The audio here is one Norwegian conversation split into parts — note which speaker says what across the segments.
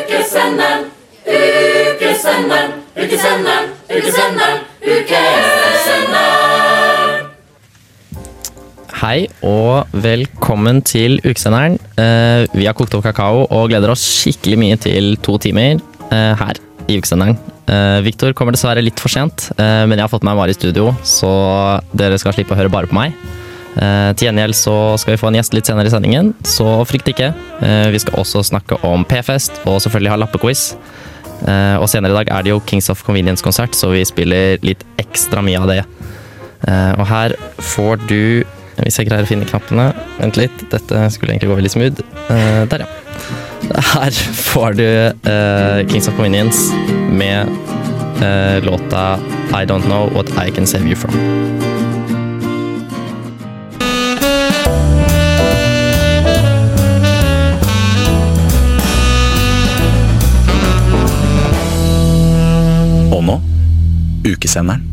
Speaker 1: Ukesenderen, ukesenderen, ukesenderen, ukesenderen, ukesenderen.
Speaker 2: Hei og velkommen til ukesenderen. Eh, Vi har kokt opp kakao og gleder oss skikkelig mye til to timer eh, her i ukesenderen. Eh, Victor kommer dessverre litt for sent, eh, men jeg har fått med meg Mari i studio, så dere skal slippe å høre bare på meg. Eh, Til gjengjeld så skal vi få en gjest litt senere i sendingen, så frykt ikke. Eh, Vi skal også snakke om P-fest og selvfølgelig ha lappequiz. Eh, Og senere i dag er det jo Kings of Convenience-konsert, så vi spiller litt ekstra mye av det. Eh, og her får du Hvis jeg greier å finne knappene Vent litt, dette skulle egentlig gå veldig smooth. Eh, der, ja. Her får du eh, Kings of Convenience med eh, låta I Don't Know What I Can Save You From.
Speaker 3: Og nå ukesenderen.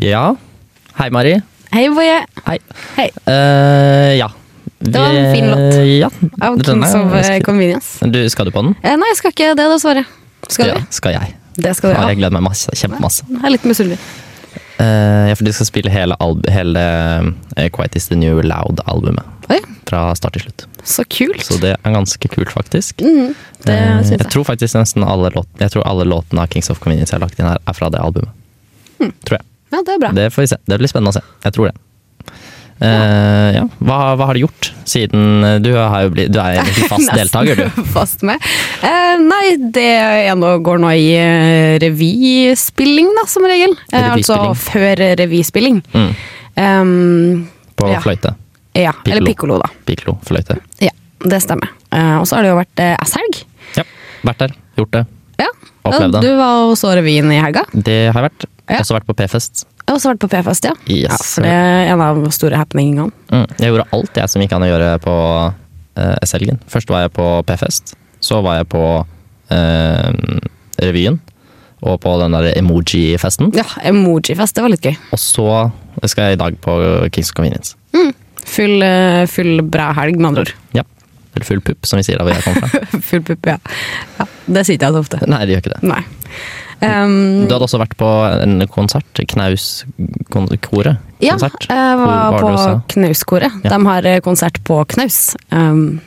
Speaker 2: Ja. Hei, Mari.
Speaker 4: Hei, Boje.
Speaker 2: Hei.
Speaker 4: Hei.
Speaker 2: Eh, ja.
Speaker 4: Det var en
Speaker 2: Vi-
Speaker 4: fin låt.
Speaker 2: Ja.
Speaker 4: Av
Speaker 2: Den er
Speaker 4: Kings of eh,
Speaker 2: ganske-
Speaker 4: Convenience.
Speaker 2: du, skal du på den?
Speaker 4: Eh, nei, jeg skal ikke det, dessverre. Skal
Speaker 2: ja,
Speaker 4: vi?
Speaker 2: skal jeg.
Speaker 4: Det skal
Speaker 2: Ja,
Speaker 4: dere
Speaker 2: jeg
Speaker 4: ha.
Speaker 2: gleder meg masse, kjempemasse.
Speaker 4: Jeg er litt misunnelig.
Speaker 2: Eh, ja, for de skal spille hele, alb hele eh, Quiet Is The New Loud-albumet.
Speaker 4: Oi,
Speaker 2: Fra start til slutt.
Speaker 4: så kult.
Speaker 2: Så det er ganske kult, faktisk.
Speaker 4: Mhm, det
Speaker 2: Eh,
Speaker 4: syns jeg.
Speaker 2: jeg tror faktisk nesten alle låtene Jeg tror alle låtene av Kings of Convenience jeg har lagt inn her, er fra det albumet. Tror jeg.
Speaker 4: Ja, det er Hm. bra.
Speaker 2: Det får vi se. Det blir spennende å se. Jeg tror det. Eh, ja. hva, hva har du gjort siden eh, Du, har jo blitt, du er egentlig fast
Speaker 4: Nesten
Speaker 2: deltaker, du.
Speaker 4: Fast med. Eh, nei, det er nå, går nå i eh, revyspilling, da, som regel. Eh, altså
Speaker 2: Revyspilling.
Speaker 4: før revyspilling.
Speaker 2: Mm,
Speaker 4: Um,
Speaker 2: på
Speaker 4: Ja.
Speaker 2: fløyte.
Speaker 4: ja, eller pikkolo, da.
Speaker 2: Piccolo-fløyte.
Speaker 4: Ja, det stemmer. Eh, og så har det jo vært eh, S-helg.
Speaker 2: Ja. Vært der, gjort det.
Speaker 4: Ja.
Speaker 2: Opplevd det.
Speaker 4: Du var og så revyen i helga.
Speaker 2: Det har jeg vært.
Speaker 4: Ja.
Speaker 2: Også vært på P-fest.
Speaker 4: Jeg har også vært på P-fest, ja.
Speaker 2: Yes.
Speaker 4: ja. For det er en av de store happeningene.
Speaker 2: Mm. Jeg gjorde alt jeg som gikk an å gjøre på uh, S-helgen. Først var jeg på P-fest, så var jeg på eh, revyen og på den der emoji-festen.
Speaker 4: Ja, Emoji-fest, det var litt gøy.
Speaker 2: Og så skal jeg i dag på Kings of Convenience.
Speaker 4: Full, eh, full bra helg, med andre ord.
Speaker 2: Ja. Eller full pupp, som vi sier der hvor jeg kommer fra.
Speaker 4: full pupp, ja. ja. Det sier ikke jeg så ofte.
Speaker 2: Nei, det gjør ikke det.
Speaker 4: Nei. Um,
Speaker 2: Du hadde også vært på en konsert, Knauskoret.
Speaker 4: ja, eh,
Speaker 2: Konsert.
Speaker 4: jeg var
Speaker 2: Hvor
Speaker 4: på
Speaker 2: du også?
Speaker 4: Knauskoret.
Speaker 2: Ja.
Speaker 4: De har eh, konsert på Knaus. Um,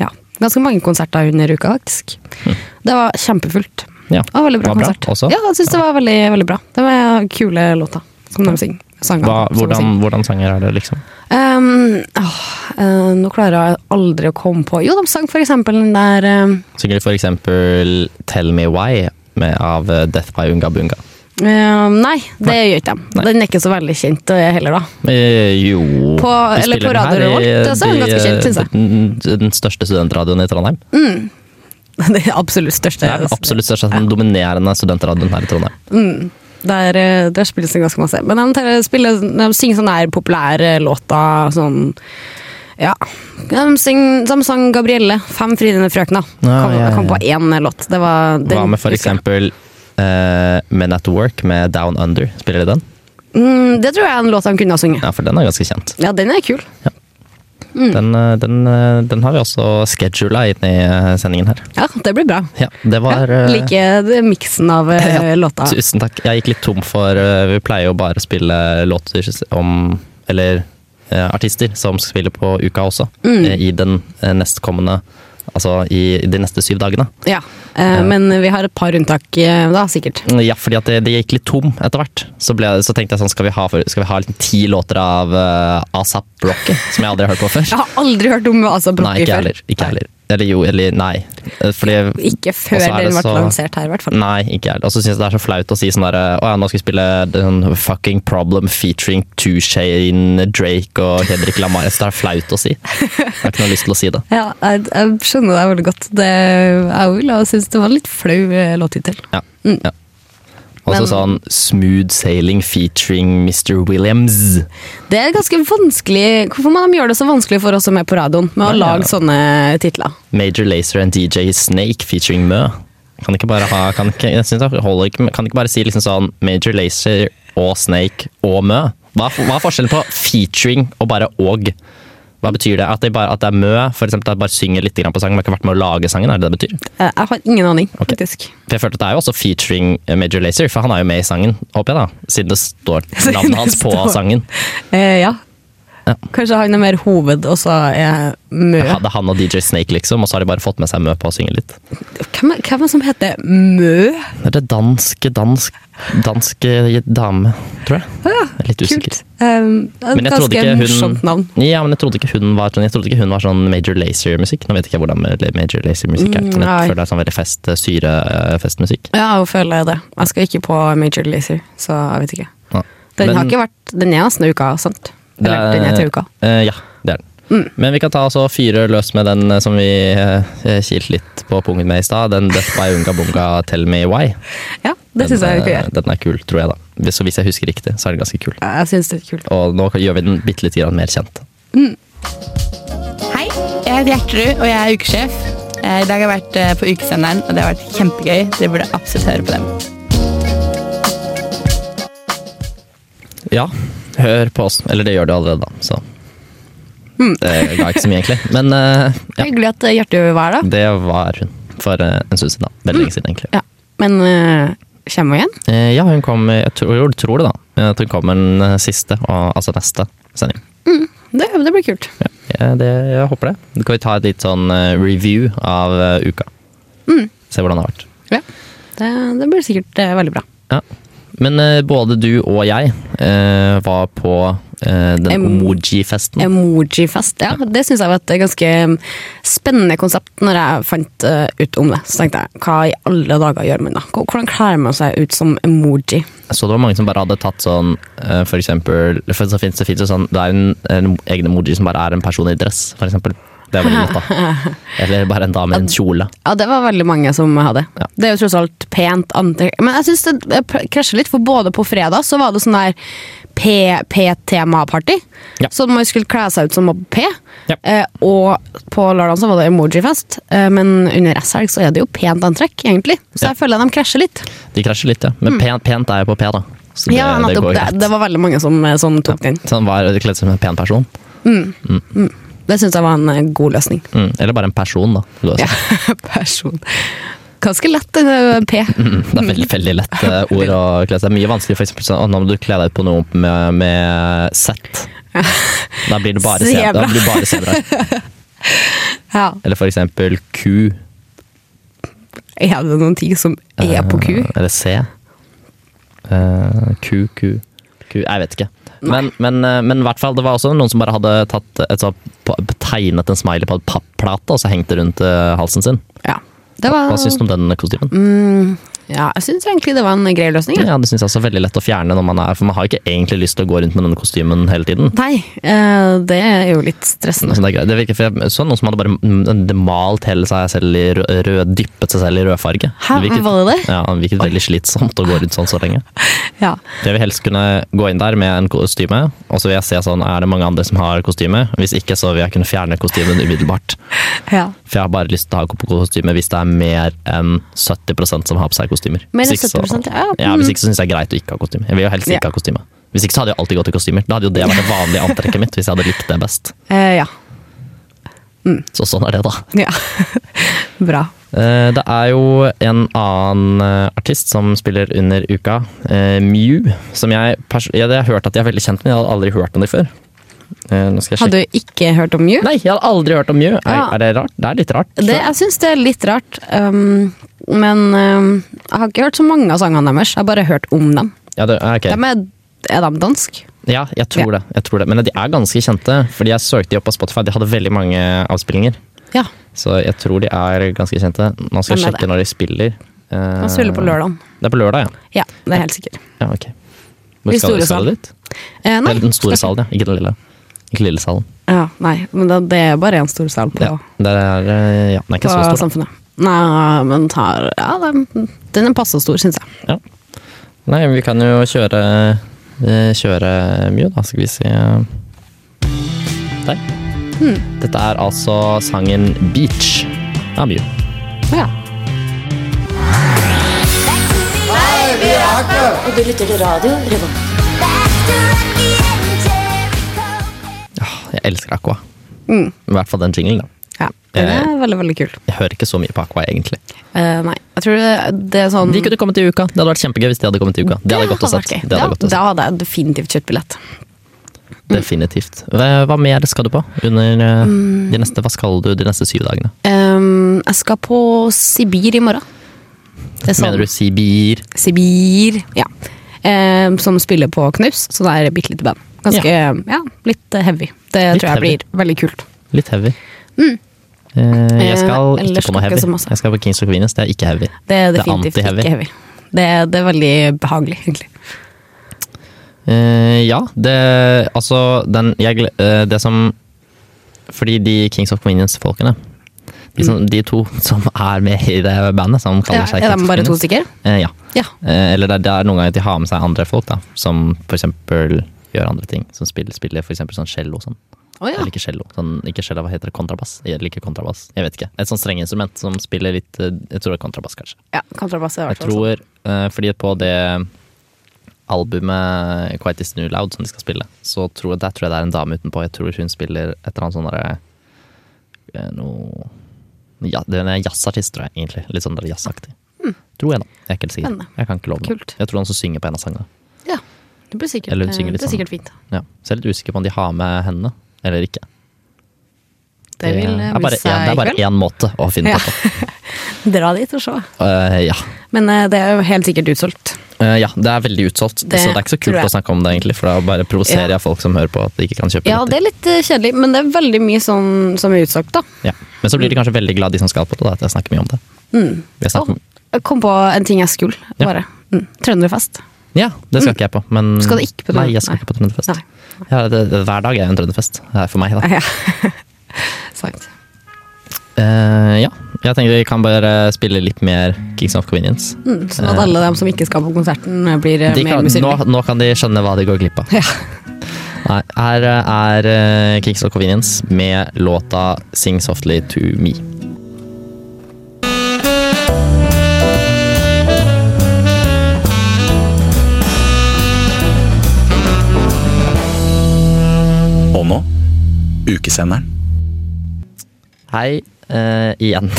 Speaker 4: ja. Ganske mange konserter under uka, faktisk. Det var kjempefullt.
Speaker 2: Ja.
Speaker 4: Det var veldig bra
Speaker 2: Hm. Var bra
Speaker 4: konsert.
Speaker 2: også?
Speaker 4: Ja, jeg syns det var veldig, veldig bra. Det var kule låter som de synger. Sanger,
Speaker 2: Hva,
Speaker 4: som de synger.
Speaker 2: hvordan, hvordan sanger er det, liksom?
Speaker 4: Um, åh, eh, nå klarer jeg aldri å komme på Jo, de sang for eksempel den der ehm,
Speaker 2: Synger de for eksempel Tell Me Why med, av eh, Death by Unga Bunga?
Speaker 4: eh, eh, Nei, det gjør ikke de.
Speaker 2: Nei.
Speaker 4: Den er ikke så veldig kjent eh, heller, da.
Speaker 2: Eh, jo
Speaker 4: På-
Speaker 2: Vi
Speaker 4: eller
Speaker 2: spiller
Speaker 4: på
Speaker 2: den
Speaker 4: Radio
Speaker 2: her i
Speaker 4: Revolt, så er den
Speaker 2: de,
Speaker 4: ganske kjent, synes jeg. Mm.
Speaker 2: den- Den største studentradioen i Trondheim.
Speaker 4: Det er absolutt største.
Speaker 2: Det er den absolutt største, den dominerende studentradioen her i Trondheim.
Speaker 4: Der, eh, der spilles det ganske masse. Men de, tar- spiller, de synger sånne her populære låter sånn ja. De, syng, de sang Gabrielle, 'Fem fridende frøkner'.
Speaker 2: Ja,
Speaker 4: kom,
Speaker 2: ja, ja.
Speaker 4: kom på én låt. Det var den.
Speaker 2: Hva med for eksempel eh, Men At Work med Down Under? Spiller de den?
Speaker 4: Mm, det tror jeg er en låt de kunne ha sunget.
Speaker 2: Ja, for den er ganske kjent.
Speaker 4: Ja, den er kul. Mm.
Speaker 2: Den, eh, den, eh, den har vi også schedula inn i eh, sendingen her.
Speaker 4: Ja, det blir bra.
Speaker 2: Ja, det var
Speaker 4: Ja,
Speaker 2: eh,
Speaker 4: Liker det miksen av eh, låta.
Speaker 2: Tusen takk. Jeg gikk litt tom for eh, Vi pleier jo bare å spille låter om Eller eh, artister som spiller på uka også.
Speaker 4: Mm.
Speaker 2: eh, I den eh, nestkommende Altså i de neste syv dagene.
Speaker 4: Ja. eh, Men vi har et par unntak eh, da, sikkert.
Speaker 2: Mm, Ja, fordi at det, det gikk litt tom etter hvert. Så, ble, så tenkte jeg sånn, skal vi ha, for, skal vi ha liksom ti låter av eh, ASAP Rocky? Som jeg aldri har hørt på før.
Speaker 4: Jeg har aldri hørt om Asa
Speaker 2: Nei,
Speaker 4: Brokke
Speaker 2: ikke jeg
Speaker 4: før.
Speaker 2: heller. Ikke jeg heller. Eller jo, eller nei. Eh, Fordi
Speaker 4: Ikke
Speaker 2: Og
Speaker 4: før
Speaker 2: så er det
Speaker 4: den ble
Speaker 2: så-
Speaker 4: lansert her, i hvert fall.
Speaker 2: Nei, ikke jeg. Og så syns jeg det er så flaut å si sånn derre Å ja, nå skal vi spille den Fucking Problem featuring Two Shane Drake og Henrik Lamar. Jeg synes det er flaut å si. Jeg har ikke noe lyst til å si det.
Speaker 4: Ja, jeg, jeg skjønner deg veldig godt. Det, jeg ville syntes det var en litt flau eh, låttittel.
Speaker 2: Ja. ja. Og så
Speaker 4: Men-
Speaker 2: sånn Smooth Sailing featuring Mr. Williams.
Speaker 4: Det er ganske vanskelig Hvorfor må de gjøre det så vanskelig for oss som er på radioen, med å
Speaker 2: Nei, ja.
Speaker 4: lage sånne titler?
Speaker 2: Major Lazer and DJ Snake featuring Mø. Kan ikke bare ha Kan ikke, jeg synes det holder ikke, med- kan ikke bare si liksom sånn Major Lazer og Snake og Mø? Hva, er- hva er forskjellen på featuring og bare og? Hva betyr det? At det, bare, at det er mø, for eksempel, at jeg bare synger litt grann på sangen, men har ikke vært med å lage sangen? er det det betyr?
Speaker 4: Eh, Jeg har ingen aning, faktisk.
Speaker 2: For jeg følte at det er jo også featuring eh, Major Lazer, for han er jo med i sangen, håper jeg da. Siden det står
Speaker 4: Siden
Speaker 2: navnet
Speaker 4: det
Speaker 2: hans på
Speaker 4: står.
Speaker 2: sangen.
Speaker 4: Eh, ja.
Speaker 2: Ja.
Speaker 4: Kanskje han er mer hoved, og så er Mø.
Speaker 2: Ja, Det er han og DJ Snake, liksom, og så har de bare fått med seg Mø på å synge litt.
Speaker 4: Hvem, er- hvem er det som heter Mø?
Speaker 2: Det er det danske, dansk, danske dame, tror jeg. Jeg er Litt usikker.
Speaker 4: Kult. Um, det er
Speaker 2: Men
Speaker 4: et
Speaker 2: jeg trodde
Speaker 4: ganske
Speaker 2: ikke
Speaker 4: morsomt
Speaker 2: hun
Speaker 4: navn.
Speaker 2: Ja, men jeg trodde ikke hun var sånn, jeg trodde ikke hun var sånn Major Lazer-musikk. Nå vet ikke jeg hvordan Major Lazer-musikk er, men
Speaker 4: Mm, nei.
Speaker 2: jeg føler det er sånn veldig fest, syre, eh, festmusikk.
Speaker 4: Ja, jeg føler det. Jeg skal ikke på Major Lazer, så jeg vet ikke.
Speaker 2: Ja.
Speaker 4: Den har
Speaker 2: Men-
Speaker 4: ikke vært Den er nesten uka, sant?
Speaker 2: Det
Speaker 4: Eller den er til uka.
Speaker 2: eh, ja, det er den.
Speaker 4: Mm.
Speaker 2: Men vi kan ta altså fyre løs med den eh, som vi uh, kilte litt på pungen med i stad. Den Death by Unga Bunga Tell Me Why.
Speaker 4: Ja, det syns jeg
Speaker 2: den,
Speaker 4: vi kan
Speaker 2: eh,
Speaker 4: gjøre.
Speaker 2: den er kul, tror jeg, da. Hvis, så hvis jeg husker riktig, så er den ganske kul.
Speaker 4: Jeg syns det er kult.
Speaker 2: Og nå kan- gjør vi den bitte litt grann mer kjent.
Speaker 5: Hei, jeg heter Gjertrud, og jeg er ukesjef. Eh, I dag har jeg vært eh, på ukesenderen, og det har vært kjempegøy. Dere burde absolutt høre på dem.
Speaker 2: Ja, hør på oss. Eller det gjør du allerede, da. Så det ga ikke så mye, egentlig. Men eh, ja,
Speaker 4: Hyggelig at Hjertet vil være da.
Speaker 2: det var hun for eh, en stund siden. da. Veldig lenge siden, egentlig.
Speaker 4: Ja. Men eh, kommer hun igjen?
Speaker 2: Eh, ja, hun kom Jeg tror, tror det, da. At hun kommer den eh, siste, og, altså neste sending.
Speaker 4: Det, det blir kult.
Speaker 2: Ja, ja, det, jeg håper det. Da kan vi ta et litt sånn eh, review av eh, uka. Se hvordan det har vært.
Speaker 4: Ja. Det, det blir sikkert eh, veldig bra.
Speaker 2: Ja. Men eh, både du og jeg eh, var på eh, den
Speaker 4: Em-
Speaker 2: emoji-festen.
Speaker 4: Emojifest, ja. Det syns jeg var et ganske mm, spennende konsept når jeg fant eh, ut om det. Så tenkte jeg, hva i alle dager gjør man da? Hvordan kler man seg ut som emoji?
Speaker 2: Så det var mange som bare hadde tatt sånn eh, for eksempel for så finnes det, finnes jo sånn, det er en, en egen emoji som bare er en person i dress, for eksempel. Det er veldig godt, da. Eller bare en dame i en kjole.
Speaker 4: Ja, det var veldig mange som hadde. Det er jo tross alt pent antrekk. Men jeg syns det p- krasjer litt, for både på fredag så var det sånn der P- P-temaparty.
Speaker 2: Ja.
Speaker 4: Så man skulle kle seg ut som P.
Speaker 2: Ja.
Speaker 4: Eh, og på lørdag så var det emojifest. Eh, men under S-helg så er det jo pent antrekk, egentlig. Så
Speaker 2: Ja.
Speaker 4: jeg føler de krasjer litt.
Speaker 2: De krasjer litt, ja. Men pent, pent er jo på P, da. Så det,
Speaker 4: Mm. ja,
Speaker 2: det
Speaker 4: nettopp.
Speaker 2: går
Speaker 4: Det,
Speaker 2: greit.
Speaker 4: det var veldig mange som, eh, som tok den.
Speaker 2: Så han var kledd som en pen person.
Speaker 4: Det syns jeg var en eh, god løsning.
Speaker 2: Mm. Eller bare en person, da. vil jeg si.
Speaker 4: Ja, person. Ganske lett, eh, P.
Speaker 2: Mm, Det er veldig, veldig lett eh, ord å kle seg. Det er mye vanskeligere for eksempel sånn, «Å, nå må du kle deg ut på noe med, med sett. Da blir det bare sebra. Da
Speaker 4: Zebra.
Speaker 2: blir det bare sebra.
Speaker 4: Ja.
Speaker 2: Eller for eksempel ku.
Speaker 4: Er det noen ting som er E på Q?
Speaker 2: Eh, Eller C. Eh, Q, Q, Q Jeg vet ikke. Men, men, eh, men i hvert fall, det var også noen som bare hadde tatt et sånt, pa- tegnet en smiley på en papplate og så hengt det rundt eh, halsen sin.
Speaker 4: Ja. Det var,
Speaker 2: Hva syns du om den kostymen?
Speaker 4: Mm. ja, jeg syns egentlig det var en grei løsning. Ja.
Speaker 2: Ja, det synes jeg også er veldig lett å fjerne, når man er, for man har jo ikke egentlig lyst til å gå rundt med denne kostymen hele tiden.
Speaker 4: Nei, eh, det er jo litt stressende.
Speaker 2: Så det er greit. Det virker for jeg så noen som hadde bare mm, malt hele seg selv i rød, rød dyppet seg selv i rødfarge.
Speaker 4: Hæ,
Speaker 2: virket-
Speaker 4: var det det?
Speaker 2: Ja, det virket veldig slitsomt å gå rundt sånn så lenge.
Speaker 4: Ja.
Speaker 2: Jeg vil helst kunne gå inn der med en kostyme, og så vil jeg se sånn, er det mange andre som har kostyme? Hvis ikke, så vil jeg kunne fjerne kostymen umiddelbart.
Speaker 4: ja.
Speaker 2: For jeg har bare lyst til å ha på kostyme hvis det er mer enn 70 som har på seg kostymer.
Speaker 4: Mer enn
Speaker 2: Hvis ikke så-
Speaker 4: 70%, ja. Mm.
Speaker 2: ja. Hvis ikke så syns jeg det er greit å ikke ha kostyme. Jeg vil jo helst
Speaker 4: Ja.
Speaker 2: ikke ha kostyme. Hvis ikke så hadde jeg alltid gått i kostymer. Da hadde jo det vært det vanlige antrekket mitt, hvis jeg hadde likt det best.
Speaker 4: Eh, ja.
Speaker 2: Så sånn er det, da.
Speaker 4: ja. Bra.
Speaker 2: Eh, Det er jo en annen eh, artist som spiller under uka, eh, Mew, som jeg, pers jeg, jeg har hørt at jeg er veldig kjent med, jeg hadde aldri hørt om dem før. Eh, Nå skal jeg sjekke.
Speaker 4: Hadde du ikke hørt om Mew?
Speaker 2: Nei, jeg hadde aldri hørt om Mew. Er,
Speaker 4: Ja.
Speaker 2: er det rart? Det er litt rart.
Speaker 4: Det, jeg syns det er litt rart. Um, men um, jeg har ikke hørt så mange av sangene deres. Jeg har bare hørt om dem.
Speaker 2: Ja, det, ok.
Speaker 4: dem er, er de dansk?
Speaker 2: ja jeg, tror det, jeg tror det. Men de er ganske kjente, fordi jeg søkte de opp på Spotify. De hadde veldig mange avspillinger,
Speaker 4: Ja.
Speaker 2: så jeg tror de er ganske kjente. Nå skal jeg
Speaker 4: Hvem er det?
Speaker 2: sjekke når de spiller.
Speaker 4: De
Speaker 2: De
Speaker 4: spiller på lørdag.
Speaker 2: Det er på lørdag, ja.
Speaker 4: Ja, det er jeg helt sikkert.
Speaker 2: ja ok.
Speaker 4: I
Speaker 2: Hvor skal
Speaker 4: store
Speaker 2: du
Speaker 4: sal.
Speaker 2: spille dit?
Speaker 4: Eh, nei.
Speaker 2: Eller den store salen, ja. Ikke den lille. Ikke lille salen.
Speaker 4: Ja, nei, men det, det er bare én stor sal på,
Speaker 2: Ja, det er, eh, ja, den er ikke
Speaker 4: på
Speaker 2: så stor.
Speaker 4: Samfunnet. Nei, men tar, ja, den, den er passe stor, syns jeg.
Speaker 2: Ja. Nei, vi kan jo kjøre eh, Kjøre mye, da. Skal vi se Der.
Speaker 4: Hmm.
Speaker 2: Dette er altså sangen 'Beach' av Mew.
Speaker 4: Ja.
Speaker 6: Du lytter til radio Revolt.
Speaker 2: Jeg elsker Aqua.
Speaker 4: Hmm.
Speaker 2: I hvert fall den jinglen, da.
Speaker 4: Ja, Den er
Speaker 2: Eh.
Speaker 4: veldig, veldig kul.
Speaker 2: Jeg hører ikke så mye på Aqua, egentlig.
Speaker 4: Eh, nei, jeg tror det, det er sånn
Speaker 2: De kunne kommet i uka. Det hadde vært kjempegøy hvis de hadde kommet i uka. Det hadde jeg gått og
Speaker 4: hadde
Speaker 2: sett.
Speaker 4: vært gøy.
Speaker 2: Det hadde jeg gått og
Speaker 4: Da, da hadde jeg definitivt kjøpt billett.
Speaker 2: sett. Definitivt. Hva, hva mer skal du på under eh,
Speaker 4: Hmm.
Speaker 2: de neste Hva skal du de neste syv dagene?
Speaker 4: Ehm, jeg skal på Sibir i morgen. Det er sånn-
Speaker 2: Mener du Sibir?
Speaker 4: Sibir, ja. Ehm, som spiller på Knaus, så det er et bitte lite band. Ganske, ja, litt eh, heavy. Det
Speaker 2: Litt
Speaker 4: tror jeg
Speaker 2: heavy.
Speaker 4: blir veldig kult.
Speaker 2: Litt heavy. Eh, jeg skal
Speaker 4: Mm. Eh,
Speaker 2: ikke på
Speaker 4: ellers
Speaker 2: noe
Speaker 4: skal ikke
Speaker 2: heavy.
Speaker 4: så masse.
Speaker 2: Jeg skal på Kings of Queens, det er ikke heavy.
Speaker 4: Det er definitivt
Speaker 2: anti-heavy.
Speaker 4: ikke heavy. Det, er- det er veldig behagelig, egentlig.
Speaker 2: Eh, ja, det Altså, den jeg, gle- eh, Det som Fordi de Kings of Convenience-folkene de, som, de to som er med i det bandet, som kaller
Speaker 4: Mm. Ja,
Speaker 2: seg
Speaker 4: er
Speaker 2: Kings
Speaker 4: de
Speaker 2: of
Speaker 4: bare to
Speaker 2: Convenience
Speaker 4: stykker?
Speaker 2: eh, Ja.
Speaker 4: Ja.
Speaker 2: Eh, eller det, det er noen ganger de har med seg andre folk, da. Som for eksempel gjør andre ting. Som spiller, spiller for eksempel sånn cello og sånn.
Speaker 4: Å ja.
Speaker 2: Eller ikke cello. Sånn, ikke cello, hva heter det? Kontrabass? Eller ikke kontrabass. Jeg vet ikke. Et sånt strengeinstrument som spiller litt eh, Jeg tror det er kontrabass, kanskje.
Speaker 4: ja kontrabass er i
Speaker 2: Jeg
Speaker 4: hvert fall sånn.
Speaker 2: tror, eh, fordi på det albumet Quite Is New Loud som de skal spille, så tror jeg, der tror jeg det er en dame utenpå. Jeg tror hun spiller et eller annet sånn derre eh, noe ja, Det er en jazzartist, tror jeg, egentlig. Litt sånn der jazzaktig. Tror jeg, da. Jeg er ikke helt sikker.
Speaker 4: Mm. Spennende.
Speaker 2: Jeg kan ikke love noe.
Speaker 4: Kult.
Speaker 2: Jeg tror han også synger på en av sangene.
Speaker 4: Ja, det blir sikkert,
Speaker 2: Eller hun synger
Speaker 4: eh,
Speaker 2: litt
Speaker 4: det er
Speaker 2: sånn.
Speaker 4: sikkert fint.
Speaker 2: Ja. Så jeg er litt usikker på om de har med henne eller ikke.
Speaker 4: Det vil eh,
Speaker 2: er bare én- det
Speaker 4: vise seg
Speaker 2: er
Speaker 4: i
Speaker 2: bare
Speaker 4: kveld.
Speaker 2: én måte å finne
Speaker 4: Ja.
Speaker 2: det på.
Speaker 4: Dra dit og se.
Speaker 2: Eh, ja.
Speaker 4: Men eh, det er jo helt sikkert utsolgt.
Speaker 2: Eh, ja, det er veldig utsolgt,
Speaker 4: Det
Speaker 2: så det er ikke så
Speaker 4: tror
Speaker 2: kult
Speaker 4: jeg.
Speaker 2: å snakke om det, egentlig. For da bare provoserer
Speaker 4: Ja.
Speaker 2: jeg folk som hører på at de ikke kan kjøpe
Speaker 4: Ja,
Speaker 2: billetter.
Speaker 4: det er litt eh, kjedelig, men det er veldig mye sånn som er utsolgt, da.
Speaker 2: Ja. Men så blir de kanskje veldig glad de som skal på det, da, at jeg snakker mye om det. Jeg
Speaker 4: Åh,
Speaker 2: snakker,
Speaker 4: jeg kom på en ting jeg skulle,
Speaker 2: Ja.
Speaker 4: bare. Mm. Trønderfest.
Speaker 2: Ja, det skal ikke jeg på. Men,
Speaker 4: Mm. Skal du ikke på
Speaker 2: Nei,
Speaker 4: Trønderfest?
Speaker 2: jeg skal ikke på Trønderfest.
Speaker 4: Nei.
Speaker 2: Ja, det, det, hver dag er jo en Trønderfest eh, for meg, da.
Speaker 4: Ja. Sant.
Speaker 2: Eh, ja. Jeg tenker vi kan bare spille litt mer Kings of Convenience.
Speaker 4: Mm, sånn at alle dem som ikke skal på konserten, eh, blir eh,
Speaker 2: De
Speaker 4: mer
Speaker 2: kan, nå,
Speaker 4: misunnelige.
Speaker 2: nå kan de skjønne hva de går glipp av.
Speaker 4: Ja.
Speaker 2: Nei, her er eh, Kings of Convenience med låta 'Sing Softly To Me'.
Speaker 3: Og nå ukesenderen.
Speaker 2: Hei eh, igjen.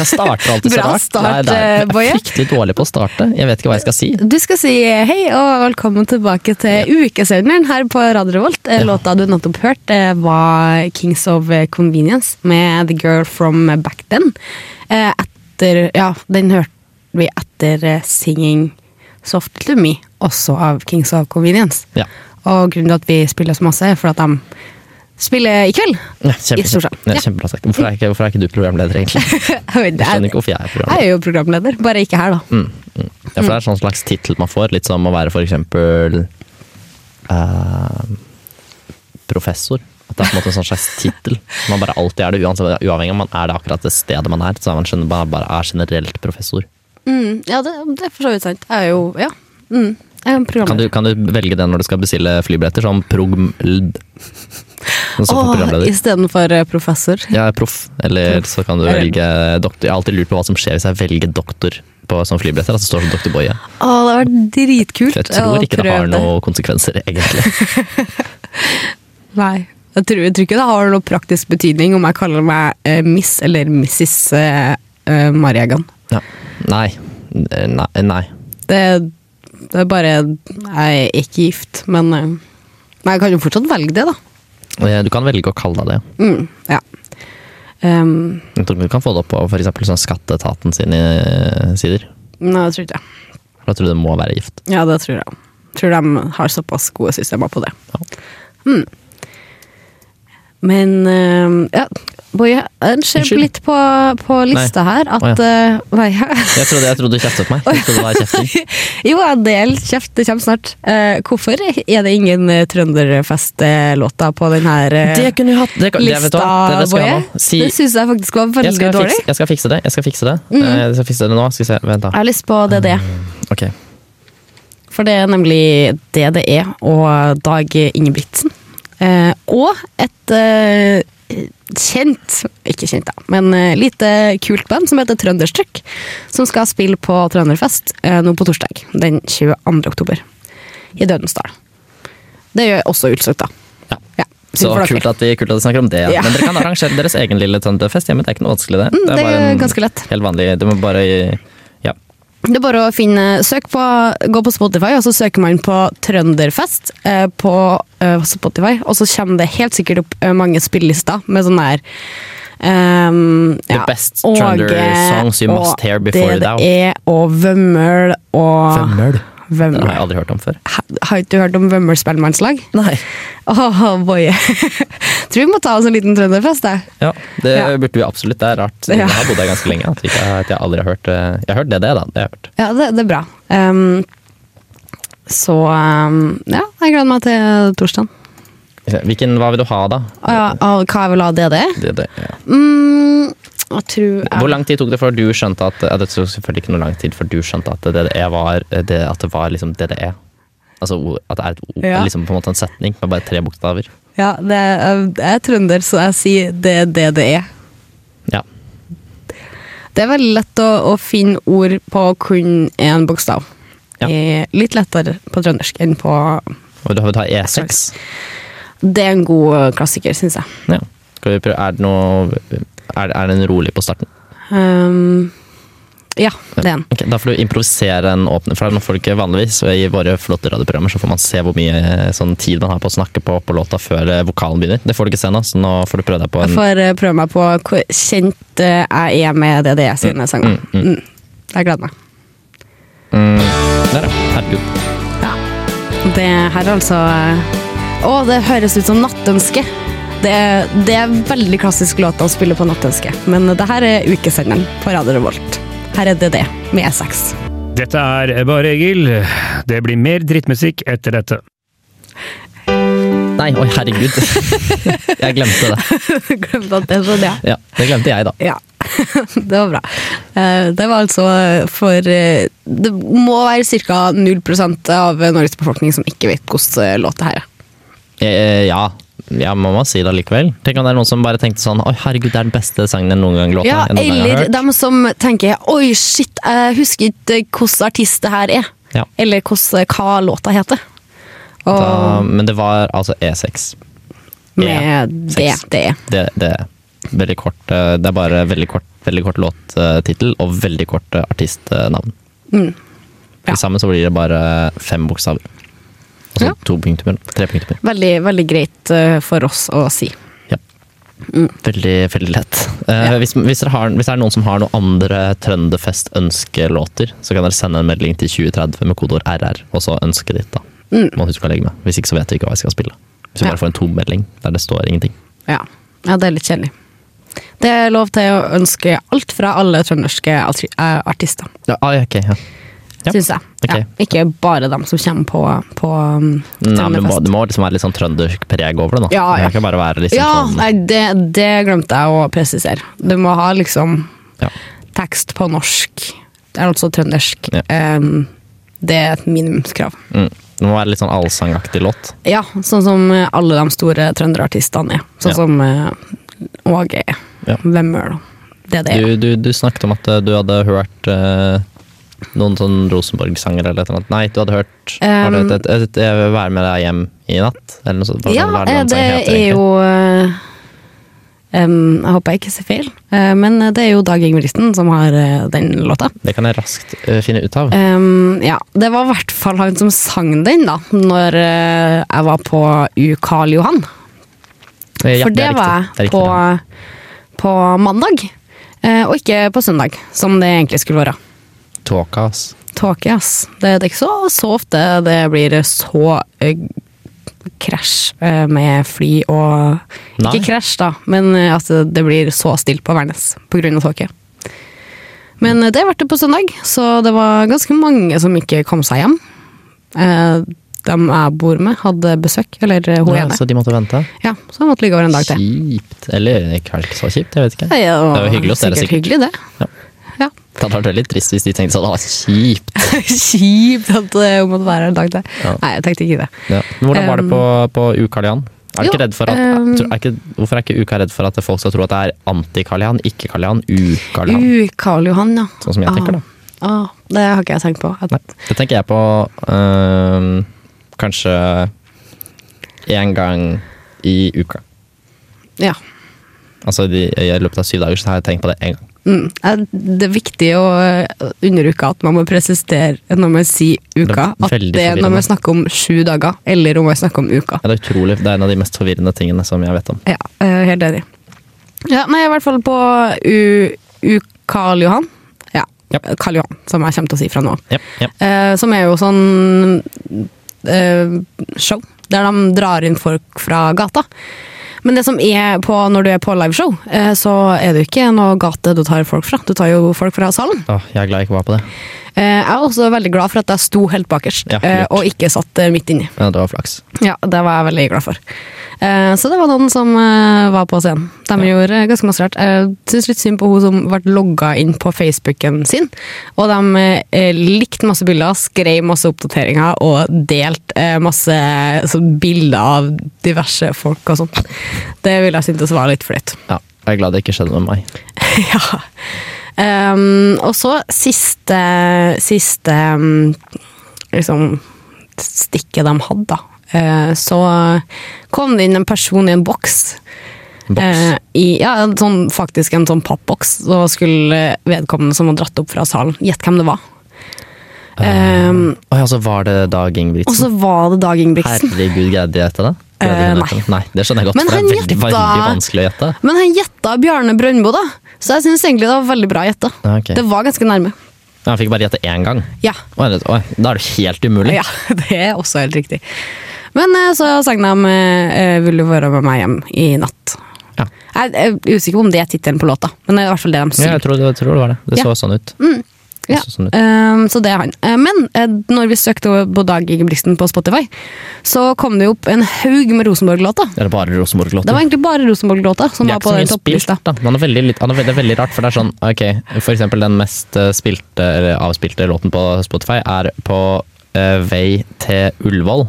Speaker 2: Jeg starter alltid så
Speaker 4: Bra
Speaker 2: rart.
Speaker 4: start,
Speaker 2: Nei, det er-
Speaker 4: eh, Boje.
Speaker 2: Jeg er fryktelig dårlig på å starte. Jeg vet ikke hva jeg skal si.
Speaker 4: Du skal si eh, hei og velkommen tilbake til ukesenderen her på Radio Revolt. Eh,
Speaker 2: Ja.
Speaker 4: Låta du nettopp hørte, eh, var Kings of Convenience med The Girl From Back Then. Eh, Etter, ja, den hørte vi etter eh, Singing Soft To Me, også av Kings of Convenience.
Speaker 2: Ja.
Speaker 4: Og grunnen til at vi spiller så masse, er for at de spiller i kveld.
Speaker 2: Ja, kjempe,
Speaker 4: I Storsand.
Speaker 2: Ja,
Speaker 4: Ja.
Speaker 2: kjempebra sagt. Hvorfor er, ikke, hvorfor er ikke du programleder, egentlig?
Speaker 4: Jeg
Speaker 2: Jeg skjønner ikke hvorfor jeg er
Speaker 4: Jeg
Speaker 2: programleder.
Speaker 4: er jo programleder, bare ikke her, da.
Speaker 2: Ja, for det er en sånn slags tittel man får, litt som å være for eksempel eh, professor. At det er på en måte en sånn slags tittel. Man bare alltid er det, uansett, uavhengig om man er det akkurat det stedet man er. Så er man skjønner, man bare er generelt professor.
Speaker 4: Mm, ja, det, det er for så vidt sant. Jeg er jo Ja. Mm, jeg er
Speaker 2: Kan
Speaker 4: en
Speaker 2: du,
Speaker 4: programleder.
Speaker 2: kan du velge den når du skal bestille flybilletter? Sånn progmld. Og så for
Speaker 4: Åh,
Speaker 2: programleder.
Speaker 4: istedenfor eh, professor.
Speaker 2: Jeg er proff, eller så kan du
Speaker 4: Eller-
Speaker 2: velge doktor. Jeg har alltid lurt på hva som skjer hvis jeg velger doktor på sånn flybilletter. At det står som doktor Boje.
Speaker 4: Å, det har vært dritkult.
Speaker 2: For jeg tror ikke det har noen konsekvenser, egentlig.
Speaker 4: Nei. Jeg tror, jeg tror ikke det har noe praktisk betydning om jeg kaller meg eh, Miss eller Mrs. Eh, eh, Marjagan.
Speaker 2: Ja. Nei. Eh, Nei. nei.
Speaker 4: Det, det er bare Jeg er ikke gift, men eh, Men jeg kan jo fortsatt velge det, da.
Speaker 2: Eh, Du kan velge å kalle deg det.
Speaker 4: Mm, ja. Ehm,
Speaker 2: Jeg tror Du kan få det opp på for eksempel sånn skatteetaten sine eh, sider.
Speaker 4: nei, det tror ikke jeg.
Speaker 2: Da tror du det må være gift.
Speaker 4: Ja, det tror jeg. Tror de har såpass gode systemer på det. Hmm.
Speaker 2: Ja.
Speaker 4: Men eh, ja, Boje, jeg ser
Speaker 2: Unnskyld.
Speaker 4: litt på, på lista her at
Speaker 2: Å,
Speaker 4: eh, Nei,
Speaker 2: Jeg trodde, jeg trodde du kjeftet på meg. Jeg trodde det var kjefting.
Speaker 4: jo, en del kjeft, det kommer snart. Eh, hvorfor er det ingen eh, Trønderfest-låter på den her eh,
Speaker 2: Det kunne vi hatt. Det, det, vet du
Speaker 4: lista,
Speaker 2: hva? det, det skal jeg
Speaker 4: Boje?
Speaker 2: ha nå. Si
Speaker 4: det syns jeg faktisk var veldig
Speaker 2: jeg skal,
Speaker 4: dårlig. Mm.
Speaker 2: fikse, jeg skal fikse det. Jeg skal fikse det. Eh, Jeg skal fikse det nå. Skal vi se. Vent,
Speaker 4: Jeg
Speaker 2: da.
Speaker 4: har lyst på DDE,
Speaker 2: Ok.
Speaker 4: for det er nemlig DDE og Dag Ingebrigtsen. Eh, og et eh, kjent, ikke kjent da, men eh, lite kult band som heter Trønderstrøkk, som skal spille på Trønderfest eh, nå på torsdag den 22. oktober i Dødensdal. Det gjør også utsolgt, da.
Speaker 2: Ja.
Speaker 4: Ja.
Speaker 2: Så
Speaker 4: for dere.
Speaker 2: kult at, de, kult at de snakker om det.
Speaker 4: Ja.
Speaker 2: Men dere kan arrangere deres egen lille tønderfest hjemme. Det er ikke noe vanskelig, det.
Speaker 4: Mm, det
Speaker 2: bare
Speaker 4: er
Speaker 2: en
Speaker 4: ganske lett.
Speaker 2: Helt vanlig. Du må bare Ja.
Speaker 4: Det er bare å finne, søk på, gå på Spotify, og så søker man på Trønderfest eh, på eh, Spotify, og så kommer det helt sikkert opp eh, mange spillelister med sånn der ehm,
Speaker 2: The best Trønder songs you must hear before
Speaker 4: det
Speaker 2: thou.
Speaker 4: det er, og Vømmøl og
Speaker 2: Vømmøl? Den
Speaker 4: Vømmøl.
Speaker 2: har jeg aldri hørt om før.
Speaker 4: Ha- Har ikke du hørt om Vømmøl spellemannslag?
Speaker 2: Nei.
Speaker 4: Åh, boy. Tror vi må ta oss en liten trønderfest, jeg.
Speaker 2: Ja, det
Speaker 4: Ja.
Speaker 2: burde vi absolutt. Det er rart.
Speaker 4: Ja.
Speaker 2: Jeg har bodd her ganske lenge. At, vi ikke, har- at jeg aldri har hørt eh, Jeg har hørt det, det, da. Det har jeg hørt.
Speaker 4: Ja, det, det er bra. Ehm, så ehm, ja, jeg gleder meg til torsdagen.
Speaker 2: Hvilken, hva vil du ha, da?
Speaker 4: Å ja, av hva jeg vil ha DD?
Speaker 2: Det, det, ja.
Speaker 4: Mm, jeg tror jeg,
Speaker 2: Hvor lang tid tok det før du skjønte at ja, Det tok selvfølgelig ikke noe lang tid før du skjønte at DDE var det, At det var liksom DDE. Altså o- at det er et, o-
Speaker 4: Ja.
Speaker 2: liksom på en måte en setning med bare tre bokstaver.
Speaker 4: Ja, det, er- jeg er trønder, så jeg sier det er det det er.
Speaker 2: Ja.
Speaker 4: Det er veldig lett å, å finne ord på kun én bokstav.
Speaker 2: Ja.
Speaker 4: Eh, Litt lettere på trøndersk enn på
Speaker 2: Og da vil du ha E E6.
Speaker 4: Det er en god klassiker, syns jeg.
Speaker 2: Ja. Skal vi prøve Er det noe Er, er den rolig på starten?
Speaker 4: Ehm, ja, det er en.
Speaker 2: Ok, da får du improvisere en åpner, for nå får du ikke vanligvis og i våre flotte radioprogrammer så får man se hvor mye eh, sånn, tid man har på å snakke på, på låta før eh, vokalen begynner. Det får du ikke se nå, så nå får du prøve deg på
Speaker 4: Jeg
Speaker 2: en
Speaker 4: får eh, prøve meg på hvor kjent eh, jeg er med det det er sine sanger. Mm. Jeg gleder meg.
Speaker 2: Der, ja. Herregud.
Speaker 4: Det her er altså eh, Å, det høres ut som Nattønske. Det er, det er veldig klassisk låt å spille på Nattønske, men det her er ukesenderen på Radio Revolt. Her er det det, med E E6.
Speaker 6: Dette er Bare Egil. Det blir mer drittmusikk etter dette.
Speaker 2: Nei, oi, herregud. Jeg glemte det.
Speaker 4: Glemte at det var det.
Speaker 2: Ja, det glemte jeg, da.
Speaker 4: Ja, det var bra. Eh, Det var altså for eh, Det må være ca. 0 av Norges befolkning som ikke vet hvordan låt det her er.
Speaker 2: Eh, ja. ja, må man si det allikevel. Tenk om det er noen som bare tenkte sånn Oi, herregud, det er den beste sangen jeg noen gang låta
Speaker 4: Ja,
Speaker 2: jeg noen gang har
Speaker 4: eller
Speaker 2: hørt.
Speaker 4: dem som tenker Oi, shit, jeg husker ikke hvilken artist det her er.
Speaker 2: Ja.
Speaker 4: Eller hvordan, hva låta heter. Og
Speaker 2: Da, men det var altså E6.
Speaker 4: med det
Speaker 2: seks.
Speaker 4: det er.
Speaker 2: Det, det er veldig kort. eh, Det er bare veldig kort, veldig kort låttittel og veldig kort eh, artistnavn.
Speaker 4: Mm. Ja.
Speaker 2: Til sammen så blir det bare fem bokstaver. Altså
Speaker 4: Ja.
Speaker 2: to punkter mellom. Tre punkter mellom.
Speaker 4: Veldig, veldig greit eh, for oss å si.
Speaker 2: Ja.
Speaker 4: Mm.
Speaker 2: Veldig, veldig lett. Eh, hvis, hvis, dere har, hvis det er noen som har noen andre Trønderfest-ønskelåter, så kan dere sende en melding til 2030 med kodeord RR, og så ønsket ditt. da. Må huske å legge med. Hvis ikke så vet vi ikke hva vi skal spille. Hvis vi
Speaker 4: Mm. Ja.
Speaker 2: bare får en tom melding der det står ingenting.
Speaker 4: Ja. ja, det er litt kjedelig. Det er lov til å ønske alt fra alle trønderske altri- eh, artister,
Speaker 2: Ja, ah, ja, ok, ja. Ja.
Speaker 4: syns jeg.
Speaker 2: Ok.
Speaker 4: Ja. Ikke bare dem som kommer på, på um,
Speaker 2: Nei, men det må,
Speaker 4: Trønderfest.
Speaker 2: det må liksom være litt sånn trøndersk preg over det. nå.
Speaker 4: Ja, ja.
Speaker 2: Det kan ikke bare være liksom
Speaker 4: Ja,
Speaker 2: sånn,
Speaker 4: nei, det, det glemte jeg å presisere. Du må ha liksom
Speaker 2: ja.
Speaker 4: tekst på norsk, det er altså trøndersk.
Speaker 2: Ja.
Speaker 4: Em, det er et minimumskrav.
Speaker 2: Mm. Det må være litt sånn allsangaktig låt.
Speaker 4: Ja, sånn som eh, alle de store trønderartistene er. Sånn
Speaker 2: Ja.
Speaker 4: som eh, Åge er.
Speaker 2: Ja.
Speaker 4: Vemmøl. Det er det.
Speaker 2: Du, du, du snakket om at eh, du hadde hørt eh, noen sånn Rosenborg-sanger eller et eller annet. Nei, du hadade hørt var det et, et, et, et, 'Jeg vil være med deg hjem i natt'? Eller noe sånt. Hva-
Speaker 4: Um, ja,
Speaker 2: hva
Speaker 4: eh,
Speaker 2: den
Speaker 4: det
Speaker 2: sangen heter
Speaker 4: er
Speaker 2: egentlig?
Speaker 4: jo eh, em, Jeg håper jeg ikke ser feil, eh, men det er jo Dag Ingebrigtsen som har eh, den låta.
Speaker 2: Det kan jeg raskt eh, finne ut av.
Speaker 4: Em, ja, det var i hvert fall han som sang den, da, når eh, jeg var på U. Karl Johan.
Speaker 2: Eh, ja,
Speaker 4: For det,
Speaker 2: er riktig.
Speaker 4: var
Speaker 2: Det er
Speaker 4: jeg
Speaker 2: riktig
Speaker 4: på,
Speaker 2: navn.
Speaker 4: på mandag, eh, og ikke på søndag, som det egentlig skulle være.
Speaker 2: Tåka, ass.
Speaker 4: Tåke, ass. Det, det er ikke så, så ofte det blir så eh, krasj eh, med fly og
Speaker 2: Nei.
Speaker 4: Ikke krasj, da, men eh, at det blir så stilt på Værnes pga. tåke. Men eh, det ble det på søndag, så det var ganske mange som ikke kom seg hjem. Eh, dem jeg bor med, hadde besøk, eller eh, hun
Speaker 2: Ja,
Speaker 4: ene.
Speaker 2: så de måtte vente?
Speaker 4: Ja, så jeg måtte ligge over en dag til.
Speaker 2: Kjipt. Eller kanskje ikke så kjipt, jeg vet ikke.
Speaker 4: Ja, ja,
Speaker 2: det var hyggelig hos dere,
Speaker 4: sikkert.
Speaker 2: sikkert.
Speaker 4: Hyggelig, det.
Speaker 2: Ja.
Speaker 4: Ja.
Speaker 2: Det hadde vært veldig trist hvis de tenkte sånn 'Å, kjipt'.
Speaker 4: Kjipt at eh, hun måtte være her en dag til.
Speaker 2: Ja.
Speaker 4: Nei, jeg tenkte ikke det.
Speaker 2: Ja. Men Hvordan var det på, på U-Karlian? Er du
Speaker 4: Ehm, jo,
Speaker 2: ikke redd for at,
Speaker 4: ehm,
Speaker 2: tror- er ikke, hvorfor er ikke Uka redd for at folk skal tro at det er anti-Karlian, ikke Karlian, U-Karlian?
Speaker 4: U, Karl Johan, ja.
Speaker 2: Sånn som jeg tenker, da.
Speaker 4: Ah, ah, det har ikke jeg tenkt på. At,
Speaker 2: Nei, det tenker jeg på øhm, kanskje en gang i uka.
Speaker 4: Ja.
Speaker 2: Altså de, I løpet av syv dager så har jeg tenkt på det én gang.
Speaker 4: Mm. Eh, Det er viktig å eh, underuke at man må presisere når man sier uka,
Speaker 2: Det er
Speaker 4: at
Speaker 2: veldig
Speaker 4: det er når
Speaker 2: forvirrende.
Speaker 4: man snakker om sju dager, eller om man snakker om uka.
Speaker 2: Ja, Det er utrolig, det er en av de mest forvirrende tingene som jeg vet om.
Speaker 4: Ja, eh, helt enig. Ja, nei, jeg er i hvert fall på U- U Karl Johan. Ja,
Speaker 2: Japp.
Speaker 4: Karl Johan, som jeg kommer til å si fra nå av.
Speaker 2: Jep, jep.
Speaker 4: Eh, som er jo sånn eh, show, der de drar inn folk fra gata. Men det som er på når du er på liveshow, eh, så er det jo ikke noe gate du tar folk fra. Du tar jo folk fra salen.
Speaker 2: Åh, jeg er glad jeg ikke var på det.
Speaker 4: Eh, jeg er også veldig glad for at jeg sto helt bakerst,
Speaker 2: Ja,
Speaker 4: eh,
Speaker 2: lurt.
Speaker 4: og ikke satt eh, midt inni.
Speaker 2: Ja, det var flaks.
Speaker 4: Ja, det var jeg veldig glad for. Eh, så det var noen som eh, var på scenen. De gjorde eh, ganske masse rart. Jeg syns litt synd på hun som ble logga inn på Facebooken sin. Og de eh, likte masse bilder, skrev masse oppdateringer og delte eh, masse sånn bilder av diverse folk og sånt. Det ville jeg syntes var litt flaut.
Speaker 2: Ja, jeg er glad det ikke skjedde med meg.
Speaker 4: ja. Ehm, og så siste, siste mm, liksom, stikket de hadde, da. Eh, så kom det inn en person i en boks.
Speaker 2: Boks.
Speaker 4: Eh, i, ja, en sånn, faktisk en sånn pappboks. Så skulle vedkommende som var dratt opp fra salen, gjette hvem det var. Ehm,
Speaker 2: Oi, altså var det Dag
Speaker 4: og så
Speaker 2: Ingebrigtsen?
Speaker 4: var det Dag Ingebrigtsen.
Speaker 2: Herregud, greide de å gjette det? Greide
Speaker 4: Eh,
Speaker 2: hun å gjette det? Nei, det skjønner jeg godt.
Speaker 4: Men
Speaker 2: for det
Speaker 4: han
Speaker 2: er veldig,
Speaker 4: gjetta-
Speaker 2: veldig vanskelig å gjette.
Speaker 4: Men han gjetta Bjarne Brøndbo, da. Så jeg syns egentlig det var veldig bra gjetta.
Speaker 2: Ja, ok.
Speaker 4: Det var ganske nærme.
Speaker 2: Ja, Han fikk bare gjette én gang.
Speaker 4: Ja,
Speaker 2: Oi, det- oi, da er det helt umulig.
Speaker 4: Ja, det er også helt riktig. Men eh, så sang de eh, eh, 'Vil du være med meg hjem i natt'.
Speaker 2: Ja.
Speaker 4: Jeg jeg er usikker på om det er tittelen på låta, men det er i hvert fall det de
Speaker 2: Ja,
Speaker 4: synger.
Speaker 2: jeg tror, det, jeg tror det var det. Det
Speaker 4: Ja. Mm.
Speaker 2: så sånn ut. Det
Speaker 4: Ja,
Speaker 2: så sånn ut.
Speaker 4: ehm, så det er han. Eh, Men eh, når vi søkte på Dag Ingebrigtsen på Spotify, så kom det jo opp en haug med Rosenborg-låter.
Speaker 2: Er det bare
Speaker 4: Det
Speaker 2: Rosenborg-låter?
Speaker 4: var egentlig bare Rosenborg-låter som
Speaker 2: De er ikke
Speaker 4: var på
Speaker 2: så
Speaker 4: den
Speaker 2: mye
Speaker 4: topplista.
Speaker 2: spilt, da. Men det er veldig, litt- han er veldig, det er veldig rart, for det er sånn Ok, for eksempel den mest eh, spilte, eller avspilte låten på Spotify er på eh, Vei til Ullevål.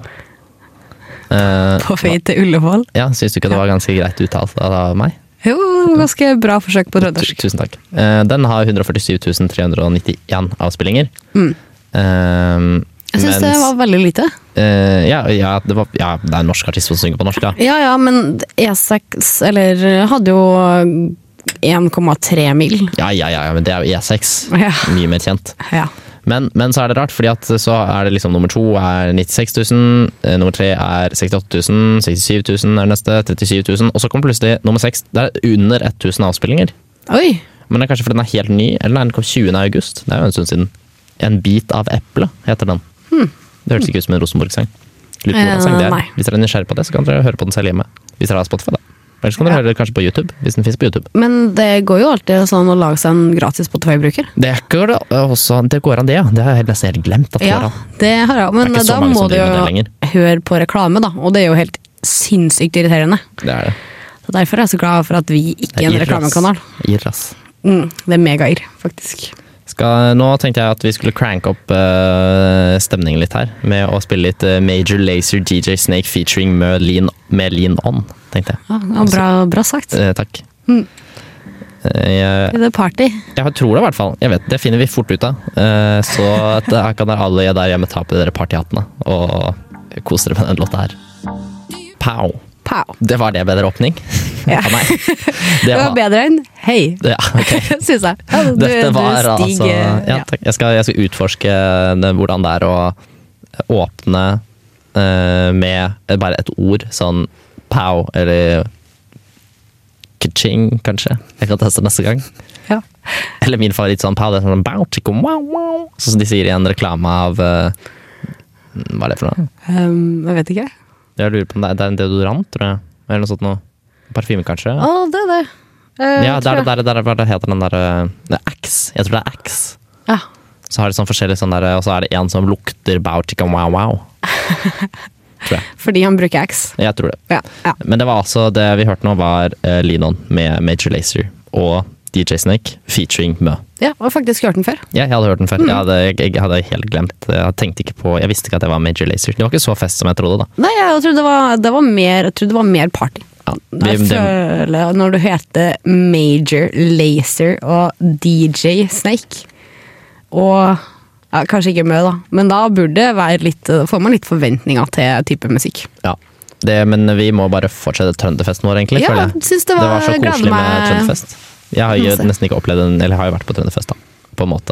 Speaker 2: Eh,
Speaker 4: På vei til Ullevål.
Speaker 2: ja, syns du ikke det var ganske greit uttalt av meg?
Speaker 4: Jo, ganske bra forsøk på
Speaker 2: Tu-
Speaker 4: trøndersk.
Speaker 2: Tusen takk. Eh, den har 147 391 avspillinger. Eh,
Speaker 4: Mm. Jeg syns det
Speaker 2: mens-
Speaker 4: var veldig lite.
Speaker 2: Eh, ja, ja, det var, ja, det er en norsk artist som synger på norsk, da.
Speaker 4: Ja ja, men E6 eller hadde jo 1,3 mil.
Speaker 2: Ja, ja, ja, ja, men det er jo E6.
Speaker 4: Ja.
Speaker 2: Mye mer kjent.
Speaker 4: Ja.
Speaker 2: Men, men så er det rart, fordi at så er det liksom nummer to er 96 000, eh, nummer tre er 68 000, 67 000 er det neste, 37 000, og så kommer plutselig nummer seks. Det er under 1000 avspillinger.
Speaker 4: Oi!
Speaker 2: Men det er kanskje fordi den er helt ny, eller nei, den kom 20. august. Det er jo en stund siden. En bit av eplet heter den. Det hørtes ikke ut som en Rosenborg-sang. Lurer på hvordan sang det
Speaker 4: Hmm. Eh,
Speaker 2: er.
Speaker 4: nei.
Speaker 2: Hvis dere er nysgjerrig på det, så kan dere høre på den selv hjemme. Hvis dere har Spotify, da. Ellers kan dere høre det kanskje på YouTube, hvis den finnes på YouTube.
Speaker 4: Men det går jo alltid sånn å lage seg en gratis Spotify-bruker.
Speaker 2: Det, går, det, også, det går an, det, ja. Det har jeg nesten helt glemt. at det går
Speaker 4: Ja,
Speaker 2: an.
Speaker 4: det har jeg. Men
Speaker 2: Det er ikke så
Speaker 4: da
Speaker 2: mange
Speaker 4: må
Speaker 2: som
Speaker 4: du jo
Speaker 2: driver med det
Speaker 4: høre på reklame, da. Og det er jo helt sinnssykt irriterende.
Speaker 2: Det er det.
Speaker 4: Så Derfor er jeg så glad for at vi ikke
Speaker 2: Det
Speaker 4: er en
Speaker 2: irr, ass.
Speaker 4: reklamekanal.
Speaker 2: Irr, ass.
Speaker 4: Mm, det er megairr, faktisk.
Speaker 2: Skal, nå tenkte jeg at vi skulle cranke opp eh, stemningen litt her med å spille litt eh, Major Lazer DJ Snake featuring med Lean, med lean On, tenkte jeg.
Speaker 4: Ja, ja, Ah, bra, bra sagt.
Speaker 2: Eh, takk.
Speaker 4: Mm.
Speaker 2: Eh, jeg,
Speaker 4: Det er party.
Speaker 2: jeg tror det, i hvert fall. Jeg vet, det finner vi fort ut av. Eh, så at her kan dere alle der hjemme ta på dere partyhattene og kose dere med den låta her. Pow.
Speaker 4: Pow.
Speaker 2: Det var det bedre åpning?
Speaker 4: Ja.
Speaker 2: Av meg.
Speaker 4: Det var bedre enn hei,
Speaker 2: Ja, ok.
Speaker 4: syns jeg. Ja, du,
Speaker 2: Dette var
Speaker 4: du
Speaker 2: altså
Speaker 4: stiger
Speaker 2: ja,
Speaker 4: ja.
Speaker 2: takk. Jeg, skal, jeg skal utforske det- hvordan det er å åpne eh, med bare et ord, sånn pow eller ka-ching, kanskje. Jeg kan teste neste gang.
Speaker 4: Ja.
Speaker 2: Eller min favoritt sånn pow, det er sånn bow, chicka, wow, wow. Sånn som de sier i en reklame av eh, Hva er det for noe?
Speaker 4: Um, jeg vet ikke.
Speaker 2: Jeg lurer på om det er, det er en deodorant, tror jeg. Eller noe sånt noe. Parfyme, kanskje.
Speaker 4: Å, det er det. Uh,
Speaker 2: ja, det
Speaker 4: tror
Speaker 2: er
Speaker 4: jeg.
Speaker 2: det der, der, hva det heter den derre Det er Axe. Jeg tror det er Axe.
Speaker 4: Ja.
Speaker 2: Så har de sånn forskjellig sånn der, og så er det en som lukter bow chicken wow wow.
Speaker 4: Fordi han bruker X.
Speaker 2: Jeg tror det.
Speaker 4: Ja, ja.
Speaker 2: Men det var altså det vi hørte nå, var eh, Lean On med Major Lazer og DJ Snake featuring Mø.
Speaker 4: ja, og faktisk hørt den før.
Speaker 2: Ja, jeg hadde hørt den
Speaker 4: Mm.
Speaker 2: før. Jeg, hadde, jeg, jeg hadde helt glemt Jeg tenkte ikke på Jeg visste ikke at det var Major Lazer. Det var ikke så fest som jeg trodde, da.
Speaker 4: Nei, jeg trodde det var, det var, mer, jeg trodde det var mer party.
Speaker 2: Vi,
Speaker 4: Jeg
Speaker 2: det,
Speaker 4: føler Når du heter Major Lazer og DJ Snake og ja, Kanskje ikke Mø, da, men da burde det være litt, får man litt forventninger til type musikk.
Speaker 2: ja. det, men vi må bare fortsette trønderfesten vår, egentlig.
Speaker 4: Ja,
Speaker 2: føler jeg.
Speaker 4: synes det var-
Speaker 2: var så
Speaker 4: gleder
Speaker 2: koselig med
Speaker 4: meg
Speaker 2: trønderfest. Jeg har jo
Speaker 4: masse.
Speaker 2: nesten ikke opplevd en, eller har jo vært på trønderfest, da. På en måte.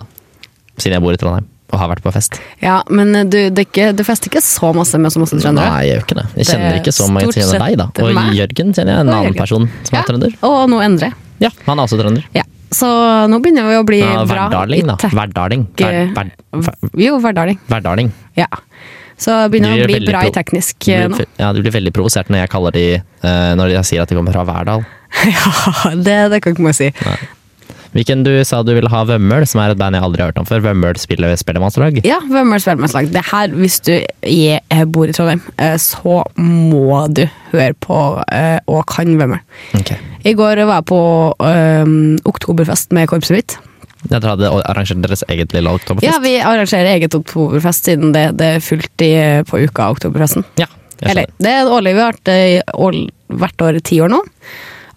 Speaker 2: Siden jeg bor i Trondheim og har vært på fest.
Speaker 4: Ja, men eh, du, det er ikke, du fester ikke så masse med så masse trøndere.
Speaker 2: Nei, jeg gjør ikke det. Jeg
Speaker 4: Det er
Speaker 2: kjenner ikke så mange
Speaker 4: stort
Speaker 2: som kjenner
Speaker 4: sett
Speaker 2: deg, da. Og
Speaker 4: meg.
Speaker 2: Jørgen kjenner jeg, en
Speaker 4: Og
Speaker 2: annen
Speaker 4: Jørgen.
Speaker 2: person som
Speaker 4: Ja,
Speaker 2: er trønder.
Speaker 4: Og nå endrer jeg.
Speaker 2: Ja, han er også trønder.
Speaker 4: Ja. Så nå begynner vi å bli
Speaker 2: Ja,
Speaker 4: Eh, bra. i
Speaker 2: Verdaling, da.
Speaker 4: tek-
Speaker 2: Verdaling. Ver- ver- ver-
Speaker 4: Jo, hverdaling.
Speaker 2: Verdaling.
Speaker 4: Ja. Så begynner
Speaker 2: Du
Speaker 4: vi
Speaker 2: blir
Speaker 4: å bli
Speaker 2: veldig
Speaker 4: bra i
Speaker 2: pro-
Speaker 4: teknisk
Speaker 2: Du
Speaker 4: eh,
Speaker 2: blir,
Speaker 4: nå.
Speaker 2: fe- ja, du blir veldig provosert når jeg kaller de eh, Når jeg sier at de kommer fra Verdal.
Speaker 4: Ja, det, det kan ikke man si.
Speaker 2: Hvilken du sa du ville ha Vømmøl, som er et band jeg aldri har hørt om før. Vømmøl spiller spellemannslag.
Speaker 4: Ja, Vømmøls velmannslag. Det her, hvis du er, eh, bor i Trondheim, eh, så må du høre på eh, og kan Vømmøl.
Speaker 2: Ok.
Speaker 4: I går var jeg på eh, oktoberfest med korpset mitt.
Speaker 2: Jeg tror hadde arrangert deres eget lille
Speaker 4: Ja,
Speaker 2: oktoberfest.
Speaker 4: vi arrangerer eget oktoberfest siden det, det er fullt i, eh, på uka av oktoberfesten.
Speaker 2: Ja, jeg
Speaker 4: Eller,
Speaker 2: skjønner.
Speaker 4: det er årlig. Vi har vært det i all- hvert år i ti år nå.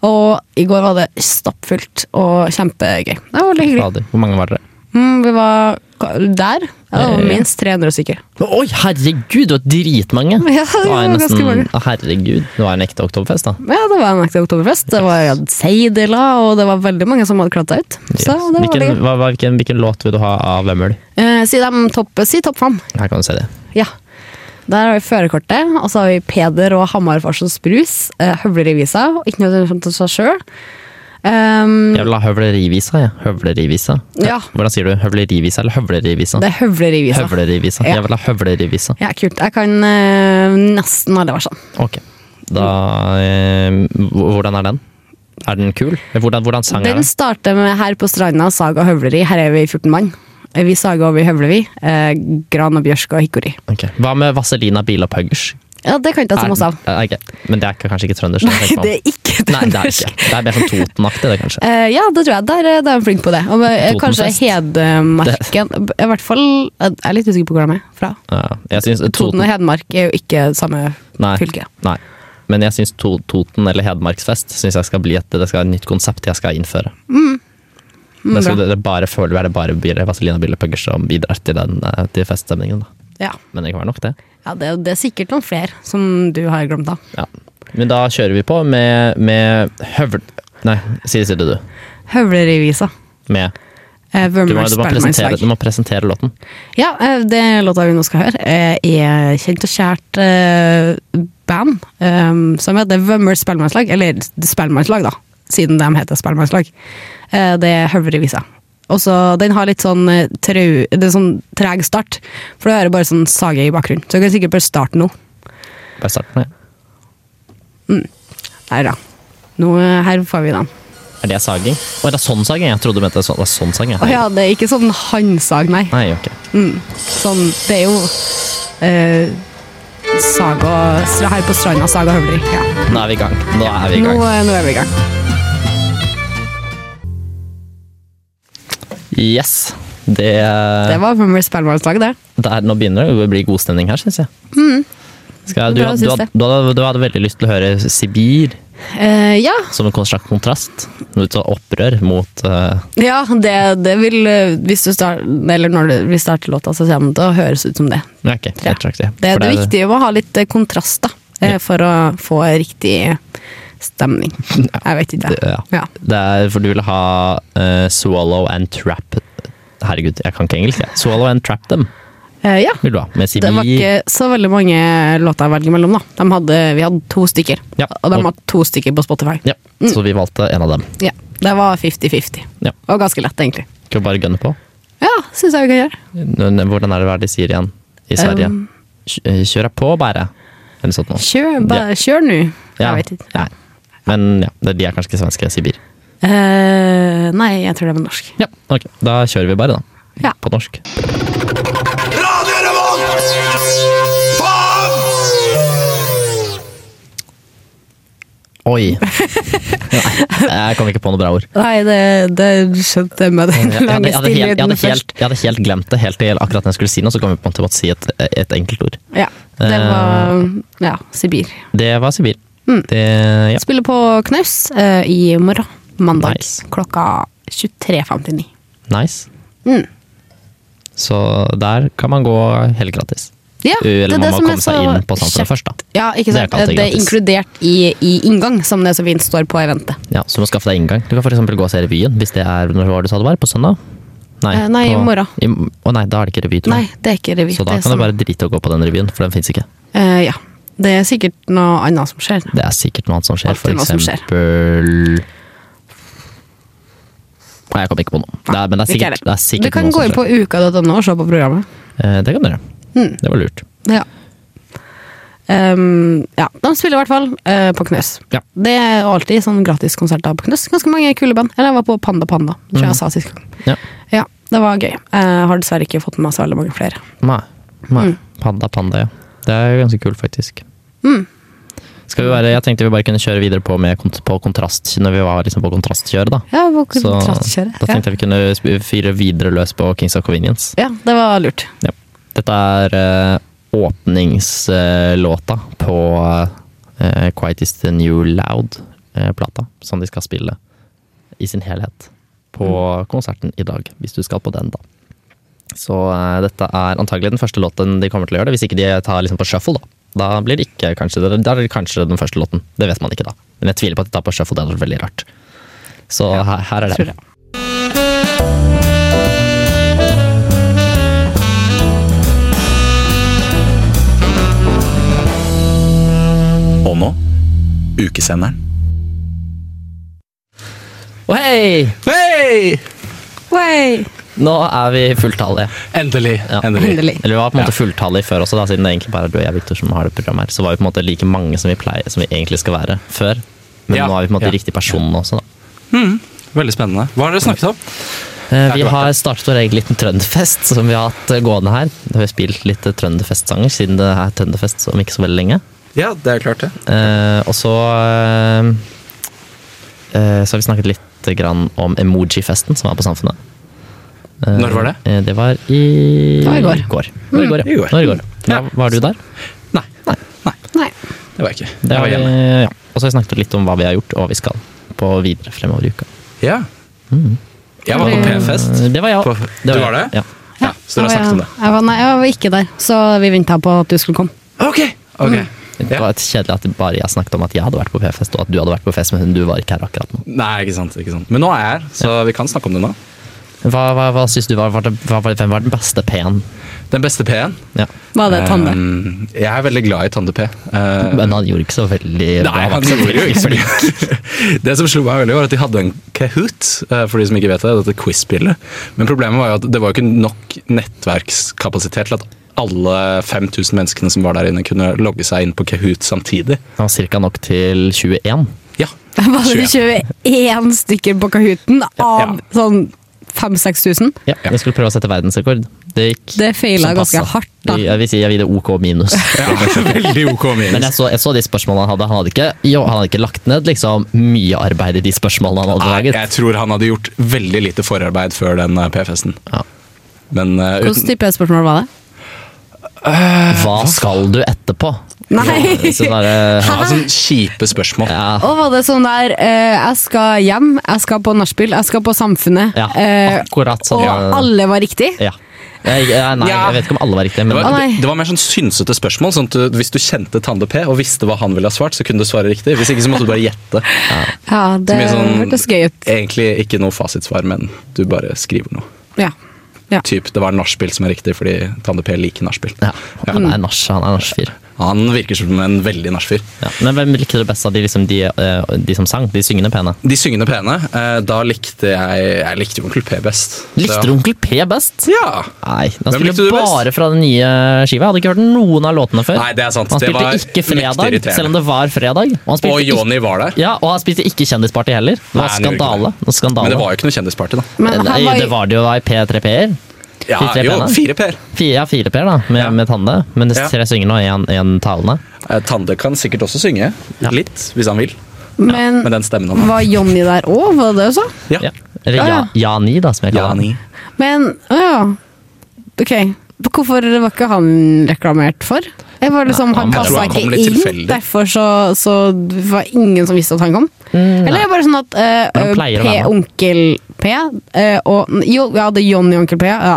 Speaker 4: Og i går var det stappfullt og kjempegøy. Det var veldig hyggelig.
Speaker 2: Fader, Hvor mange var dere?
Speaker 4: Mm, vi var ka- der. Ja, det var
Speaker 2: Eh, ja.
Speaker 4: minst 300 stykker.
Speaker 2: Oi, herregud, det var dritmange!
Speaker 4: Ja, det var
Speaker 2: jo
Speaker 4: ganske mange.
Speaker 2: Å, herregud, det var en ekte oktoberfest, da.
Speaker 4: Ja, det var en ekte oktoberfest. Det var ja, seideler, og det var veldig mange som hadde kladd seg ut. Så
Speaker 2: Yes.
Speaker 4: det var veldig
Speaker 2: hvilken,
Speaker 4: gøy.
Speaker 2: hva, hva- hvilken, hvilken låt vil du ha av Vømmøl?
Speaker 4: Eh, si dem topp, si topp fem.
Speaker 2: Her kan du se det.
Speaker 4: Ja. Der har vi førerkortet, og så har vi Peder og Hammerfarsens Brus, eh, Høvlerevisa, og ikke noe som til seg sjøl. Um,
Speaker 2: Jeg vil ha Høvlerivisa. Ja. Høvlerivisa.
Speaker 4: Ja.
Speaker 2: Hvordan sier du? Høvlerivisa eller Høvlerivisa?
Speaker 4: det er Høvlerevisa.
Speaker 2: Høvlerivisa.
Speaker 4: Ja.
Speaker 2: Jeg vil ha Høvlerivisa.
Speaker 4: Ja, kult. Jeg kan eh, nesten alle versene.
Speaker 2: Ok. Da eh, Hvordan er den? Er den kul? Eh, Hvordan, hvordan sang er
Speaker 4: Den
Speaker 2: den?
Speaker 4: starter med Her på stranda, saga høvleri. Her er vi 14 mann. Eh, Vi saga over i høvler vi. Eh, gran og bjørk og hikkori.
Speaker 2: Ok. Hva med Vaselina Bilopphøggers?
Speaker 4: Ja, det kan ikke jeg ta masse av.
Speaker 2: Er- er- ok. Men det er ikke- kanskje ikke trøndersk?
Speaker 4: Nei, det er ikke
Speaker 2: Nei, det er
Speaker 4: trøndersk.
Speaker 2: ikke. Det er mer sånn Toten-aktig, det, kanskje.
Speaker 4: Eh, ja, det tror jeg. Der, eh, der er han flink på det. Og, eh, kanskje
Speaker 2: Totenfest.
Speaker 4: Hedmarken I hvert fall Jeg er litt usikker på hvor de er fra.
Speaker 2: Ja, jeg synes
Speaker 4: Toten og Hedmark er jo ikke samme
Speaker 2: Nei.
Speaker 4: fylke.
Speaker 2: Nei. Men jeg syns to, Toten eller Hedmarksfest synes jeg skal bli et, det skal være et nytt konsept jeg skal innføre. det skal,
Speaker 4: Mm, bra.
Speaker 2: det, bare føler jeg det bare blir Vazelina Bille-Pugger som bidrar til, den, eh, til feststemningen. Da.
Speaker 4: Ja,
Speaker 2: Men det kan være nok, det.
Speaker 4: ja det, er- det er sikkert noen flere som du har glemt av.
Speaker 2: Ja. Men da kjører vi på med, med høvl... Nei, si det, si det, du.
Speaker 4: Høvlerivisa.
Speaker 2: Med
Speaker 4: Eh,
Speaker 2: Du må,
Speaker 4: Vømmøls
Speaker 2: du må, presentere, du
Speaker 4: Spellemannslag.
Speaker 2: må presentere låten.
Speaker 4: Ja, eh, det låta vi nå skal høre, eh, er kjent og kjært eh, band eh, som heter Vømmøls Spellemannslag. Eller Spellemannslag, da, siden de heter Spellemannslag. Eh, det er Høvlerivisa. Og så Den har litt sånn eh, trau... Det er sånn treg start, for du hører bare sånn sage i bakgrunnen. Så du kan sikkert bare starte nå.
Speaker 2: Bare start med.
Speaker 4: Der, ja. Nå, eh, her får vi den.
Speaker 2: Er det saging? Å, er det sånn saging? Jeg trodde du mente sånn, det er sånn sang. jeg.
Speaker 4: Å ja, det er ikke sånn handsag, nei.
Speaker 2: Nei, ok.
Speaker 4: Sånn, det er jo eh, saga stra- Her på stranda, saga høvler. Ja.
Speaker 2: Nå er vi i gang. Nå er vi i
Speaker 4: Nå,
Speaker 2: gang.
Speaker 4: eh, nå er vi i gang.
Speaker 2: Yes. Det,
Speaker 4: Det var Vømmøls Spellemannslag, det.
Speaker 2: der, nå begynner det å bli god stemning her, syns jeg.
Speaker 4: Mm.
Speaker 2: Skal jeg-
Speaker 4: Bra,
Speaker 2: du,
Speaker 4: synes
Speaker 2: du,
Speaker 4: jeg.
Speaker 2: du, hadde, du hadde veldig lyst til å høre Sibir
Speaker 4: Eh, ja.
Speaker 2: som en slags kontrast. Noe til opprør mot eh,
Speaker 4: ja, det, det vil eh, Hvis du start, eller når du, vi starter låta, så kommer det til å høres ut som det.
Speaker 2: Ja, ok.
Speaker 4: Ja.
Speaker 2: Helt riktig.
Speaker 4: Det,
Speaker 2: For
Speaker 4: det er viktig å ha litt eh, kontrast, da. eh, For å få riktig stemning. Jeg vet ikke.
Speaker 2: Ja.
Speaker 4: Ja.
Speaker 2: Det er for du vil ha eh, Swallow and Trap Herregud, jeg kan ikke engelsk. Jeg. Swallow and Trap Them
Speaker 4: Eh, ja.
Speaker 2: vil du ha, med Sibir.
Speaker 4: Det var ikke så veldig mange låter å velge mellom, da. De hadde, vi hadde to stykker,
Speaker 2: Ja.
Speaker 4: og de hadde to stykker på Spotify.
Speaker 2: Ja, Så vi valgte en av dem.
Speaker 4: Ja, det var 50-50.
Speaker 2: Ja.
Speaker 4: Og ganske lett, egentlig.
Speaker 2: Skal vi bare gønne på?
Speaker 4: Ja, syns jeg vi kan gjøre.
Speaker 2: N- n- Hvordan er det hva er det de sier igjen i Sverige?
Speaker 4: Um.
Speaker 2: Kj- eh, Kjør på, bare. Eller sånt noe.
Speaker 4: Kjør, bare, kjør nå. Jeg vet ikke.
Speaker 2: Nei. Men ja, det- de er kanskje ikke svenske, Sibir.
Speaker 4: Eh, nei, jeg tror det var norsk.
Speaker 2: Ja, ok. Da kjører vi bare, da.
Speaker 4: Ja.
Speaker 2: På norsk.
Speaker 7: Radio Revolt! Faen!
Speaker 2: Oi! Nei, jeg kom ikke på noe bra ord.
Speaker 4: Nei, det, det skjønte jeg med den
Speaker 2: Jeg hadde,
Speaker 4: lange
Speaker 2: jeg, hadde helt, jeg,
Speaker 4: stillheten
Speaker 2: hadde helt,
Speaker 4: først.
Speaker 2: jeg hadde helt glemt det helt til akkurat når jeg skulle si noe, så kom jeg på at jeg måtte si et, et enkelt ord.
Speaker 4: Ja, det
Speaker 2: Eh,
Speaker 4: var ja, Sibir.
Speaker 2: Det var Sibir.
Speaker 4: Mm.
Speaker 2: Det, ja.
Speaker 4: Spiller på Knaus eh, i morgen, mandag,
Speaker 2: Nice.
Speaker 4: klokka 23.59.
Speaker 2: Nice.
Speaker 4: Mm.
Speaker 2: Så der kan man gå helt gratis.
Speaker 4: Ja,
Speaker 2: U- Eller man
Speaker 4: det er det
Speaker 2: må
Speaker 4: som er
Speaker 2: komme seg
Speaker 4: så
Speaker 2: inn på samfunnet først, da.
Speaker 4: Ja, ikke
Speaker 2: Det er
Speaker 4: sant?
Speaker 2: ikke
Speaker 4: Eh,
Speaker 2: alltid
Speaker 4: Det er
Speaker 2: gratis.
Speaker 4: inkludert i, i inngang, som det så fint står på eventet.
Speaker 2: Ja, så du må skaffe deg inngang. Du kan f.eks. gå og se revyen, hvis det er når var det du sa det var? På søndag? Nei,
Speaker 4: Eh, nei, i
Speaker 2: på-
Speaker 4: morgen.
Speaker 2: i- Å nei, da er det ikke revy, tror
Speaker 4: Nei,
Speaker 2: jeg.
Speaker 4: det er ikke revy.
Speaker 2: Så da
Speaker 4: det er
Speaker 2: kan du
Speaker 4: sånn-
Speaker 2: bare drite i å gå på den revyen, for den fins ikke.
Speaker 4: Eh, ja. Det er sikkert noe annet som skjer.
Speaker 2: Det er sikkert noe annet som skjer, for
Speaker 4: Alltid noe som skjer.
Speaker 2: eksempel Nei, jeg kom ikke på noe. Det er, men det er
Speaker 4: Ikke
Speaker 2: sikkert,
Speaker 4: jeg
Speaker 2: det er sikkert
Speaker 4: du kan
Speaker 2: noe
Speaker 4: gå
Speaker 2: som
Speaker 4: inn
Speaker 2: skjer.
Speaker 4: på uka.no og se på Mm. programmet.
Speaker 2: Eh, Det kan du gjøre. Det var lurt.
Speaker 4: Ja. Ehm, ja, de spiller i hvert fall eh, på Knøs.
Speaker 2: Ja.
Speaker 4: Det er jo alltid sånn gratiskonserter på Knøs. Ganske mange kule band. Eller jeg var på Panda Panda, tror jeg jeg sa sist gang.
Speaker 2: Ja.
Speaker 4: Mhm. Ja, det var gøy. Jeg har dessverre ikke fått med meg så veldig mange flere.
Speaker 2: Nei. Nei.
Speaker 4: Mm.
Speaker 2: Panda, panda, ja. Det er jo ganske kult, faktisk.
Speaker 4: Mm.
Speaker 2: Skal vi være, jeg tenkte vi bare kunne kjøre videre på, med, kont- på kontrast, når vi var liksom på kontrastkjøret, da.
Speaker 4: Ja, på
Speaker 2: Så
Speaker 4: kontrastkjøret.
Speaker 2: da tenkte jeg vi kunne sp- fyre videre løs på Kings of Convenience.
Speaker 4: Ja. ja, det var lurt.
Speaker 2: Ja. Dette er eh, åpningslåta på eh, Quiet Is The New Loud-plata, som de skal spille i sin helhet på konserten i dag, hvis du skal på den, da. Så eh, dette er antagelig den første låten de kommer til å gjøre det, hvis ikke de tar liksom på shuffle, da. Da blir det ikke kanskje, da er det kanskje den første låten. Det vet man ikke, da. Men jeg tviler på at de tar på shuffle, det hadde vært veldig rart. Så her, her er
Speaker 4: tror
Speaker 2: det.
Speaker 4: jeg.
Speaker 8: Og nå ukesenderen.
Speaker 2: Å, hei!
Speaker 9: Hei!
Speaker 4: Way.
Speaker 2: Nå er vi fulltallige.
Speaker 9: Endelig.
Speaker 2: Ja.
Speaker 9: Endelig.
Speaker 4: Endelig.
Speaker 2: Eller vi var på en måte
Speaker 9: Ja.
Speaker 2: fulltallige før også, da, siden det egentlig bare er du og jeg Victor, som har det programmet her. Så var vi på en måte like mange som vi, pleier, som vi egentlig skal være før. Men
Speaker 9: Ja.
Speaker 2: nå er vi på en måte
Speaker 9: Ja.
Speaker 2: riktig person også, da.
Speaker 9: Veldig spennende. Hva har dere snakket om?
Speaker 2: Eh, Vi har startet vår egen liten trønderfest som vi har hatt eh, gående her. Vi har spilt litt eh, trønderfestsanger siden det er trønderfest om ikke så veldig lenge.
Speaker 9: Ja, det er klart det.
Speaker 2: Eh, og så eh, eh, Så har vi snakket litt grann om emoji-festen som var på Samfunnet. Eh,
Speaker 9: Når var det?
Speaker 2: eh, Det var i
Speaker 4: Det var i går. Mm.
Speaker 2: Det var i går, ja.
Speaker 9: I går.
Speaker 2: Det var i går.
Speaker 9: Ja.
Speaker 2: Da var du der?
Speaker 9: Nei. Nei.
Speaker 4: Nei.
Speaker 9: Det var jeg ikke.
Speaker 2: Det
Speaker 9: Jeg
Speaker 2: har
Speaker 9: var
Speaker 2: vi,
Speaker 9: hjemme.
Speaker 2: ja. Og så har vi snakket litt om hva vi har gjort, og hva vi skal på videre fremover i uka. Eh,
Speaker 9: Ja. Jeg var på P-fest.
Speaker 2: Det var jeg
Speaker 9: På-
Speaker 2: også.
Speaker 9: Du
Speaker 2: jeg.
Speaker 9: var det?
Speaker 2: Ja.
Speaker 9: Ja, så
Speaker 4: Jeg var-
Speaker 9: dere har snakket om det.
Speaker 4: Jeg var, nei, jeg var ikke der, så vi venta på at du skulle komme.
Speaker 9: Ok! ok.
Speaker 2: Det
Speaker 9: Ja.
Speaker 2: var et kjedelig at det bare jeg snakket om at jeg hadde vært på P-fest, og at du hadde vært på fest, men du var ikke her akkurat nå.
Speaker 9: Nei, ikke sant. ikke sant. Men nå er jeg her, så vi kan snakke om det nå.
Speaker 2: Hva, hva, hva synes du var, var det, hva, var- Hvem var den beste P-en?
Speaker 9: Den beste P-en.
Speaker 2: Ja.
Speaker 4: Var det Tande?
Speaker 9: Um, jeg er veldig glad i Tande-P. Eh,
Speaker 2: Men han gjorde ikke så veldig
Speaker 9: Nei,
Speaker 2: bra.
Speaker 9: han gjorde jo ikke så mye. Det som slo meg veldig, var at de hadde en Kahoot, eh, for de som ikke vet det, dette quiz-spillet. Men problemet var jo at det var jo ikke nok nettverkskapasitet til at alle 5000 menneskene som var der inne, kunne logge seg inn på Kahoot samtidig.
Speaker 2: Han var cirka nok til 21.
Speaker 9: Ja.
Speaker 4: Var det
Speaker 9: 21.
Speaker 4: 21 stykker på Kahooten av sånn 5000-6000?
Speaker 2: Ja, Jeg skulle prøve å sette verdensrekord. Det gikk
Speaker 4: Det feila
Speaker 2: som
Speaker 4: ganske
Speaker 2: passet.
Speaker 4: hardt, da.
Speaker 2: Jeg vil si jeg vil gi det OK minus.
Speaker 9: Veldig ok
Speaker 2: Men jeg
Speaker 9: minus.
Speaker 2: så, jeg så de spørsmålene han hadde. Han hadde ikke, jo, han hadde ikke lagt ned liksom, mye arbeid i de spørsmålene han hadde
Speaker 9: Nei,
Speaker 2: laget.
Speaker 9: jeg tror han hadde gjort veldig lite forarbeid før den eh, P-festen.
Speaker 2: Ja.
Speaker 9: Men eh,
Speaker 4: Hvilken
Speaker 9: uten
Speaker 4: type spørsmål var det?
Speaker 9: eh,
Speaker 2: Hva skal du etterpå?
Speaker 4: Nei.
Speaker 2: Så bare-
Speaker 9: ja, sånn kjipe spørsmål.
Speaker 2: ja,
Speaker 4: Og var det sånn der eh, Jeg skal hjem, jeg skal på nachspiel, jeg skal på Samfunnet.
Speaker 2: ja,
Speaker 4: eh,
Speaker 2: akkurat sånn.
Speaker 4: og alle var riktig?
Speaker 2: Ja. Jeg, jeg, nei,
Speaker 9: Ja.
Speaker 2: jeg vet ikke om alle var riktige, men
Speaker 9: Det
Speaker 4: Å,
Speaker 9: var,
Speaker 4: nei.
Speaker 9: det, det var mer sånn synsete spørsmål. Sånn at du, hvis du kjente Tande P og visste hva han ville ha svart, så kunne du svare riktig. Hvis ikke så måtte du bare gjette.
Speaker 4: Ja, det
Speaker 9: Så mye sånn-
Speaker 4: hørtes gøy ut.
Speaker 9: Egentlig ikke noe fasitsvar, men du bare skriver noe.
Speaker 4: Ja. ja.
Speaker 9: Typ, det var nachspiel som er riktig, fordi Tande P liker nachspiel.
Speaker 2: ja, han
Speaker 4: Mm.
Speaker 2: er nach, han er nachfyr.
Speaker 9: Han virker som en veldig nachfyr.
Speaker 2: Ja. Men hvem likte du best av de, liksom, de, eh, de som sang? De syngende pene.
Speaker 9: De syngende pene, eh, da likte jeg Jeg likte jo Onkel P best.
Speaker 2: Likte du Onkel P best?
Speaker 9: Ja!
Speaker 2: Nei, han
Speaker 9: Hvem likte
Speaker 2: spilte
Speaker 9: du best?
Speaker 2: bare fra den nye skiva. Jeg hadde ikke hørt noen av låtene før.
Speaker 9: Nei, det er sant.
Speaker 2: Han
Speaker 9: Det
Speaker 2: spilte
Speaker 9: var
Speaker 2: ikke
Speaker 9: mektig
Speaker 2: fredag,
Speaker 9: irriterende.
Speaker 2: selv om det var fredag. Og han spilte
Speaker 9: Og
Speaker 2: ikke-
Speaker 9: Joni var der.
Speaker 2: Ja, og han spilte ikke Kjendisparty heller. Det var
Speaker 9: Nei, han gjorde
Speaker 2: skandale.
Speaker 9: ikke
Speaker 2: Det var skandale. Eh,
Speaker 9: Men det var jo ikke noe kjendisparty, da.
Speaker 4: Men han
Speaker 2: Nei,
Speaker 4: var,
Speaker 2: det var det jo da i P3P-er.
Speaker 9: Ja,
Speaker 2: Fire tre
Speaker 9: jo,
Speaker 2: P-ene.
Speaker 9: fire P-er.
Speaker 2: Fire, ja, fire Per da, med,
Speaker 9: Ja.
Speaker 2: med Tande. Men det
Speaker 9: Ja.
Speaker 2: er tre syngende og én talende.
Speaker 9: Eh, Tande kan sikkert også synge. Litt, hvis han vil.
Speaker 4: men
Speaker 9: Med den stemmen han har.
Speaker 4: var Jonny der òg, var det det du sa?
Speaker 9: Ja.
Speaker 2: Ja. Eller
Speaker 4: Ja,
Speaker 2: ja,
Speaker 4: ja.
Speaker 2: Jani, da, som jeg kaller
Speaker 9: Jani.
Speaker 2: den.
Speaker 4: Men å ja. Ok. Hvorfor var ikke han reklamert for? Jeg var liksom,
Speaker 2: Nei,
Speaker 4: han
Speaker 2: han- jeg
Speaker 9: tror
Speaker 4: passa
Speaker 9: han
Speaker 4: ikke
Speaker 9: kom litt
Speaker 4: inn,
Speaker 9: tilfeldig.
Speaker 4: derfor så, så var ingen som visste at han kom. Eller er det bare sånn at eh,
Speaker 2: Men han pleier å være med.
Speaker 4: P-onkel P eh, og Jo, ja, det er Johnny og Onkel P. Ja.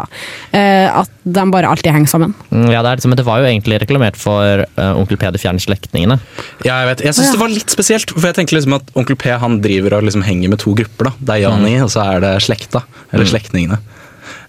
Speaker 4: Eh, At de bare alltid henger sammen.
Speaker 2: Mm, Ja, det, er, det som- men det var jo egentlig reklamert for eh, Onkel P de fjerne slektningene.
Speaker 8: Ja, jeg vet. Jeg syns det var litt spesielt. For jeg tenker liksom at Onkel P han driver og liksom henger med to grupper. da. Det
Speaker 2: Mm.
Speaker 8: er Jani, og så er det slekta. Eller slektningene.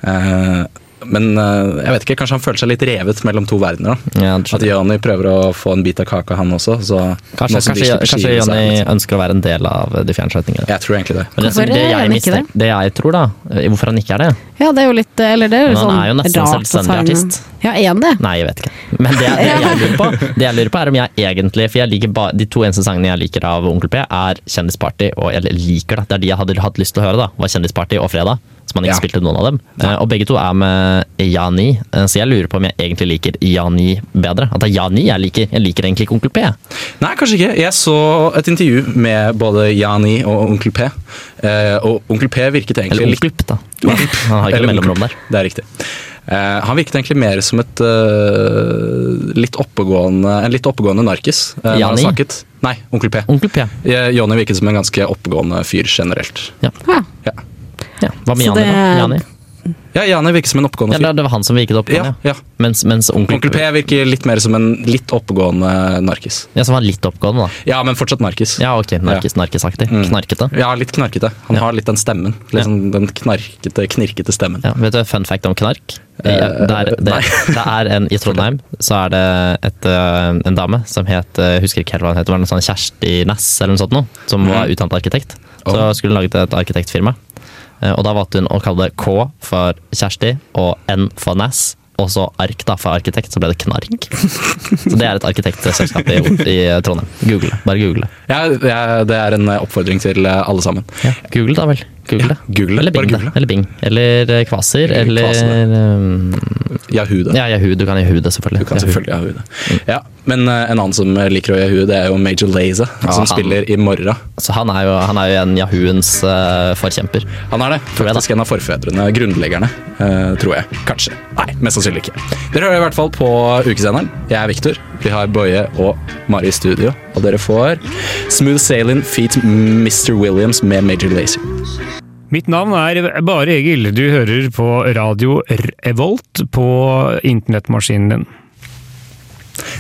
Speaker 8: Eh, men eh, jeg vet ikke, kanskje han føler seg litt revet mellom to verdener. da.
Speaker 2: Ja, det skjønner
Speaker 8: At Jani prøver å få en bit av kaka, han også. Så
Speaker 2: Kanskje,
Speaker 8: nå som de
Speaker 2: kanskje,
Speaker 8: slipper
Speaker 2: kanskje
Speaker 8: skive, så er det
Speaker 2: Jonny
Speaker 9: liksom-
Speaker 8: litt- sånn.
Speaker 2: ønsker å være en del av eh, de fjerne slektningene.
Speaker 8: Jeg tror egentlig det.
Speaker 2: Men det, som,
Speaker 4: Hvorfor
Speaker 2: det,
Speaker 4: er
Speaker 2: jeg
Speaker 4: han ikke
Speaker 2: mistenker, det jeg tror, da eh, Hvorfor han ikke er det?
Speaker 4: Ja, det er jo litt Eller det er jo
Speaker 2: Men han
Speaker 4: sånn
Speaker 2: er jo nesten
Speaker 4: rart at
Speaker 2: selvstendig
Speaker 4: han-
Speaker 2: artist.
Speaker 4: Ja, er han det?
Speaker 2: Nei, jeg vet ikke. Men det, det, jeg lurer på, det jeg lurer på, er om jeg egentlig For jeg liker ba, de to eneste sangene jeg liker av Onkel P, er Kjendisparty og Jeg liker det. Det er de jeg hadde hatt lyst til å høre, da. Var Kjendisparty og Fredag. Som han ikke
Speaker 8: Ja.
Speaker 2: spilte noen av dem. Eh, og begge to er med Jani, eh, så jeg lurer på om jeg egentlig liker Jani bedre. At det er Jani jeg liker. Jeg liker egentlig ikke Onkel P.
Speaker 8: Nei, kanskje ikke. Jeg så et intervju med både Jani og Onkel P. eh, og Onkel P virket egentlig
Speaker 2: Eller
Speaker 8: litt
Speaker 2: Onkel P, da. Han har ikke
Speaker 8: Eller
Speaker 2: noe mellomrom
Speaker 8: onkel.
Speaker 2: der.
Speaker 8: Det er riktig. Eh, han virket egentlig mer som et eh, litt oppegående, en litt oppegående narkis. eh, når han
Speaker 2: Jani?
Speaker 8: snakket. Nei, Onkel P.
Speaker 2: Onkel P.
Speaker 8: Eh, Jonny virket som en ganske oppegående fyr generelt.
Speaker 4: Ja.
Speaker 8: Ja,
Speaker 2: Ja. Hva med
Speaker 4: Så
Speaker 2: Jani,
Speaker 4: det-
Speaker 2: da? Jani?
Speaker 8: ja Jani virket som en
Speaker 2: Ja,
Speaker 8: oppegående
Speaker 2: det,
Speaker 8: fyr.
Speaker 2: det var han som virket opp.
Speaker 8: Ja,
Speaker 2: Ja,
Speaker 8: ja.
Speaker 2: Mens, mens onkel,
Speaker 8: Onkel P virker litt mer som en litt oppegående narkis.
Speaker 2: Ja, Som var litt oppgående, da.
Speaker 8: Ja, men fortsatt narkis.
Speaker 2: Ja, ok, narkis, narkisaktig. Knarkete.
Speaker 8: Ja, litt knarkete. Han har litt den stemmen. Litt sånn den knarkete, knirkete stemmen.
Speaker 2: Ja, vet du en fun fact om knark? det, er, det,
Speaker 8: nei.
Speaker 2: det er en I Trondheim så er det et, eh, en dame som het eh, jeg husker ikke helt hva hun het, det var noe sånn Kjersti Næss eller noe sånt noe, som var utdannet arkitekt. Så
Speaker 8: Oh.
Speaker 2: skulle hun laget et arkitektfirma. Eh, Og da valgte hun å kalle det K for Kjersti og N for Næss. Og så ark da, for arkitekt, så ble det Knark. Så det er et arkitektselskap i, i Trondheim. Google det. Bare google det.
Speaker 8: Ja, ja, det er en eh, oppfordring til eh, alle sammen.
Speaker 2: Ja, Google da vel. Google det.
Speaker 8: Ja, Google det.
Speaker 2: Eller Bing,
Speaker 8: Bare
Speaker 2: det.
Speaker 8: google det.
Speaker 2: Eller Bing. Eller eh, Kvaser.
Speaker 8: Eller
Speaker 2: Eller,
Speaker 8: Kvaser,
Speaker 2: um,
Speaker 8: Yahoo, det.
Speaker 2: Ja, Yahoo. Du kan Yahoo det, selvfølgelig.
Speaker 8: Du kan
Speaker 2: Yahoo.
Speaker 8: selvfølgelig ha huet. Ja, men eh, en annen som eh, liker å gjøre huet, det er jo Major Lazer,
Speaker 2: han-
Speaker 8: som spiller i morgen.
Speaker 2: Så han er jo, han er jo en Yahooens eh, forkjemper.
Speaker 8: Han er det.
Speaker 2: jeg da.
Speaker 8: Faktisk en av forfedrene, grunnleggerne, eh, tror jeg. Kanskje. Nei, mest sannsynlig ikke. Dere hører i hvert fall på Ukesenderen. Jeg er Victor. Vi har Boje og Mari i studio. Og dere får Smooth Sailing feat. Mr. Williams med Major Lazer.
Speaker 6: Mitt navn er Bare Egil. Du hører på radio Revolt på internettmaskinen din.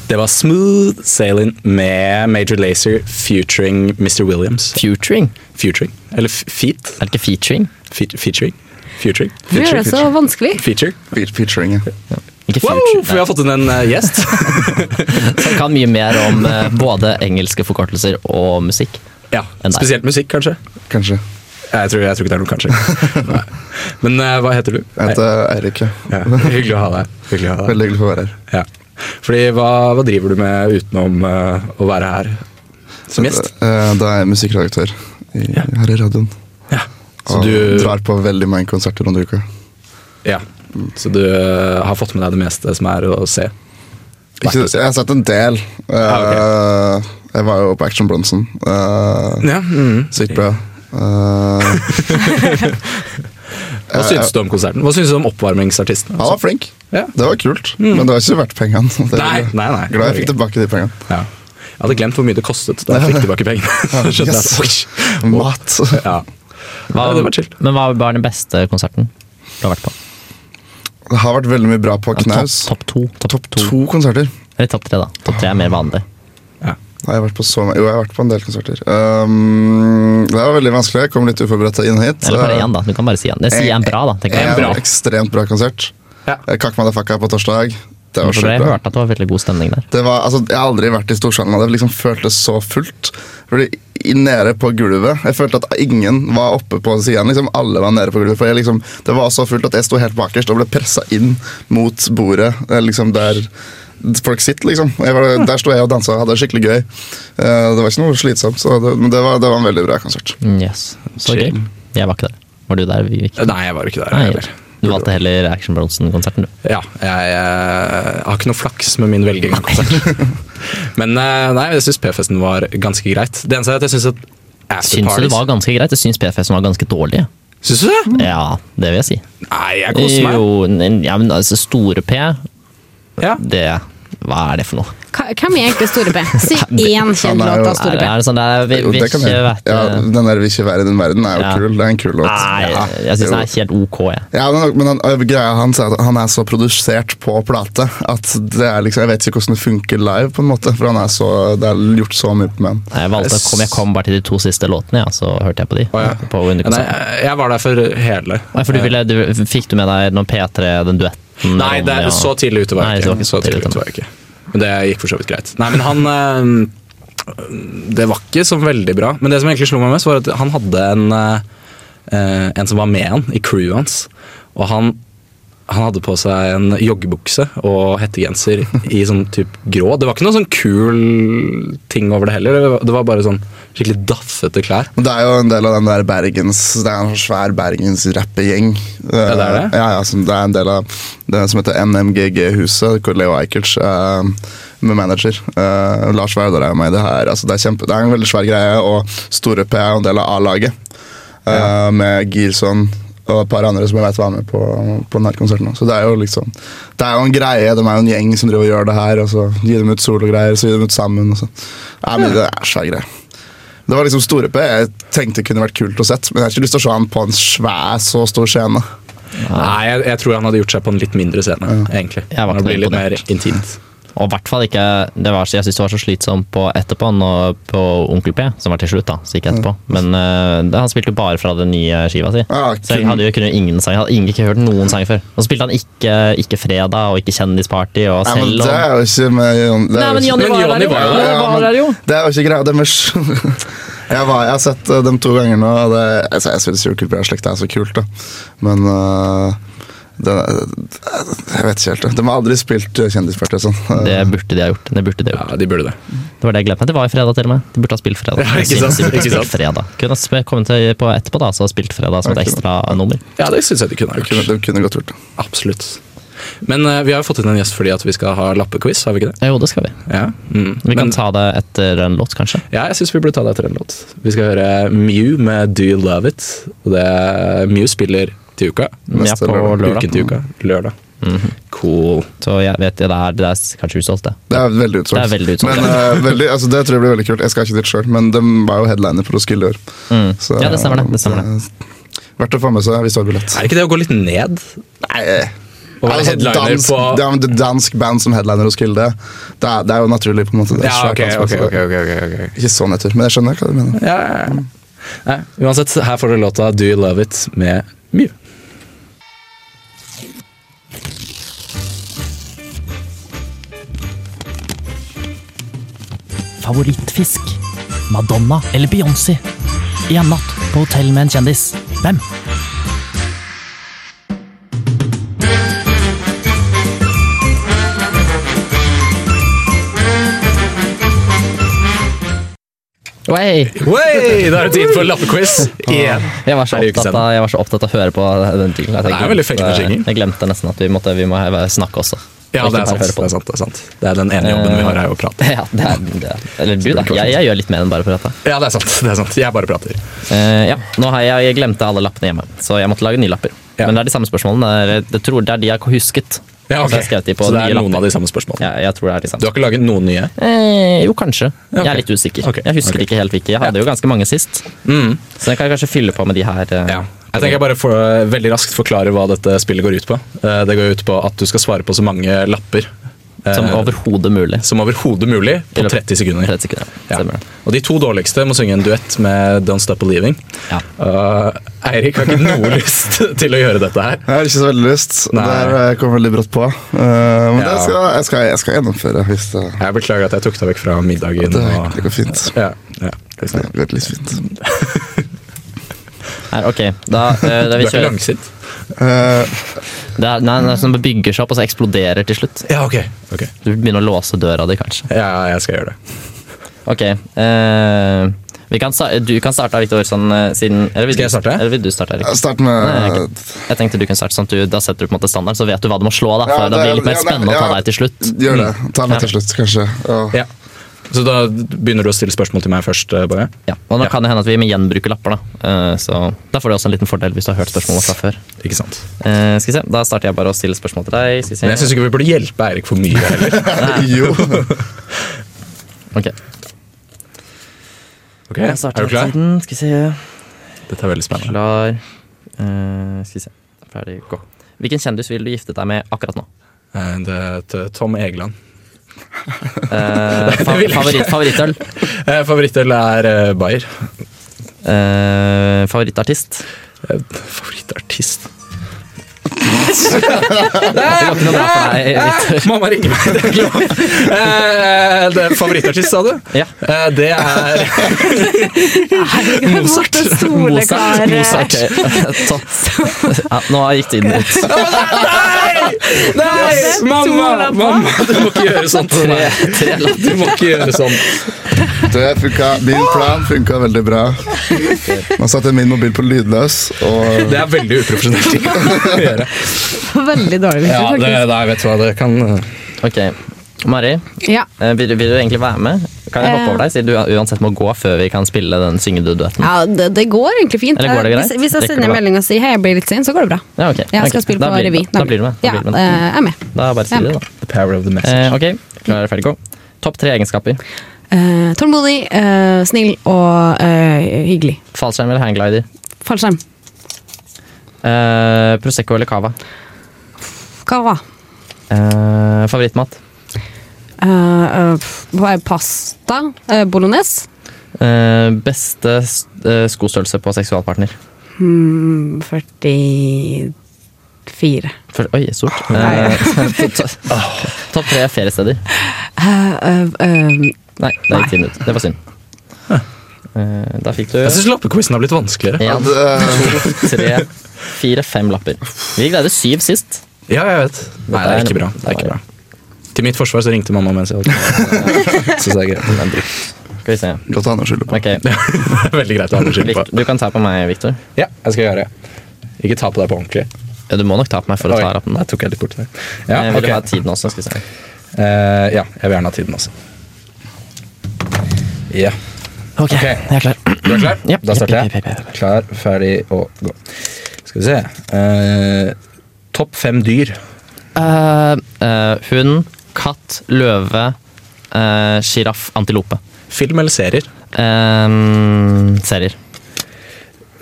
Speaker 8: Det var Smooth Sailing med Major Lazer featuring Mr. Williams.
Speaker 2: Futuring?
Speaker 8: Featuring? Eller f- feat?
Speaker 2: Er det ikke featuring?
Speaker 8: Fe- Featuring? Featuring?
Speaker 4: Du gjør det så vanskelig.
Speaker 8: Feature?
Speaker 9: Fe- Featuring, ja.
Speaker 2: Ikke
Speaker 8: Wow,
Speaker 2: future.
Speaker 8: for vi har fått inn en eh, gjest.
Speaker 2: Nei, jeg kan mye mer om eh, både engelske forkortelser og musikk.
Speaker 8: ja,
Speaker 2: Enn deg.
Speaker 8: Spesielt musikk, kanskje.
Speaker 9: Kanskje.
Speaker 8: Jeg tror, jeg tror ikke det er noe kanskje. Nei. Men eh, hva heter du?
Speaker 9: Jeg heter Eirik, ja.
Speaker 8: Ja, hyggelig å ha deg. Hyggelig å ha deg.
Speaker 9: Veldig hyggelig for å være her.
Speaker 8: Ja. Fordi hva, hva driver du med utenom eh, å være her som gjest?
Speaker 9: Eh, Da er jeg musikkredaktør i, her i radioen.
Speaker 8: Ja. Så
Speaker 9: Og
Speaker 8: du,
Speaker 9: drar på veldig mange konserter under uka.
Speaker 8: ja. Så du eh, har fått med deg det meste som er å se?
Speaker 9: Ikke, jeg har sett en del. Eh,
Speaker 8: Ah, Ja,
Speaker 9: Jeg var jo på Action Bronson. Eh,
Speaker 8: Ja,
Speaker 2: mm.
Speaker 8: mhm.
Speaker 9: Sykt bra. Eh,
Speaker 8: Hva syns du om konserten? Hva syns du om oppvarmingsartisten?
Speaker 9: han var flink.
Speaker 8: Ja. Mm.
Speaker 9: Det var kult, men det var ikke verdt pengene. Det var-
Speaker 8: Nei, nei, nei.
Speaker 9: Glad jeg fikk tilbake de pengene.
Speaker 8: Ja. Jeg hadde glemt hvor mye det kostet da jeg fikk tilbake pengene. Skjønte
Speaker 9: Yes.
Speaker 8: jeg.
Speaker 9: Mat.
Speaker 8: Ja.
Speaker 2: Hva,
Speaker 8: Ja, det var chill.
Speaker 2: Men hva var den beste konserten du har vært på?
Speaker 9: Det har vært veldig mye bra på
Speaker 2: Ja,
Speaker 9: knaus.
Speaker 2: Topp top to. Topp to.
Speaker 9: To konserter.
Speaker 2: Eller topp tre, da. Topp tre er mer vanlig.
Speaker 9: Nei, jeg har vært på så mange. Jo, jeg har vært på en del konserter. Um, det var veldig vanskelig. Jeg kom litt uforberedt inn hit.
Speaker 2: Eller bare
Speaker 9: Eh,
Speaker 2: én, da. Du kan bare si én. Jeg sier én bra, da. tenker
Speaker 9: en
Speaker 2: jeg.
Speaker 9: bra. ekstremt bra konsert.
Speaker 8: Ja.
Speaker 9: Eh, Kakk Madafaka på torsdag. Det var
Speaker 2: For
Speaker 9: sjukt
Speaker 2: jeg
Speaker 9: bra.
Speaker 2: hørte at det var veldig god stemning der.
Speaker 9: Det var, altså, jeg har aldri vært i Storsalen, og det liksom føltes så fullt. Fordi i- Nede på gulvet. Jeg følte at ingen var oppe på siden. Liksom, alle var nede på gulvet. For jeg, liksom, det var så fullt at jeg sto helt bakerst og ble pressa inn mot bordet. eh, Liksom, der folk sitter, liksom. Og Jeg var, der sto jeg og dansa og hadde det skikkelig gøy. Eh, Det var ikke noe slitsomt, så det, men det var, det var en veldig bra konsert.
Speaker 2: Mm, yes. Så gøy.
Speaker 8: Chill.
Speaker 2: Jeg var ikke der. Var du der, Vivek?
Speaker 8: Nei, jeg var ikke der.
Speaker 2: Nei.
Speaker 8: heller.
Speaker 2: Du valgte heller Action Bronson-konserten, du.
Speaker 8: Ja, jeg, eh, har ikke noe flaks med min velging av konsert. Men eh, nei, jeg syns P-festen var ganske greit. Det eneste er at jeg syns at
Speaker 2: Syns du det var
Speaker 8: afterparties
Speaker 2: ganske greit? Jeg syns PFS var ganske dårlig.
Speaker 8: Syns du det?
Speaker 2: Ja, det vil jeg si.
Speaker 8: Nei, jeg koser Mm. meg.
Speaker 2: Jo, n- ja, men altså, store P,
Speaker 8: Ja.
Speaker 2: det Hva er det for noe?
Speaker 4: Hva- Hvem er egentlig Store P? Si én kjent
Speaker 9: Han er jo-
Speaker 4: låt av
Speaker 2: Er
Speaker 4: Store
Speaker 2: det,
Speaker 4: P.
Speaker 2: er det sånn der, vi,
Speaker 9: Jo,
Speaker 2: vi
Speaker 9: det kan
Speaker 2: ikke
Speaker 9: jeg.
Speaker 2: vet,
Speaker 9: Ja,
Speaker 2: eh,
Speaker 9: den der 'Vil ikke være i den verden' er jo
Speaker 2: Ja.
Speaker 9: kul. Det er en kul låt.
Speaker 2: Nei,
Speaker 9: Ja,
Speaker 2: jeg syns den
Speaker 9: jo.
Speaker 2: er helt ok. Jeg.
Speaker 9: Ja, men, men han, øh, greia hans er at han er så produsert på plate at det er liksom, jeg vet ikke hvordan det funker live, på en måte, for han er så, det er gjort så mye med han.
Speaker 2: Jeg valgte å komme jeg kom bare til de to siste låtene, ja, så hørte jeg på de.
Speaker 8: Å, ja.
Speaker 2: På
Speaker 8: Nei,
Speaker 2: underkonsert.
Speaker 8: jeg var der for hele.
Speaker 2: Nei, for du ville, du, fikk du med deg noen P3, den duetten?
Speaker 8: Eh, Nei, det,
Speaker 2: om- ja.
Speaker 8: så tidlig ute var jeg
Speaker 2: Nei, det
Speaker 8: ikke.
Speaker 2: var ikke
Speaker 8: så tidlig ute var jeg ikke. Men det gikk for så vidt greit. Nei, men han eh, Det var ikke så veldig bra. Men det som egentlig slo meg mest, var at han hadde en, eh, eh, en som var med han i crewet hans. Og han, han hadde på seg en joggebukse og hettegenser i sånn typ grå. Det var ikke noe sånn kul ting over det heller. Det var, det var bare sånn skikkelig daffete klær.
Speaker 9: Men Det er jo en del av den der Bergens Det er en sånn svær Bergens rappegjeng. Ja,
Speaker 8: det er det?
Speaker 9: Ja, ja, som, det er en del av det som heter NMGG-huset, hvor Leo Ajkic eh, med manager. eh, Lars Vaular er jo med i det her. Altså, det, er kjempe, det er en veldig svær greie, og Store P er jo en del av A-laget. eh, Med Girson og et par andre som jeg vet var med på, på den her konserten. også. Så det er jo liksom Det er jo en greie, de er jo en gjeng som driver og gjør det her, og så gir dem ut sologreier, så gir dem ut sammen. Og så. Ja, men Det er en svær greie. Det var liksom Store P jeg tenkte kunne vært kult å sett, men jeg har ikke lyst til å se han på en svær, så stor scene.
Speaker 8: Nei, jeg, jeg tror han hadde gjort seg på en litt mindre scene, egentlig.
Speaker 2: Jeg var ikke
Speaker 8: det blir litt mer
Speaker 2: imponert.
Speaker 8: intimt.
Speaker 2: Og i hvert fall ikke det var, så- Jeg syns det var så slitsomt på etterpå, nå på Onkel P, som var til slutt, da. Så gikk jeg etterpå.
Speaker 8: Mm.
Speaker 2: Men eh, det, han spilte jo bare fra den nye skiva si.
Speaker 9: Ja,
Speaker 2: Så jeg hadde jo kunne ingen sang, jeg hadde ingen, ikke hørt noen sanger før. Og så spilte han ikke, ikke Fredag og ikke Kjendisparty. Og
Speaker 9: Nei,
Speaker 2: selv
Speaker 9: men
Speaker 2: om
Speaker 9: det er jo ikke med Jon det er
Speaker 2: Nei, men
Speaker 9: jo
Speaker 2: Jonny
Speaker 9: ikke-
Speaker 2: var jo
Speaker 8: Jonny
Speaker 2: der, jo.
Speaker 8: var jo
Speaker 9: der,
Speaker 2: Ja,
Speaker 9: ja,
Speaker 2: var
Speaker 9: men-
Speaker 2: der, jo.
Speaker 9: Det er jo ikke greia. dem er s- jeg, var, jeg har sett eh, dem to ganger nå, og det, altså, jeg syns Jokul Bjørn Slekt er så kult, da. Men eh, det, Jeg vet ikke helt. det. De har aldri spilt eh, kjendisparty og sånn.
Speaker 2: Det burde de ha gjort. Det burde de ha gjort.
Speaker 8: Ja, de burde det.
Speaker 2: Det var det jeg glemte. Det var jo fredag, til og med. De burde ha spilt fredag.
Speaker 8: Ja, ikke
Speaker 2: Jeg synes
Speaker 8: sant?
Speaker 2: De burde ha
Speaker 8: Ikke
Speaker 2: spilt
Speaker 8: sant?
Speaker 2: fredag. Kunne ha sp- kommet til på etterpå da, så ha spilt fredag som et
Speaker 9: Ok.
Speaker 2: ekstra nummer.
Speaker 8: Ja, det syns jeg de kunne ha
Speaker 9: Det
Speaker 8: gjort.
Speaker 9: kunne, det kunne godt gjort det.
Speaker 8: Absolutt. Men eh, vi har jo fått inn en gjest fordi at vi skal ha lappequiz, har vi ikke det?
Speaker 2: Jo, det skal vi.
Speaker 8: Ja. Mm.
Speaker 2: Vi kan
Speaker 8: Men,
Speaker 2: ta det etter en låt, kanskje.
Speaker 8: ja, jeg syns vi burde ta det etter en låt. Vi skal høre Mew med Do You Love It. Og det Mew spiller til uka.
Speaker 2: Ja,
Speaker 9: Neste
Speaker 2: på lørdag. Mm. Mhm.
Speaker 8: Uken
Speaker 9: lørdag.
Speaker 8: til uka. Lørdag. Cool.
Speaker 2: Så jeg vet det er, det er kanskje utsolgt, det.
Speaker 9: Det er veldig utsolgt.
Speaker 2: Det er veldig utsolgt,
Speaker 9: Men, eh, veldig, altså, det tror jeg blir veldig kult. Jeg skal ikke dit sjøl, men de var jo headliner på Roskilde i år. Så,
Speaker 2: Mm.
Speaker 9: eh,
Speaker 2: Ja, det stemmer det, det stemmer det.
Speaker 9: Verdt å få med seg hvis du har billett.
Speaker 8: Er det ikke det å gå litt ned?
Speaker 9: Nei, eh,
Speaker 8: Å være
Speaker 9: altså,
Speaker 8: headliner
Speaker 9: dansk,
Speaker 8: på
Speaker 9: det er det er dansk band som headliner Roskilde. Det er, det er jo naturlig, på en måte. Det er
Speaker 8: Ja,
Speaker 9: svært
Speaker 8: ok,
Speaker 9: dansk band,
Speaker 8: ok,
Speaker 9: så det-
Speaker 8: ok. ok, ok, ok.
Speaker 9: Ikke så nedtur, men jeg skjønner hva du mener.
Speaker 8: Ja, ja, ja. Nei, uansett, her får du låta Do You Love It med Mew.
Speaker 2: Favorittfisk? Madonna eller Beyoncé? I en natt på hotell med en kjendis. Hvem? Oi,
Speaker 8: Wey, da er det tid for lappequiz igjen.
Speaker 2: jeg, var så
Speaker 8: Er det
Speaker 2: opptatt av, jeg var så opptatt av å høre på den jinglen. at jeg
Speaker 8: Det er veldig
Speaker 2: glemte-
Speaker 8: fengende jingle.
Speaker 2: Jeg glemte nesten at vi, måtte, vi må snakke også.
Speaker 8: Ja,
Speaker 2: Og
Speaker 8: det
Speaker 2: ikke
Speaker 8: er, sant,
Speaker 2: bare høre på
Speaker 8: det er sant. Det er sant. Det er den ene jobben vi har, er å prate.
Speaker 2: Ja, det er, det er. Eller du, da. Jeg, jeg gjør litt mer enn bare å prate.
Speaker 8: Eh, Ja, det er sant. det er sant. Jeg bare prater.
Speaker 2: Eh, ja, nå har jeg, jeg glemte alle lappene hjemme, så jeg måtte lage nye lapper.
Speaker 8: Ja.
Speaker 2: Men det er de samme spørsmålene. Det er, jeg tror det er de jeg har husket.
Speaker 8: Ja, ok.
Speaker 2: Så jeg skrev de på
Speaker 8: Så det
Speaker 2: nye
Speaker 8: er noen
Speaker 2: lapper.
Speaker 8: av de samme spørsmålene.
Speaker 2: Ja, jeg tror det er de
Speaker 8: Du
Speaker 2: samme.
Speaker 8: har ikke laget noen nye?
Speaker 2: Eh, jo, kanskje.
Speaker 8: Ja, ok.
Speaker 2: Jeg er litt usikker.
Speaker 8: Ok,
Speaker 2: Jeg husker
Speaker 8: ok. Mm.
Speaker 2: ikke helt hvilke. Jeg hadde jo ganske mange sist, så jeg kan kanskje fylle på med de her. eh.
Speaker 8: Ja. Jeg tenker jeg bare for, veldig raskt forklare hva dette spillet går ut på. Eh, Det går ut på at du skal svare på så mange lapper eh,
Speaker 2: Som overhodet mulig.
Speaker 8: som overhodet mulig
Speaker 2: I
Speaker 8: på
Speaker 2: løpet-
Speaker 8: 30 sekunder.
Speaker 2: 30 sekunder.
Speaker 8: Ja.
Speaker 2: Stemmer det.
Speaker 8: Og de to dårligste må synge en duett med Don't Stop Believing.
Speaker 2: Ja.
Speaker 8: Eh, Eirik har ikke noe lyst til å gjøre dette her.
Speaker 9: Jeg har ikke så veldig lyst.
Speaker 8: Nei.
Speaker 9: Det her eh, kom veldig brått på. Eh, men
Speaker 8: Ja.
Speaker 9: det skal, jeg, skal, jeg skal gjennomføre hvis det,
Speaker 8: Jeg beklager at jeg tok deg vekk fra middagen.
Speaker 9: det,
Speaker 8: og-
Speaker 9: det går fint.
Speaker 8: Ja, ja.
Speaker 9: Det går litt fint.
Speaker 2: Her, ok, da, eh, da
Speaker 8: Du er
Speaker 2: vi
Speaker 8: ikke
Speaker 2: kjører.
Speaker 8: langsint?
Speaker 9: Eh,
Speaker 2: Det er, nei, det er sånn det bygger seg opp, og så eksploderer til slutt.
Speaker 8: Ja, ok. ok.
Speaker 2: Du begynner å låse døra di, kanskje.
Speaker 8: Ja, jeg skal gjøre det.
Speaker 2: Ok. eh, vi kan sta- du kan starte, Victor, sånn, eh, siden eller vil
Speaker 8: Skal jeg
Speaker 2: du-
Speaker 8: starte? Altså-
Speaker 2: Eller vil du starte, Erik?
Speaker 9: Start med
Speaker 2: Nei, Jeg tenkte du kunne starte sånn at du, Da setter du på en måte standard, så vet du hva du må slå. da, for
Speaker 9: Ja,
Speaker 2: Da
Speaker 9: det-
Speaker 2: blir det litt mer
Speaker 9: ja, nei,
Speaker 2: spennende å ta
Speaker 9: ja.
Speaker 2: deg til slutt.
Speaker 9: Gjør det. Ta meg til slutt, kanskje. Og,
Speaker 8: Mm. Ja. Så da begynner du å stille spørsmål til meg først, eh, Boje?
Speaker 2: Ja, og nå
Speaker 8: Ja.
Speaker 2: kan det hende at vi gjenbruker lapper, da. Eh, Så der får du også en liten fordel hvis du har hørt spørsmålet fra før.
Speaker 8: Ikke sant?
Speaker 2: Eh, Skal vi se, Da starter jeg bare å stille spørsmål til deg. Skal
Speaker 8: Men
Speaker 2: vi
Speaker 8: jeg
Speaker 2: se.
Speaker 8: syns ikke vi burde hjelpe Eirik for mye heller.
Speaker 9: Jo.
Speaker 2: Ok,
Speaker 8: Ok,
Speaker 2: jeg starter
Speaker 8: Er du klar?
Speaker 2: episoden. Skal vi se.
Speaker 8: Dette er veldig spennende.
Speaker 2: Klar. Eh, skal vi se. Ferdig, gå. Hvilken kjendis vil du gifte deg med akkurat nå?
Speaker 8: Eh, Det er til Tom Egeland.
Speaker 2: Eh, fa
Speaker 8: vil jeg
Speaker 2: favoritt, favorittøl?
Speaker 8: Eh, Favorittøl er eh, Bayer.
Speaker 2: Eh, favorittartist?
Speaker 8: Eh, Favorittartist
Speaker 2: Det går ikke noe bra for deg. Victor.
Speaker 8: Mamma ringer meg, det er ikke lov. Eh, det er Favorittartist, sa du?
Speaker 2: Ja.
Speaker 8: Eh, det er Mozart.
Speaker 2: Mozart. Mozart. ok. Topp. Ja, nå gikk tiden ut.
Speaker 8: Nei! Mamma! mamma, Du må ikke gjøre sånt.
Speaker 2: Tre, tre lapp.
Speaker 8: Du må ikke gjøre sånn.
Speaker 9: Det funka, min plan funka veldig bra. Nå satte jeg min mobil på lydløs, og
Speaker 8: Det er veldig uprofesjonelt ting å gjøre.
Speaker 4: Veldig dårlig, Victor,
Speaker 8: Ja, det, nei, vet du hva, det kan
Speaker 2: Ok. Mari,
Speaker 4: faktisk. Ja.
Speaker 2: eh, vil, vil du egentlig være med? Kan jeg hoppe over deg, siden du uansett må gå før vi kan spille den syngeduduetten?
Speaker 4: Ja, det, det går egentlig fint.
Speaker 2: Eller går det greit?
Speaker 4: Hvis, hvis jeg
Speaker 2: Rekker
Speaker 4: sender
Speaker 2: du
Speaker 4: en
Speaker 2: det?
Speaker 4: melding og sier hei, jeg blir litt sen, så går det bra.
Speaker 2: Ja, ok.
Speaker 4: Jeg skal
Speaker 2: Ok,
Speaker 4: spille
Speaker 2: da
Speaker 4: på
Speaker 2: blir-
Speaker 4: revy.
Speaker 2: Da blir du med. Da
Speaker 4: Ja,
Speaker 2: blir du
Speaker 4: eh,
Speaker 2: med.
Speaker 4: jeg er med.
Speaker 2: Da bare sier
Speaker 4: Ja.
Speaker 2: du det, da.
Speaker 8: The power of the message.
Speaker 2: Eh, ok, klar, ferdig, gå. Topp tre egenskaper.
Speaker 4: Eh, tålmodig, eh, snill og eh, hyggelig.
Speaker 2: Fallskjerm eller hangglider?
Speaker 4: Fallskjerm.
Speaker 2: Eh, Prosecco eller cava?
Speaker 4: Kava.
Speaker 2: Eh, favorittmat?
Speaker 4: Eh, eh, pff, hva er pasta? Eh, bolognese?
Speaker 2: Eh, beste s- eh, skostørrelse på seksualpartner?
Speaker 4: Hmm, 44.
Speaker 2: For, oi, stort. Eh, to- Topp tre feriesteder.
Speaker 4: Eh, eh,
Speaker 2: Nei, det gikk tiden ut. Det var synd. Eh, da fikk du
Speaker 8: Jeg syns lappequizen har blitt vanskeligere.
Speaker 2: en,
Speaker 9: det,
Speaker 2: tre, fire, fem lapper. Vi greide syv sist.
Speaker 8: Ja, jeg vet. Nei, det er ikke bra. Det er ikke bra. Til mitt forsvar så ringte mamma mens jeg holdt Så det er greit.
Speaker 2: Men, skal vi se.
Speaker 9: Godt å ha noe å skylde på.
Speaker 2: Ok,
Speaker 8: Veldig greit å ha noe skyld på.
Speaker 2: Victor, du kan ta på meg, Victor.
Speaker 8: Ja, jeg skal gjøre det. Ikke ta på deg på ordentlig.
Speaker 2: Ja, du må nok ta på meg for å
Speaker 8: Oi,
Speaker 2: ta lappen. da.
Speaker 8: der tok jeg litt bort der. Ja,
Speaker 2: Jeg Eh, vil
Speaker 8: ok.
Speaker 2: ha tiden også, skal vi se.
Speaker 8: Eh, ja, jeg vil gjerne ha tiden også. Ja.
Speaker 2: Ok, jeg er klar.
Speaker 8: Du er klar?
Speaker 2: Japp,
Speaker 8: da starter
Speaker 2: japp,
Speaker 8: jeg.
Speaker 2: japp, japp, japp.
Speaker 8: Klar, ferdig og gå. Skal vi se Eh, Topp fem dyr.
Speaker 2: Eh, hund, katt, løve, eh, sjiraff, antilope.
Speaker 8: Film eller serier?
Speaker 2: Eh, serier.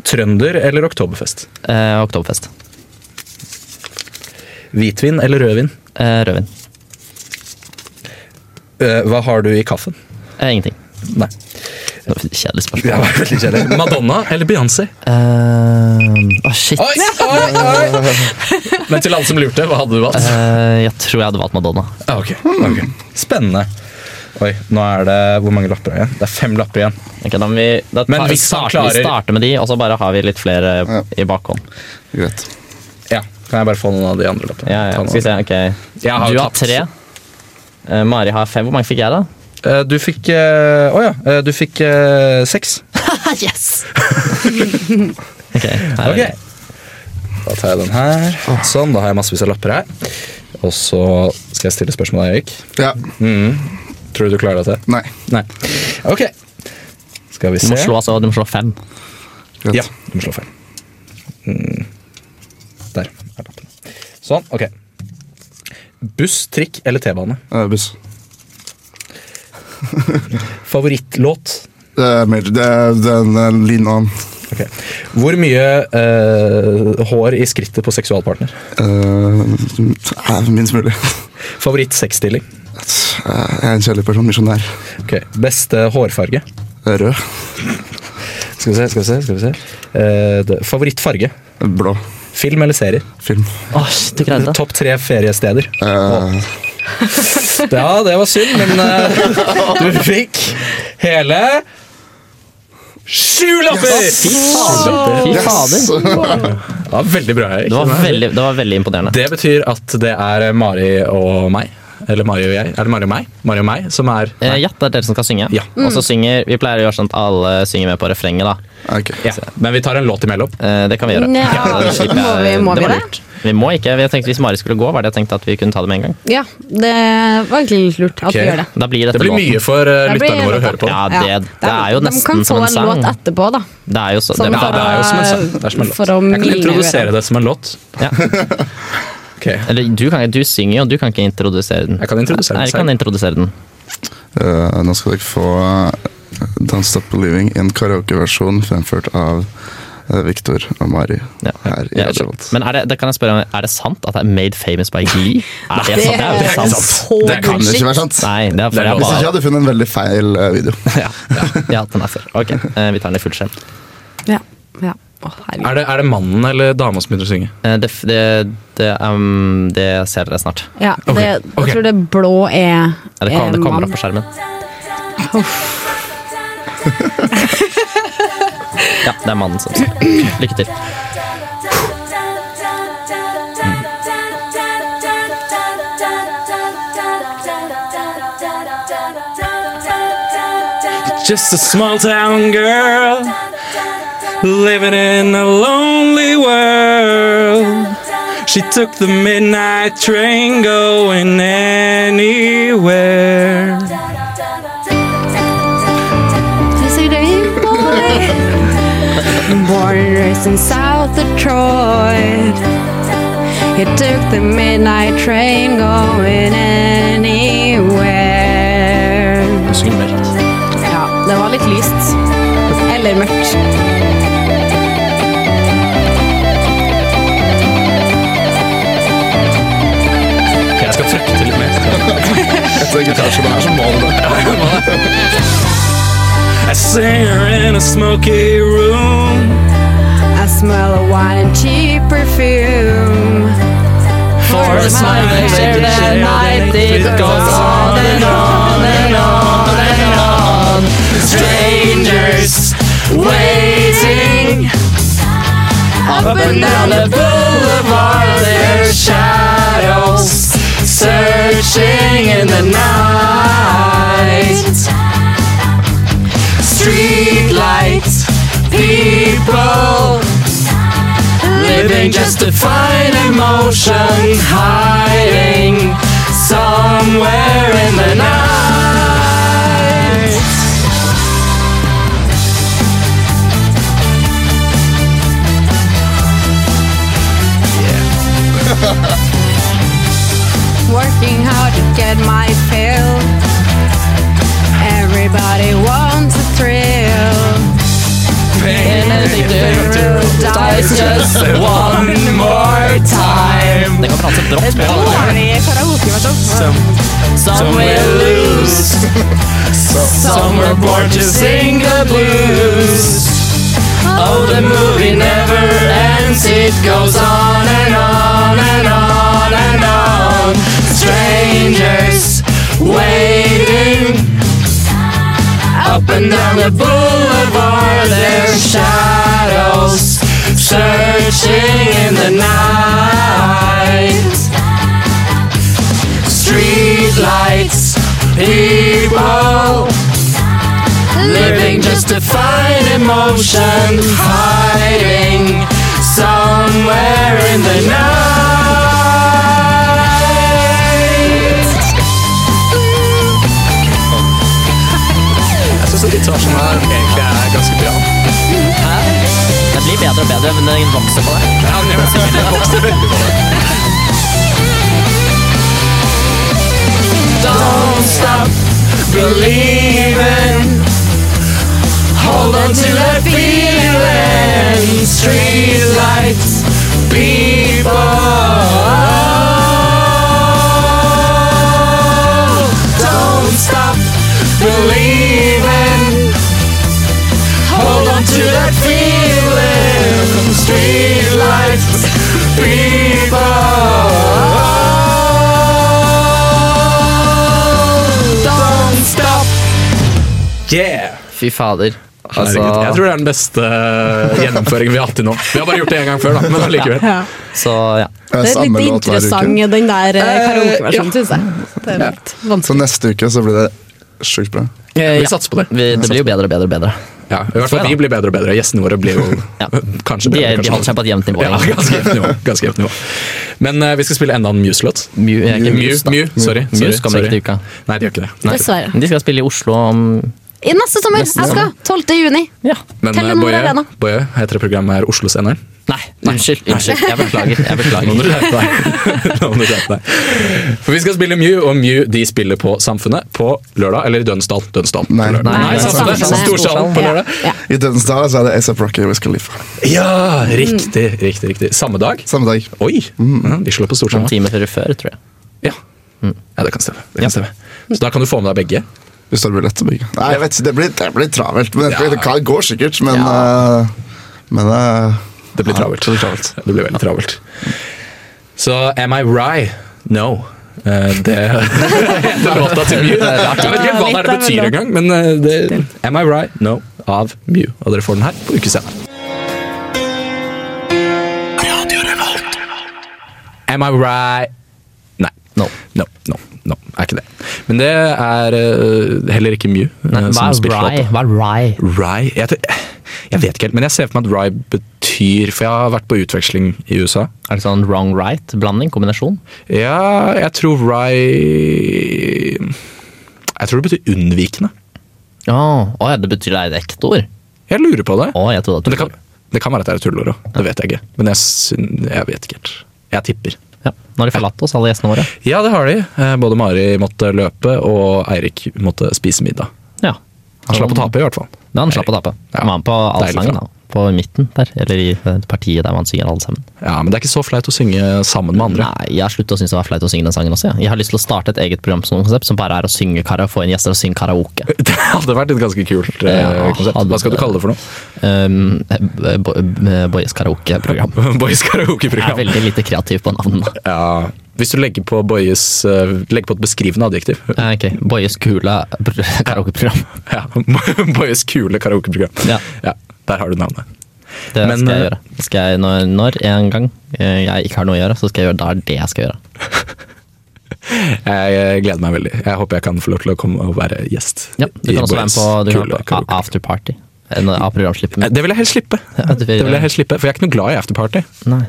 Speaker 8: Trønder eller oktoberfest?
Speaker 2: Eh, Oktoberfest.
Speaker 8: Hvitvin eller rødvin?
Speaker 2: Eh, rødvin.
Speaker 8: Eh, hva har du i kaffen?
Speaker 2: Eh, ingenting.
Speaker 8: Nei.
Speaker 2: Det var et Kjedelig spørsmål.
Speaker 8: Det var veldig kjedelig. Madonna eller Beyoncé?
Speaker 2: Eh, Å, shit.
Speaker 8: Oi, oi, oi. Men til alle som lurte, hva hadde du valgt?
Speaker 2: Eh, jeg tror jeg hadde valgt Madonna.
Speaker 8: Ah, ok, ok. Spennende. Oi, nå er det Hvor mange lapper er det igjen? Det er fem lapper igjen.
Speaker 2: Ok, da må vi, da
Speaker 8: Men
Speaker 2: tar,
Speaker 8: hvis han
Speaker 2: starter, vi
Speaker 8: klarer-
Speaker 2: starter med de, og så bare har vi litt flere
Speaker 9: Ja.
Speaker 2: i bakhånd.
Speaker 9: Greit.
Speaker 8: Ja, Kan jeg bare få noen av de andre lappene?
Speaker 2: Ja, ja.
Speaker 8: Ta noen
Speaker 2: Skal vi se,
Speaker 8: av
Speaker 2: ok.
Speaker 8: Jeg har
Speaker 2: du
Speaker 8: jo
Speaker 2: har
Speaker 8: tapt.
Speaker 2: tre. Eh, Mari har fem. Hvor mange fikk jeg, da?
Speaker 8: dem. Eh, Du fikk eh, Å ja, eh, du fikk eh, seks.
Speaker 2: Ok, her er
Speaker 8: Ok.
Speaker 2: det.
Speaker 8: Da tar jeg den her. Sånn, da har jeg massevis av lapper her. Og så skal jeg stille spørsmål, Erik.
Speaker 9: Ja.
Speaker 8: Tror du du klarer dette?
Speaker 9: Nei.
Speaker 8: Nei. Ok. Skal vi
Speaker 2: Du
Speaker 8: se.
Speaker 2: må slå, altså, du må slå fem.
Speaker 9: Greit.
Speaker 8: Ja, du må slå feil. Mm. Der er lappen. Sånn, ok. Buss, trikk eller T-bane?
Speaker 9: Eh, buss.
Speaker 8: Favorittlåt?
Speaker 9: Det er major. Det er den eh, lean on.
Speaker 8: Ok. Hvor mye eh, hår i skrittet på seksualpartner?
Speaker 9: Eh, eh, minst mulig.
Speaker 8: Favoritt-sexstilling?
Speaker 9: Eh, jeg er en kjedelig person. Misjonær.
Speaker 8: Ok. Beste hårfarge?
Speaker 9: Eh, Rød.
Speaker 8: Skal vi se, skal vi se. skal vi se. Eh, det- Favorittfarge?
Speaker 9: Blå.
Speaker 8: Film eller serier?
Speaker 9: Film.
Speaker 2: Åh, shit, du greide det.
Speaker 8: Topp tre feriesteder?
Speaker 9: Eh,
Speaker 8: Ja, det var synd, men eh, du fikk hele sju lapper!
Speaker 2: Fy fader! Fy
Speaker 9: yes!
Speaker 2: fader.
Speaker 8: Det var veldig bra. Erik.
Speaker 2: Det var veldig, det var veldig imponerende.
Speaker 8: Det betyr at det er eh, Mari og meg. Eller Mari og jeg. Er det Mari og meg? Mari og meg som er
Speaker 2: Eh, ja, det er dere som skal synge.
Speaker 8: Ja.
Speaker 2: Og så synger, Vi pleier å gjøre sånn at alle synger med på refrenget. da.
Speaker 9: Ok.
Speaker 8: ja. Men vi tar en låt imellom.
Speaker 2: Eh, det kan vi gjøre.
Speaker 4: Nja,
Speaker 2: Ja, da slipper jeg-
Speaker 4: må vi- må
Speaker 2: det
Speaker 4: vi
Speaker 2: var
Speaker 4: det?
Speaker 2: lurt. Vi må ikke, jeg tenkte Hvis Mari skulle gå, var det jeg tenkte at vi kunne ta det med en gang.
Speaker 4: Ja, det var egentlig litt lurt at
Speaker 8: Ok.
Speaker 4: vi gjør det.
Speaker 2: Da blir dette
Speaker 8: Det blir mye for eh,
Speaker 4: Det blir
Speaker 8: lytterne våre å
Speaker 4: låta.
Speaker 8: høre på.
Speaker 2: Ja, det-
Speaker 4: Ja.
Speaker 2: det er jo
Speaker 4: De
Speaker 2: nesten
Speaker 4: kan få
Speaker 2: som en sang.
Speaker 4: låt etterpå, da.
Speaker 2: Det er jo så,
Speaker 4: Sånn
Speaker 2: det,
Speaker 4: for
Speaker 8: det er jo som en sang.
Speaker 4: å-
Speaker 8: Det er som en låt.
Speaker 4: For å
Speaker 8: Jeg kan introdusere
Speaker 4: mildgjøre.
Speaker 8: det som en låt.
Speaker 2: Ja.
Speaker 8: Ok,
Speaker 2: Eller du, kan, du synger jo, du kan ikke introdusere den.
Speaker 8: Jeg kan introdusere den
Speaker 2: Nei, jeg kan
Speaker 8: selv.
Speaker 2: introdusere den.
Speaker 9: Eh, nå skal dere få eh, Don't Stop Believing, en karaokeversjon fremført av eh, Victor og Mari
Speaker 2: Ja.
Speaker 9: her i
Speaker 2: Ja,
Speaker 9: Radio
Speaker 2: skjønt.
Speaker 9: Volt.
Speaker 2: Men er det, det kan jeg spørre om, er det sant at det er made famous by Glee? Er det, sant? Det er jo ikke sant.
Speaker 4: så
Speaker 8: Det kan
Speaker 9: Kan det ikke være sant?
Speaker 2: Nei, det er for
Speaker 8: Det er
Speaker 2: jeg
Speaker 8: lov.
Speaker 9: Hvis ikke
Speaker 2: bare
Speaker 9: hadde jeg funnet en veldig feil eh, video.
Speaker 2: ja, ja, ja, den er full. Ok, eh, vi tar den i full skjerm.
Speaker 4: Ja. ja. Å, herregud.
Speaker 8: Er det, er det mannen eller dama som begynner å synge?
Speaker 2: Eh, Det, det, det, um, det ser dere snart.
Speaker 4: Ja,
Speaker 8: Ok,
Speaker 4: det,
Speaker 8: ok.
Speaker 4: Jeg tror det blå er
Speaker 2: Ja, det,
Speaker 4: er
Speaker 2: kom, det kommer
Speaker 4: mann.
Speaker 2: opp på skjermen. Ja, det er mannen som sier. Lykke til.
Speaker 8: Just a small town girl living in a lonely world. She took the midnight train going anywhere.
Speaker 4: This is the boy. Born and raised in South Detroit. He took the midnight train going anywhere.
Speaker 8: Hun synger mørkt.
Speaker 4: Ja, det var litt lyst. Eller mørkt.
Speaker 8: Ok, Jeg skal trykke til litt mer.
Speaker 9: Etter gitarsolo her, så må du det.
Speaker 8: I see her in a smoky room.
Speaker 4: I smell a wine and cheap perfume.
Speaker 8: For a smile and shake it, share the night. It goes on and on and on and on. Strangers waiting up and down the boulevard. Their shadows searching in the night. Street lights, people living just to find emotion hiding somewhere in the night.
Speaker 4: Working hard to get my fill. Everybody wants a thrill.
Speaker 8: Pain
Speaker 4: Anything different dies just
Speaker 8: one more time.
Speaker 2: Den kan danse brått med alle.
Speaker 4: dårlig karaokeversjon.
Speaker 8: Some will lose, some were born to sing the blues. Oh, the movie never ends, it goes on and on and on and on. Strangers waiting up and down the boulevard, their shadows searching in the night. Street lights, people living just to find emotion, hiding somewhere in the night. Jeg syns gitarsen her egentlig er ganske bra.
Speaker 2: Det blir bedre og bedre, men den vokser på deg.
Speaker 8: Ja, men jeg den vokser veldig på det. Don't stop believing. Hold on to that feeling. Street lights, people. Don't stop believing. Hold on to that feeling. Street lights, people. Don't stop. Yeah.
Speaker 2: Fy fader. Altså,
Speaker 8: jeg tror det er den beste eh, gjennomføringen vi har hatt til nå. Vi har bare gjort det én gang før, da, men allikevel.
Speaker 2: så ja.
Speaker 9: Det
Speaker 4: Det
Speaker 9: er
Speaker 4: er
Speaker 9: samme
Speaker 4: litt
Speaker 9: låt hver uke.
Speaker 4: interessant, den der eh, karaokeversjonen,
Speaker 8: ja.
Speaker 4: synes jeg. Det er litt
Speaker 9: Så
Speaker 4: vanskelig.
Speaker 9: neste uke så blir det sjukt bra.
Speaker 2: Eh,
Speaker 8: Vi
Speaker 2: ja.
Speaker 8: satser på det.
Speaker 2: Vi, det blir jo bedre og bedre og bedre.
Speaker 8: Ja, i hvert
Speaker 2: Får jeg
Speaker 8: fall
Speaker 2: da?
Speaker 8: Vi blir bedre og bedre. Gjestene våre blir jo
Speaker 2: Ja.
Speaker 8: kanskje
Speaker 2: De, er,
Speaker 8: bedre.
Speaker 2: de holder
Speaker 8: kanskje
Speaker 2: seg på et jevnt nivå.
Speaker 8: ja,
Speaker 2: egentlig.
Speaker 8: ganske jevnt nivå. Ganske jevnt nivå. Men eh, vi skal spille enda en Muse-låt.
Speaker 2: Mew er ikke
Speaker 8: Mew,
Speaker 2: Muse, da.
Speaker 8: Mew, sorry. sorry,
Speaker 2: Muse kommer
Speaker 8: sorry.
Speaker 2: ikke til uka.
Speaker 8: Nei, de gjør ikke det.
Speaker 2: Nei.
Speaker 4: Dessverre.
Speaker 2: De skal spille i Oslo om
Speaker 4: I neste sommer. Jeg skal. 12. juni.
Speaker 2: Ja.
Speaker 8: Men
Speaker 4: Telenor
Speaker 8: eh, Boje,
Speaker 4: Arena.
Speaker 8: Boje, heter det programmet her Oslos NR?
Speaker 2: Nei, unnskyld. unnskyld. Jeg beklager. jeg
Speaker 8: Nå må du
Speaker 2: beklager.
Speaker 8: skjerpe deg. Nå må du skjerpe deg. For vi skal spille Mew, og Mew de spiller på Samfunnet på lørdag. Eller i Dønsdal. Dønsdal.
Speaker 9: Nei.
Speaker 8: på lørdag.
Speaker 9: Nei,
Speaker 8: Nei
Speaker 4: sånn
Speaker 8: Samfunnet.
Speaker 2: Samfunnet.
Speaker 8: Storsalen på lørdag.
Speaker 9: I Dødensdal så er det ASAP Rocky og Wiz Khalifa.
Speaker 8: Ja, riktig, riktig, riktig. Samme dag.
Speaker 9: Samme dag.
Speaker 8: Oi,
Speaker 2: Mm.
Speaker 8: ja, de slår på
Speaker 2: Noen
Speaker 8: Storsalen.
Speaker 2: timer sånn før, før, tror jeg.
Speaker 8: Ja.
Speaker 2: Mm.
Speaker 8: ja, det kan stemme. Det kan stemme. Så da kan du få med deg begge.
Speaker 9: Hvis det blir lett å bygge. Nei, jeg vet ikke, det blir, det blir travelt. Men
Speaker 8: Ja.
Speaker 9: det kan- går sikkert, men eh, Men eh,
Speaker 8: Det blir travelt.
Speaker 9: Ja, det blir travelt.
Speaker 8: Det blir veldig travelt. Så Am I Rye? No. Eh, Det heter låta til Mew. Jeg vet ikke hva det, er det betyr engang, men eh, det, Am I Rye? No av Mew. Og dere får den her på ukescenen. Am I right? Nei. No. no, no, no, er ikke det. Men det er eh, heller ikke Mew. eh,
Speaker 2: Nei, hva
Speaker 8: som
Speaker 2: er
Speaker 8: spilte
Speaker 2: Rye?
Speaker 8: låta.
Speaker 2: Hva er Rye?
Speaker 8: Rye jeg, tror- jeg vet ikke helt, men jeg ser for meg at rye betyr For jeg har vært på utveksling i USA.
Speaker 2: Er det sånn wrong right-blanding? Kombinasjon?
Speaker 8: Ja, jeg tror rye Jeg tror det betyr unnvikende.
Speaker 2: Å, å ja, det betyr det er et ekte ord?
Speaker 8: Jeg lurer på det.
Speaker 2: Å, jeg trodde at
Speaker 8: Men det kan, det kan være at det er et tullord òg. Det vet jeg ikke. Men jeg, syn- jeg vet ikke helt. Jeg tipper.
Speaker 2: ja. Nå har de forlatt oss, alle gjestene våre.
Speaker 8: Ja, det har de. Eh, Både Mari måtte løpe, og Eirik måtte spise middag.
Speaker 2: Ja.
Speaker 8: Han slapp å tape, i hvert fall.
Speaker 2: Ja, han slapp å tape.
Speaker 8: Ja.
Speaker 2: Han var med på
Speaker 8: Deilig for
Speaker 2: allsangen,
Speaker 8: han.
Speaker 2: da. På midten der, eller i eh, partiet der man synger alle sammen.
Speaker 8: Ja, Men det er ikke så flaut å synge sammen med andre.
Speaker 2: Nei, jeg har sluttet å synes det var flaut å synge den sangen også. jeg. Jeg har lyst til å starte et eget program som, konsept, som bare er å synge kara, få inn gjester og synge karaoke.
Speaker 8: Det hadde vært et ganske kult eh,
Speaker 2: Ja,
Speaker 8: konsept.
Speaker 2: hadde
Speaker 8: Hva skal du
Speaker 2: det.
Speaker 8: kalle det for noe?
Speaker 2: Um, eh, eh, Bo- eh, Boys karaoke-program.
Speaker 8: Boys
Speaker 2: Jeg er
Speaker 8: karaokeprogram.
Speaker 2: veldig lite kreativ på navn. da.
Speaker 8: Ja, hvis du legger på, Boyes, eh, legger på et beskrivende adjektiv.
Speaker 2: Eh, Ok, Boys kule pr- karaokeprogram.
Speaker 8: Ja, Boyes kule karaokeprogram.
Speaker 2: Ja.
Speaker 8: der har du navnet.
Speaker 2: Det
Speaker 8: Men,
Speaker 2: skal jeg
Speaker 8: eh,
Speaker 2: gjøre. Skal jeg, når, når en gang eh, jeg ikke har noe å gjøre, så skal jeg gjøre da er det jeg skal gjøre.
Speaker 8: Jeg eh, gleder meg veldig. Jeg håper jeg kan få lov til å komme og være gjest.
Speaker 2: Ja, du
Speaker 8: i
Speaker 2: kan også være med
Speaker 8: Boyes
Speaker 2: på, du kan
Speaker 8: kule
Speaker 2: være på a-
Speaker 8: karaoke.
Speaker 2: afterparty. En av programslippet
Speaker 8: Eh,
Speaker 2: mitt.
Speaker 8: Det vil jeg helst slippe.
Speaker 2: Ja, du
Speaker 8: det
Speaker 2: vil-
Speaker 8: vil jeg helst slippe, For jeg er ikke noe glad i afterparty.
Speaker 2: Nei.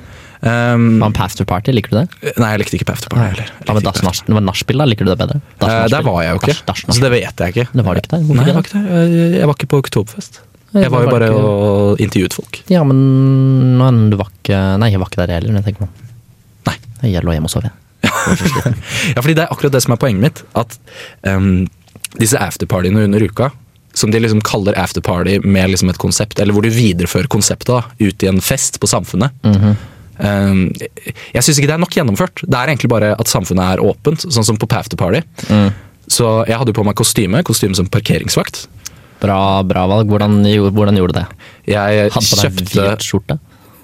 Speaker 8: Um,
Speaker 2: Hva med afterparty, liker du det?
Speaker 8: nei, jeg likte ikke på afterparty heller. Jeg
Speaker 2: Hva med
Speaker 8: likte ikke på
Speaker 2: das- hva med nachspiel, da? Liker du det bedre? Das-
Speaker 8: Eh, Der
Speaker 2: nachspiel.
Speaker 8: var jeg jo ikke,
Speaker 2: Das- das-
Speaker 8: så det vet jeg ikke.
Speaker 2: Det var du ikke der? Hvorfor
Speaker 8: Nei, jeg
Speaker 2: ikke
Speaker 8: var ikke der. Jeg- Jeg var ikke på Oktoberfest. Jeg var jo
Speaker 2: var
Speaker 8: bare
Speaker 2: ikke-
Speaker 8: og intervjuet folk.
Speaker 2: Ja, men nå er du var ikke Nei, jeg var ikke der heller. når Jeg tenker meg. om.
Speaker 8: Nei.
Speaker 2: Jeg lå hjemme og sov. jeg.
Speaker 8: Ja, fordi det er akkurat det som er poenget mitt. At em, disse afterpartyene under uka, som de liksom kaller afterparty med liksom et konsept, eller hvor du viderefører konseptet da, ut i en fest på samfunnet.
Speaker 2: Mhm.
Speaker 8: em, jeg syns ikke det er nok gjennomført. Det er egentlig bare at samfunnet er åpent, sånn som på afterparty.
Speaker 2: Mm.
Speaker 8: Så jeg hadde jo på meg kostyme, kostyme som parkeringsvakt.
Speaker 2: Bra, bra valg. Hvordan, gjo- hvordan gjorde du det?
Speaker 8: Jeg
Speaker 2: Hadde på deg
Speaker 8: kjøpte,
Speaker 2: hvit skjorte?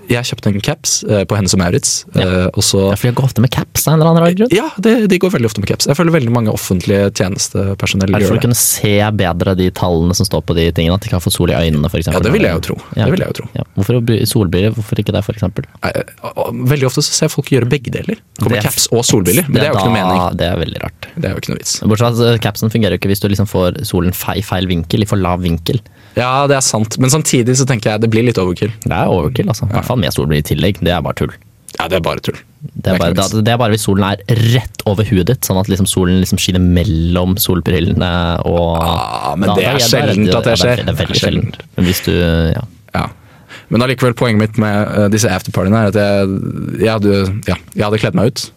Speaker 8: jeg kjøpte en caps eh, på Hennes og Maurits,
Speaker 2: Ja.
Speaker 8: eh, og så
Speaker 2: Ja, for jeg går ofte med caps av en eller annen rar grunn.
Speaker 8: Ja, det, de går veldig ofte med caps. Jeg føler veldig mange offentlige tjenestepersonell
Speaker 2: Er det for å
Speaker 8: gjør det.
Speaker 2: kunne se bedre de tallene som står på de tingene? At de ikke har fått sol i øynene, f.eks.?
Speaker 8: Ja, det vil jeg jo tro. Det vil jeg jo tro.
Speaker 2: Ja. Hvorfor bry- solbriller? Hvorfor ikke det, f.eks.?
Speaker 8: Nei, og- og Eh, Veldig ofte så ser jeg folk gjøre begge deler. Kommer
Speaker 2: Det er-
Speaker 8: caps og solbriller, men det er jo ikke noe mening.
Speaker 2: Det er veldig rart.
Speaker 8: Det er jo ikke noe vits.
Speaker 2: Bortsett fra at eh, capsen fungerer jo ikke hvis du liksom får solen feil, feil vinkel, i for lav vinkel.
Speaker 8: Ja, det er sant, men samtidig så tenker jeg det blir litt overkill.
Speaker 2: Det er overkill, altså. I hvert fall med solbriller i tillegg. Det er bare tull.
Speaker 8: Ja, det er bare tull.
Speaker 2: Det er, bare,
Speaker 8: ikke noe vits.
Speaker 2: det er bare hvis solen er rett over huet ditt, sånn at liksom solen liksom skinner mellom solbrillene og
Speaker 8: Ah, men
Speaker 2: Da-
Speaker 8: det er
Speaker 2: da- da-
Speaker 8: sjeldent
Speaker 2: da-
Speaker 8: at det
Speaker 2: ja,
Speaker 8: skjer.
Speaker 2: Det er veldig
Speaker 8: Det er sjeldent.
Speaker 2: sjeldent. Men hvis du ja.
Speaker 8: Ja. Men allikevel, poenget mitt med eh, disse afterpartyene er at jeg, jeg, hadde, ja, jeg hadde kledd meg ut.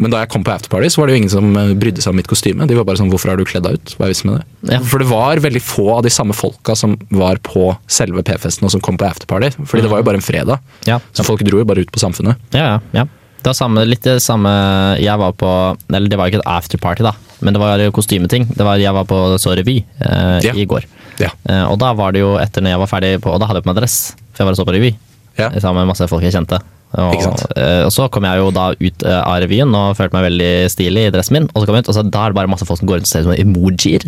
Speaker 8: Men da jeg kom på afterparty, så var det jo ingen som eh, brydde seg om mitt kostyme. De var bare sånn 'hvorfor har du kledd deg ut'? Hva er vitsen med det?
Speaker 2: Ja.
Speaker 8: For det var veldig få av de samme folka som var på selve P-festen og som kom på afterparty. Fordi det var jo bare en fredag.
Speaker 2: Ja.
Speaker 8: Så folk dro jo bare ut på samfunnet.
Speaker 2: ja, ja, ja. Det var samme, litt det samme Jeg var på Eller det var jo ikke et afterparty, da, men det var jo kostymeting. Det var, jeg var på så revy eh,
Speaker 8: Ja.
Speaker 2: i går.
Speaker 8: Ja.
Speaker 2: Eh, og da var det jo etter når jeg var ferdig på Og da hadde jeg på meg dress, for jeg var og så på revy.
Speaker 8: Ja.
Speaker 2: Sammen med masse folk jeg kjente. Og,
Speaker 8: Ikke sant?
Speaker 2: eh, og så kom jeg jo da ut eh, av revyen og følte meg veldig stilig i dressen min. Og så kom jeg ut, og så da er det bare masse folk som går rundt og ser ut som emojier.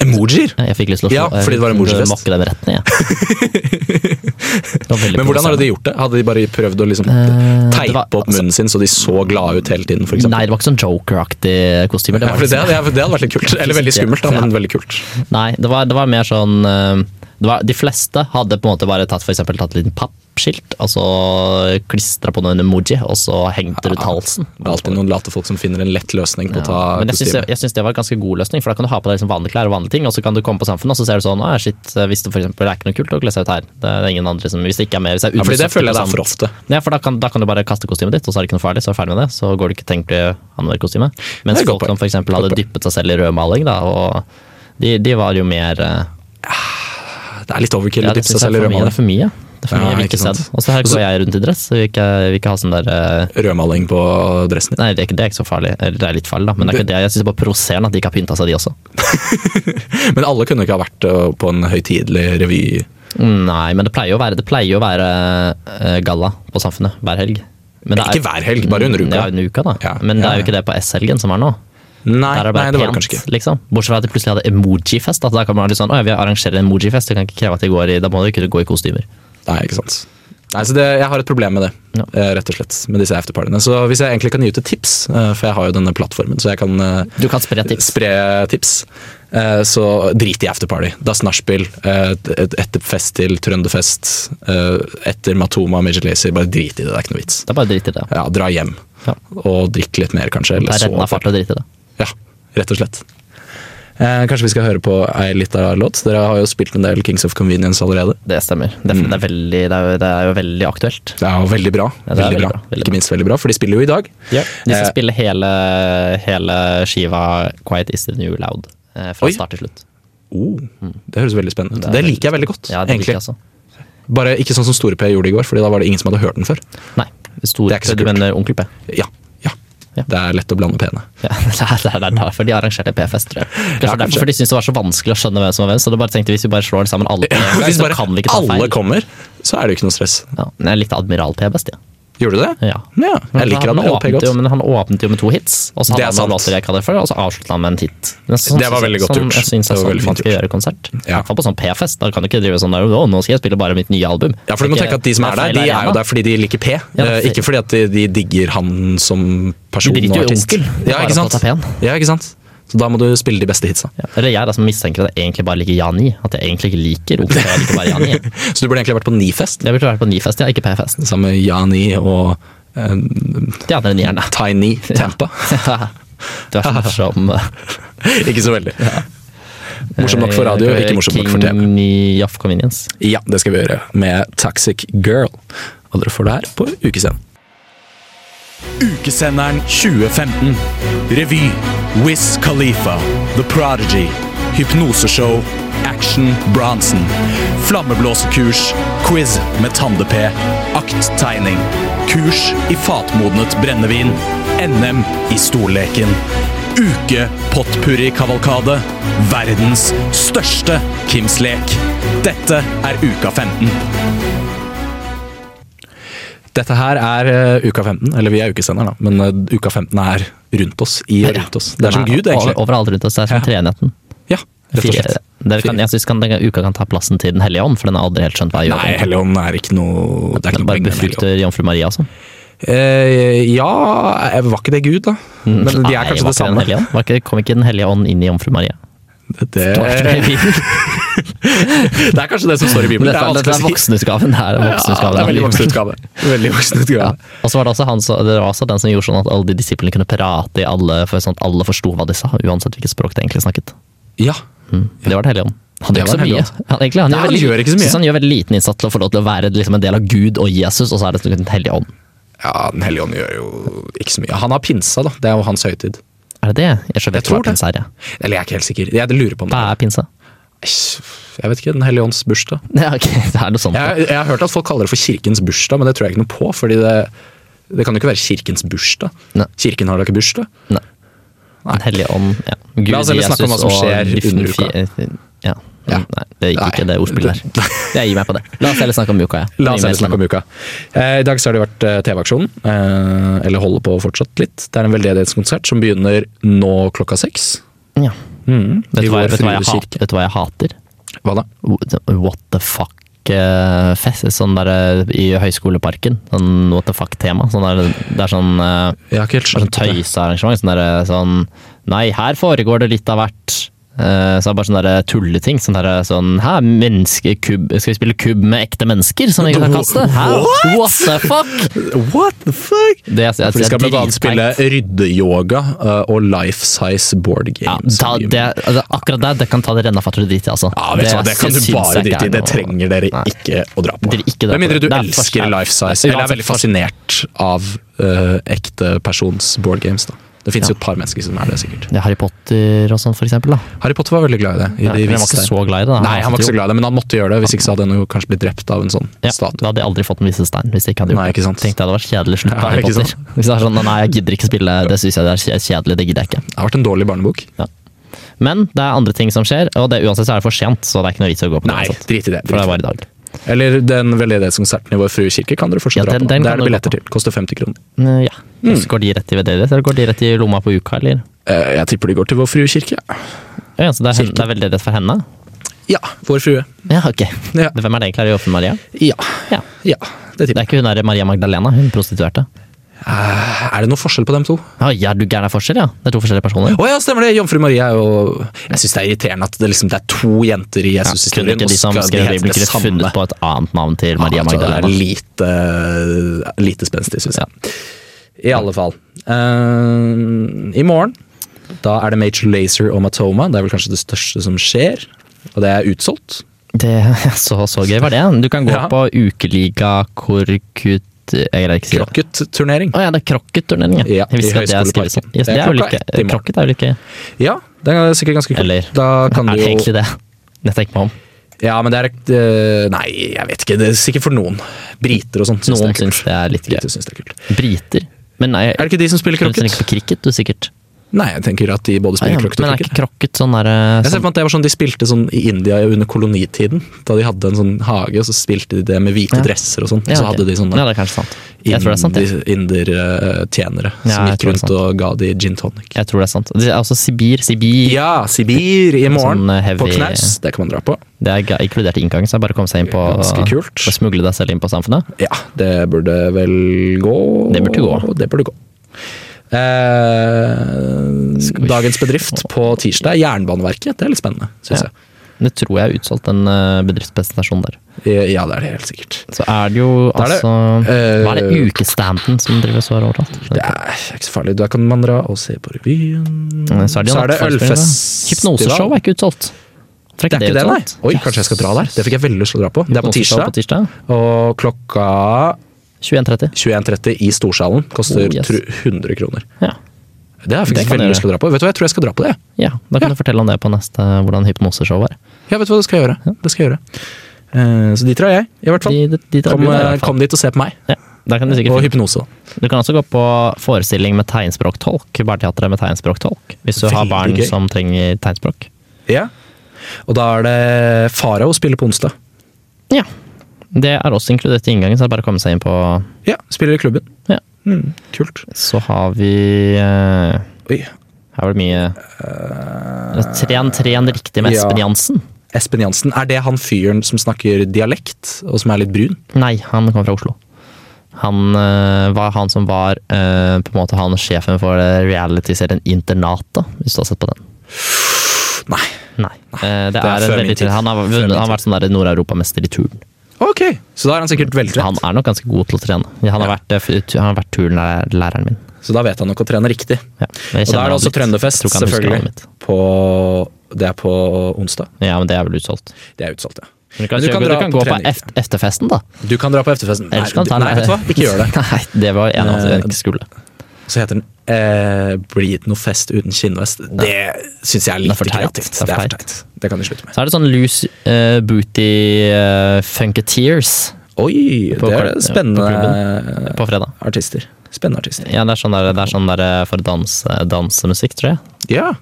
Speaker 8: Emojier!
Speaker 2: Jeg fikk lyst til å
Speaker 8: Ja,
Speaker 2: slå- jeg
Speaker 8: fordi det var
Speaker 2: fikk lyst til å
Speaker 8: emoji-fest.
Speaker 2: Mokke dem rett ned, jeg. Det var veldig
Speaker 8: Men hvordan
Speaker 2: provoserende.
Speaker 8: hadde de gjort det? Hadde de bare prøvd å liksom
Speaker 2: Eh, det
Speaker 8: teipe
Speaker 2: var-
Speaker 8: opp munnen sin så de så glade ut hele tiden, for
Speaker 2: Nei,
Speaker 8: eksempel?
Speaker 2: det var ikke sånn joker-aktig kostyme.
Speaker 8: Ja,
Speaker 2: var
Speaker 8: for
Speaker 2: liksom-
Speaker 8: det, det, det hadde vært litt kult. Eller veldig skummelt, da, men veldig kult.
Speaker 2: Nei, det var, det var mer sånn eh, det var, de fleste hadde på en måte bare tatt for eksempel, tatt et liten pappskilt, og så klistra på noen emoji, og så hengte rundt halsen.
Speaker 8: Det er alltid noen late folk som finner en lett løsning på å ta
Speaker 2: Ja. Men jeg syns,
Speaker 8: kostyme.
Speaker 2: jeg synes det var en ganske god løsning, for da kan du ha på deg liksom vanlige klær og vanlige ting, og så kan du komme på samfunnet, og så ser du sånn Å, shit, hvis det for eksempel er ikke noe kult å kle seg ut her. Det er ingen andre som Hvis det ikke er mer Hvis det er
Speaker 8: Ja,
Speaker 2: under
Speaker 8: fordi det
Speaker 2: 70%
Speaker 8: føler jeg det er for ofte.
Speaker 2: Ja, for da kan, da kan du bare kaste kostymet ditt, og så er det ikke noe farlig, så er du ferdig med det. Så går du ikke tenkt å anvende kostyme. Mens
Speaker 8: Det er et godt
Speaker 2: folk som for eksempel hadde
Speaker 8: Godt
Speaker 2: dyppet seg selv i rødmaling, da, og de, de var jo mer eh,
Speaker 8: Det er litt overkill
Speaker 2: Ja,
Speaker 8: å
Speaker 2: det
Speaker 8: dyppe
Speaker 2: synes
Speaker 8: seg
Speaker 2: jeg er
Speaker 8: selv i
Speaker 2: for mye. Det er for mye. Det
Speaker 8: rødmaling.
Speaker 2: er for
Speaker 8: Ja,
Speaker 2: mye jeg vil
Speaker 8: ikke
Speaker 2: ikke se
Speaker 8: sant.
Speaker 2: det. Og så her
Speaker 8: Og så-
Speaker 2: går jeg rundt i dress, så vil ikke, vil ikke ha sånn der eh,
Speaker 8: Rødmaling på dressen din.
Speaker 2: Nei, det er, ikke, det er ikke så farlig. Eller det er litt farlig, da. Men det er ikke det. jeg syns bare provoserende at de ikke har pynta seg, de også.
Speaker 8: Men alle kunne ikke ha vært eh, på en høytidelig revy.
Speaker 2: Nei, men det pleier jo å være, det pleier jo å være eh, galla på Samfunnet hver helg. Men det er- Mm,
Speaker 8: Ikke hver helg, bare under uka.
Speaker 2: Ja, under uka da.
Speaker 8: Ja,
Speaker 2: men det
Speaker 8: ja,
Speaker 2: er jo
Speaker 8: ja.
Speaker 2: ikke det på S-helgen som er nå.
Speaker 8: Nei,
Speaker 2: Der er det
Speaker 8: nei,
Speaker 2: bare
Speaker 8: det var det
Speaker 2: pent,
Speaker 8: kanskje ikke.
Speaker 2: liksom. Bortsett fra at de plutselig hadde emoji-fest. At da kan man være litt sånn, «Å ja, vi arrangerer en emoji-fest, det kan ikke kreve at de går i, da må de kunne gå i kostymer.
Speaker 8: Nei, ikke sant. Nei, så det, Jeg har et problem med det,
Speaker 2: Ja.
Speaker 8: eh, rett og slett. med disse afterpartyene. Så hvis jeg egentlig kan gi ut et tips, eh, for jeg har jo denne plattformen, så jeg kan eh,
Speaker 2: Du kan spre tips.
Speaker 8: spre tips, eh, så drit i afterparty. Das Nachspiel, eh, et- et- etter fest til Trønderfest, eh, etter Matoma og Major Lazer. Bare drit i det, det er ikke noe vits.
Speaker 2: Det er bare dritt i det.
Speaker 8: Ja, Dra hjem
Speaker 2: Ja.
Speaker 8: og drikk litt mer, kanskje.
Speaker 2: Det
Speaker 8: Eller
Speaker 2: er redden av
Speaker 8: så
Speaker 2: fart og dritt i det.
Speaker 8: Ja, rett og slett. Eh, kanskje vi skal høre på ei lita låt? Dere har jo spilt en del Kings of Convenience allerede.
Speaker 2: Det stemmer. Det er, det er, veldig, det er, jo- det er jo veldig aktuelt.
Speaker 8: Det er jo veldig bra.
Speaker 2: Ja, det er
Speaker 8: veldig
Speaker 2: veldig
Speaker 8: bra.
Speaker 2: bra, veldig
Speaker 8: Ikke minst veldig bra, for de spiller jo i dag.
Speaker 2: De skal
Speaker 8: Eh,
Speaker 2: spille hele, hele skiva Quiet Is The New Loud eh, fra
Speaker 8: Oi.
Speaker 2: start til slutt.
Speaker 8: Oh, det høres veldig spennende ut.
Speaker 2: Det
Speaker 8: Det,
Speaker 2: er veldig
Speaker 8: liker jeg veldig godt.
Speaker 2: Ja, det
Speaker 8: egentlig.
Speaker 2: liker jeg også.
Speaker 8: Bare ikke sånn som Store-P gjorde i går, Fordi da var det ingen som hadde hørt den før.
Speaker 2: Nei, stor,
Speaker 8: Det er ikke så
Speaker 2: du
Speaker 8: kult.
Speaker 2: mener Onkel P?
Speaker 8: Ja, ja.
Speaker 2: Ja.
Speaker 8: Det er lett å blande pene.
Speaker 2: Ja, det er, det er- det er derfor de arrangerte P-fest, tror jeg. Kanskje
Speaker 8: Ja, kanskje.
Speaker 2: derfor for de syntes det var så vanskelig å skjønne hvem som var hvem, så de bare tenkte hvis vi bare slår sammen alle, P-er,
Speaker 8: Hvis
Speaker 2: så
Speaker 8: bare
Speaker 2: kan vi ikke ta
Speaker 8: alle
Speaker 2: feil.
Speaker 8: kommer, så er det jo ikke noe stress.
Speaker 2: Ja, men jeg likte Admiral P best, ja.
Speaker 8: Gjorde du det?
Speaker 2: ja.
Speaker 8: Ja,
Speaker 2: Men
Speaker 8: jeg liker
Speaker 2: han
Speaker 8: at LP
Speaker 2: åpnet
Speaker 8: godt.
Speaker 2: Jo, men han åpnet jo med to hits, og så
Speaker 8: Det
Speaker 2: hadde
Speaker 8: er
Speaker 2: han noen
Speaker 8: sant.
Speaker 2: låter jeg ikke hadde før, og så avsluttet han med en hit. Men sånn-
Speaker 8: Det var veldig godt
Speaker 2: sånn-
Speaker 8: gjort.
Speaker 2: Jeg synes
Speaker 8: Det
Speaker 2: det
Speaker 8: var
Speaker 2: er
Speaker 8: veldig
Speaker 2: sånn man
Speaker 8: fint
Speaker 2: skal
Speaker 8: gjort.
Speaker 2: gjøre konsert. I
Speaker 8: Ja.
Speaker 2: hvert fall på sånn P-fest, da kan du ikke drive sånn der, «Å, nå skal jeg spille bare mitt nye album.
Speaker 8: Ja, for du må
Speaker 2: Det er
Speaker 8: tenke at De som er
Speaker 2: det
Speaker 8: der,
Speaker 2: feil
Speaker 8: de er
Speaker 2: arena.
Speaker 8: jo der fordi de liker P.
Speaker 2: Ja,
Speaker 8: eh,
Speaker 2: det-
Speaker 8: ikke fordi at de, de digger han som person
Speaker 2: De driter
Speaker 8: og
Speaker 2: jo i
Speaker 8: artist.
Speaker 2: onkel,
Speaker 8: Ja,
Speaker 2: bare
Speaker 8: ikke
Speaker 2: for å
Speaker 8: sant?
Speaker 2: ta pen.
Speaker 8: ja, ikke sant? Så da må du spille de beste hitsa.
Speaker 2: Ja. Eller jeg da, som mistenker at jeg egentlig bare liker Jani, at jeg egentlig ikke liker Onkel P, jeg liker bare Jani.
Speaker 8: Så du burde egentlig vært på Nifest
Speaker 2: Jeg burde vært på Nifest, ja, ikke P-fest.
Speaker 8: sammen med Jani og eh,
Speaker 2: De andre nierne.
Speaker 8: Tiny Tempa.
Speaker 2: Du er sånn så morsom.
Speaker 8: ikke så veldig. Morsom nok for radio, ikke morsom nok for TV.
Speaker 2: eh, King of Convenience.
Speaker 8: Ja, det skal vi gjøre med Toxic Girl. Og dere får det her på ukescenen.
Speaker 10: Ukesenderen 2015. Revy. Wiz Khalifa. The Prodigy. Hypnoseshow. Action Bronson. Flammeblåsekurs. Quiz med Tande-P. Akttegning. Kurs i fatmodnet brennevin. NM i stolleken. Uke potpurri-kavalkade. Verdens største Kims lek. Dette er uka 15.
Speaker 8: Dette her er eh, uka 15, eller vi er ukesender, da, men eh, uka 15 er rundt oss. I og rundt oss. Det er som Gud, egentlig.
Speaker 2: Over- Overalt rundt oss. Det er som
Speaker 8: Ja.
Speaker 2: treenigheten.
Speaker 8: Ja, rett og slett.
Speaker 2: Dere kan, jeg synes kan, denne uka kan ta plassen til Den hellige ånd, for den har aldri helt skjønt hva jeg gjør.
Speaker 8: Nei, Helligånden er ikke noe Det
Speaker 2: Den bare
Speaker 8: er ikke noe poeng med Helligånden.
Speaker 2: befrukter jomfru Maria sånn. også.
Speaker 8: Eh, ja, eh, var ikke det Gud, da? Men de er
Speaker 2: Mm. Nei,
Speaker 8: kanskje
Speaker 2: var
Speaker 8: det
Speaker 2: ikke Den
Speaker 8: samme. Eh,
Speaker 2: hellige ånd? Var ikke, kom ikke Den hellige ånd inn i jomfru Maria?
Speaker 8: Det,
Speaker 2: Det var ikke det i Bibelen.
Speaker 8: det er kanskje det som står i Bibelen.
Speaker 2: Dette er,
Speaker 8: Det er
Speaker 2: dette er
Speaker 8: vanskelig å si.
Speaker 2: voksenutgaven. Det er
Speaker 8: Ja,
Speaker 2: voksenutgaven.
Speaker 8: det
Speaker 2: av
Speaker 8: er veldig
Speaker 2: Bibelen.
Speaker 8: voksen utgave. Veldig voksen
Speaker 2: Ja.
Speaker 8: utgave.
Speaker 2: Og så var det også han som, det var også den som gjorde sånn at alle de disiplene kunne prate i alle, for sånn at alle forsto hva de sa, uansett hvilket språk de egentlig snakket.
Speaker 8: Ja.
Speaker 2: Mm. Det var det hellige ånd. Han
Speaker 8: Det
Speaker 2: gjør ikke
Speaker 8: var
Speaker 2: så
Speaker 8: Den hellige
Speaker 2: mye. Han, egentlig, han,
Speaker 8: Nei,
Speaker 2: gjør
Speaker 8: han
Speaker 2: veldig,
Speaker 8: gjør ikke så mye.
Speaker 2: synes han gjør veldig liten innsats til å få lov til å være liksom, en del av Gud og Jesus, og så er det Den hellige ånd.
Speaker 8: ja, Den hellige ånd gjør jo ikke så mye. Han har pinsa, da. Det er jo hans høytid.
Speaker 2: Er det det? Jeg, skjønner ikke
Speaker 8: Jeg
Speaker 2: hva
Speaker 8: tror det.
Speaker 2: pinse er, ja.
Speaker 8: Eller jeg er ikke helt sikker. Jeg lurer på om det
Speaker 2: Hva er pinse?
Speaker 8: Jeg vet ikke. Den hellige ånds bursdag.
Speaker 2: Ja, ok, det er noe sånt.
Speaker 8: Jeg, jeg har hørt at folk kaller det for kirkens bursdag, men det tror jeg ikke noe på. fordi det, det kan jo ikke være kirkens bursdag.
Speaker 2: Nei.
Speaker 8: Kirken har da ikke bursdag?
Speaker 2: Nei. Den hellige ånd, ja. Gud,
Speaker 8: La oss heller snakke om hva som
Speaker 2: Jesus og
Speaker 8: skjer
Speaker 2: dyften-
Speaker 8: under uka.
Speaker 2: fi- Ja.
Speaker 8: Ja.
Speaker 2: Nei, det gikk ikke
Speaker 8: Nei.
Speaker 2: det ordspillet her. Jeg gir meg på det. La oss heller snakke om uka, ja.
Speaker 8: La
Speaker 2: Mye
Speaker 8: oss
Speaker 2: mer
Speaker 8: heller snakke om uka. Eh, I dag så har det vært eh, TV-aksjonen, eh, eller holder på fortsatt litt. Det er en veldedighetskonsert som begynner nå klokka seks.
Speaker 2: spennende. Ja.
Speaker 8: Mm,
Speaker 2: Vet
Speaker 8: i
Speaker 2: du hva,
Speaker 8: vår
Speaker 2: vet du hva, jeg,
Speaker 8: Frydes
Speaker 2: hat,
Speaker 8: kirke.
Speaker 2: vet du hva jeg hater?
Speaker 8: Hva da?
Speaker 2: What the fuck eh, fest, sånn der eh, i Høyskoleparken. Sånn what the fuck-tema. Sånn der, det er sånn, eh,
Speaker 8: Jeg har ikke helt
Speaker 2: det er sånn
Speaker 8: skjønt det.
Speaker 2: tøysearrangement. Sånn der eh, sånn Nei, her foregår det litt av hvert. Eh, Så det er bare sånne der tulleting. Sånn her, sånn, Hæ, menneskekubb Skal vi spille kubb med ekte mennesker som ikke kan kaste? Hæ?
Speaker 8: What?
Speaker 2: What the fuck?
Speaker 8: What the fuck?
Speaker 2: Det jeg, jeg,
Speaker 8: For de skal blant annet spille
Speaker 2: dritfeit.
Speaker 8: ryddeyoga eh, og life size board
Speaker 2: ja,
Speaker 8: games.
Speaker 2: ta, det, altså, Akkurat der det kan ta det rennafatter og drit i, altså.
Speaker 8: Ja, vet du hva, det kan du
Speaker 2: syns jeg ikke
Speaker 8: bare drite
Speaker 2: er
Speaker 8: i. Det
Speaker 2: noe-
Speaker 8: trenger dere ikke å dra på.
Speaker 2: Dere ikke dra
Speaker 8: Med mindre
Speaker 2: på
Speaker 8: du
Speaker 2: det. Det er
Speaker 8: elsker
Speaker 2: forskjell.
Speaker 8: life size, eller er
Speaker 2: Uansett
Speaker 8: veldig fascinert av eh, ekte persons board games. da. Det fins jo et par mennesker som er det, sikkert.
Speaker 2: Ja, Harry Potter og sånn, for eksempel. Da.
Speaker 8: Harry Potter var veldig glad i det. I
Speaker 2: Ja,
Speaker 8: de
Speaker 2: men han var
Speaker 8: visse
Speaker 2: ikke
Speaker 8: stein.
Speaker 2: så glad i det. Da.
Speaker 8: Nei, han var ikke så glad i det, men han måtte gjøre det. Hvis ikke så hadde han jo kanskje blitt drept av en sånn
Speaker 2: Ja,
Speaker 8: statue.
Speaker 2: da hadde jeg aldri fått den visse stein. Hvis jeg ikke hadde gjort
Speaker 8: Nei, ikke sant.
Speaker 2: det. Tenkte jeg det var kjedelig slutt på
Speaker 8: Ja,
Speaker 2: Harry
Speaker 8: ikke
Speaker 2: Potter.
Speaker 8: sant.
Speaker 2: Hvis det er sånn, nei, jeg gidder ikke spille, det syns jeg det er kje- kjedelig, det gidder jeg ikke.
Speaker 8: Det har vært en dårlig barnebok.
Speaker 2: Men det er andre ting som skjer, og det, uansett så er det for sent, så det er ikke noe vits i å gå på det.
Speaker 8: Nei,
Speaker 2: uansett.
Speaker 8: drit i det.
Speaker 2: For
Speaker 8: Drit
Speaker 2: det
Speaker 8: i
Speaker 2: var i dag.
Speaker 8: det. Eller den veldedighetskonserten i Vår Frue kirke kan dere
Speaker 2: Ja,
Speaker 8: fortsatt
Speaker 2: den-
Speaker 8: dra på.
Speaker 2: den
Speaker 8: Det
Speaker 2: kan du
Speaker 8: er det
Speaker 2: dra
Speaker 8: billetter til. Koster 50 kroner.
Speaker 2: Mm, Ja. Så går de rett i VD-et, eller går de rett i lomma på uka, eller?
Speaker 8: Eh, Jeg tipper de går til Vår Frue kirke. ja.
Speaker 2: Ja, så det er, hen- det er veldig rett for henne?
Speaker 8: Ja, Vår Frue.
Speaker 2: Ja, ok.
Speaker 8: Ja.
Speaker 2: Hvem er det egentlig? Er det Joffe Maria?
Speaker 8: Ja.
Speaker 2: Ja.
Speaker 8: ja. Det
Speaker 2: Det
Speaker 8: tipper jeg.
Speaker 2: er ikke hun der Maria Magdalena, hun prostituerte.
Speaker 8: Eh, Er det noen forskjell på dem to?
Speaker 2: Ja, ja, du gæren er forskjell, ja. Det er to forskjellige personer.
Speaker 8: Å ja, stemmer det! Jomfru Marie er jo Jeg syns det er irriterende at det, liksom, det er to jenter i
Speaker 2: Ja, kunne
Speaker 8: Jesushistorien,
Speaker 2: ikke de som skrev Bibelkritt funnet på et annet navn til Maria
Speaker 8: Altså,
Speaker 2: Magdalena?
Speaker 8: Det er lite, lite spenstig, syns jeg. I alle fall. Eh, I morgen da er det Major Lazer og Matoma. Det er vel kanskje det største som skjer. Og det er utsolgt.
Speaker 2: Det, så, så gøy var det. Du kan gå
Speaker 8: Ja.
Speaker 2: på ukeliga korkut... Jeg greier ikke å si det.
Speaker 8: Krokket-turnering.
Speaker 2: Å ja, det er krokketurnering, ja.
Speaker 8: Ja,
Speaker 2: Jeg visste
Speaker 8: i
Speaker 2: ikke at det er skrevet sånn.
Speaker 8: Høgskoleparken.
Speaker 2: Yes, det
Speaker 8: Det er
Speaker 2: er jo
Speaker 8: klokka
Speaker 2: like,
Speaker 8: ett i morgen.
Speaker 2: krokket er jo like
Speaker 8: Ja, det er sikkert ganske kult.
Speaker 2: Eller
Speaker 8: da
Speaker 2: Er
Speaker 8: kan du
Speaker 2: det
Speaker 8: jo
Speaker 2: egentlig det? Jeg tenker meg om.
Speaker 8: Ja, men det er eh, Nei, jeg vet ikke. Det er sikkert for noen. Briter og sånn. syns
Speaker 2: Noen
Speaker 8: det er kult.
Speaker 2: syns det er litt gøy.
Speaker 8: Briter syns det er kult.
Speaker 2: Briter? Men nei,
Speaker 8: Er det ikke de som spiller
Speaker 2: du tenker
Speaker 8: krokket?
Speaker 2: på cricket, du sikkert?
Speaker 8: Nei, jeg tenker at de både
Speaker 2: Ah, ja,
Speaker 8: spiller krokket
Speaker 2: men
Speaker 8: og
Speaker 2: er ikke
Speaker 8: krokket.
Speaker 2: krokket sånn der eh,
Speaker 8: Jeg ser
Speaker 2: sånn,
Speaker 8: for meg at det var sånn De spilte sånn i India under kolonitiden. Da de hadde en sånn hage, og så spilte de det med hvite
Speaker 2: Ja.
Speaker 8: dresser og sånn. Og
Speaker 2: ja,
Speaker 8: så
Speaker 2: ok.
Speaker 8: hadde de sånne
Speaker 2: Ja, det er kanskje sant. Jeg tror det er sant, jeg.
Speaker 8: indertjenere inder, eh, tjenere
Speaker 2: Ja, jeg
Speaker 8: som gikk
Speaker 2: tror det er
Speaker 8: rundt og ga de gin tonic.
Speaker 2: Jeg tror det er sant. Det er også Sibir. Sibir.
Speaker 8: Ja, Sibir i morgen,
Speaker 2: Sånn, eh, heavy-
Speaker 8: på knaus. Det kan man dra på.
Speaker 2: Det er ga- inkludert i inngangen, så det er bare å komme seg inn på
Speaker 8: Ganske kult.
Speaker 2: Og smugle deg selv inn på samfunnet.
Speaker 8: Ja, det burde vel gå.
Speaker 2: Det burde gå.
Speaker 8: Det burde gå. Eh,
Speaker 2: vi
Speaker 8: dagens bedrift på tirsdag, Jernbaneverket. Det er litt spennende, syns
Speaker 2: Ja. Det tror jeg er utsolgt, den eh, bedriftspresentasjonen der.
Speaker 8: jeg. Ja, det er det helt sikkert.
Speaker 2: Så er det jo
Speaker 8: Da er det,
Speaker 2: altså
Speaker 8: eh,
Speaker 2: Hva er det ukestanden som drives og er overalt?
Speaker 8: Det er ikke så farlig. Da kan man dra og se på revyen.
Speaker 2: Så er det, jo nattforestillinger, da.
Speaker 8: ølfestival.
Speaker 2: Hypnoseshow er ikke utsolgt. For
Speaker 8: Det er ikke det, nei.
Speaker 2: utsolgt?
Speaker 8: Oi,
Speaker 2: Yes.
Speaker 8: kanskje jeg skal dra der. Det fikk jeg veldig lyst til å dra på. Det er på
Speaker 2: Hypnoseshow
Speaker 8: tirsdag, og klokka
Speaker 2: 21.30.
Speaker 8: 21.30 i Storsalen. Koster
Speaker 2: Oh, yes.
Speaker 8: tru- 100 kroner.
Speaker 2: Ja.
Speaker 8: Det har jeg
Speaker 2: Det
Speaker 8: faktisk
Speaker 2: kan
Speaker 8: veldig
Speaker 2: jeg
Speaker 8: lyst til å dra på. Vet du hva, jeg tror jeg skal dra på det. jeg.
Speaker 2: ja, da kan
Speaker 8: Ja.
Speaker 2: du fortelle om det på neste hvordan hypnoseshow er.
Speaker 8: Ja, vet du hva det skal jeg gjøre. Det skal jeg gjøre. Eh, så dit drar jeg, i hvert fall.
Speaker 2: De- de- de drar
Speaker 8: kom,
Speaker 2: du der, i
Speaker 8: eh,
Speaker 2: hvert fall.
Speaker 8: kom dit og se på meg.
Speaker 2: Ja, der kan du
Speaker 8: Og
Speaker 2: sikkert finne.
Speaker 8: hypnose.
Speaker 2: Du kan også gå på forestilling med tegnspråktolk. Barneteatret med tegnspråktolk. Hvis du har
Speaker 8: Veldig
Speaker 2: barn
Speaker 8: gøy.
Speaker 2: som trenger tegnspråk.
Speaker 8: Ja. Og da er det Farao spiller på onsdag.
Speaker 2: Ja. Det er også inkludert i inngangen, så er det bare å komme seg inn på
Speaker 8: Ja, spiller i klubben.
Speaker 2: Ja.
Speaker 8: Mm, kult.
Speaker 2: Så har vi eh,
Speaker 8: Oi.
Speaker 2: Her var det mye Tren, tren riktig med
Speaker 8: ja.
Speaker 2: Espen Jansen.
Speaker 8: Espen Jansen, er det han fyren som snakker dialekt, og som er litt brun?
Speaker 2: Nei, han kom fra Oslo. Han eh, var han som var eh, på en måte han sjefen for eh, realityserien Internatet, hvis du har sett på den.
Speaker 8: Nei.
Speaker 2: Nei. Eh, det,
Speaker 8: Ah, er
Speaker 2: er,
Speaker 8: før
Speaker 2: en
Speaker 8: min
Speaker 2: veldig
Speaker 8: tid.
Speaker 2: Han har,
Speaker 8: Før min
Speaker 2: vunnet, han har
Speaker 8: tid.
Speaker 2: vært sånn der Nord-Europamester i turn.
Speaker 8: Ok, så da er han sikkert
Speaker 2: Han
Speaker 8: veltrent.
Speaker 2: er nok ganske god til å trene. Ja, Han har vært, eh, f- han har vært turnlæreren min.
Speaker 8: Så da vet han nok å trene riktig.
Speaker 2: Ja. men jeg kjenner
Speaker 8: Og da er det
Speaker 2: han
Speaker 8: også
Speaker 2: litt.
Speaker 8: Trønderfest,
Speaker 2: Jeg tror ikke han husker navnet
Speaker 8: selvfølgelig.
Speaker 2: mitt.
Speaker 8: På, det er på onsdag.
Speaker 2: Ja, men det er vel utsolgt.
Speaker 8: Det er utsolgt, ja.
Speaker 2: Men du kan,
Speaker 8: Men du
Speaker 2: kjøpe-
Speaker 8: kan
Speaker 2: du
Speaker 8: dra
Speaker 2: kan
Speaker 8: på
Speaker 2: gå på
Speaker 8: trening.
Speaker 2: eft- efterfesten, da.
Speaker 8: Du kan dra på efterfesten. Nei,
Speaker 2: Ellers kan du ta en-
Speaker 8: nei, vet du hva? Ikke gjør det. Eh,
Speaker 2: Nei, det var en av de jeg ikke skulle.
Speaker 8: Så heter den eh, 'Blir det noe fest uten kinnvest'. Det syns jeg er litt
Speaker 2: for teit.
Speaker 8: kreativt. Det er for teit. Det kan de slutte med.
Speaker 2: Så er det sånn loose eh, booty uh, funketeers
Speaker 8: Oi,
Speaker 2: På
Speaker 8: det
Speaker 2: kar-
Speaker 8: er spennende
Speaker 2: på på fredag.
Speaker 8: artister. Spennende artister.
Speaker 2: Ja, det er sånn der, det er sånn der eh, for dans, eh, dansemusikk, tror jeg.
Speaker 8: Ja,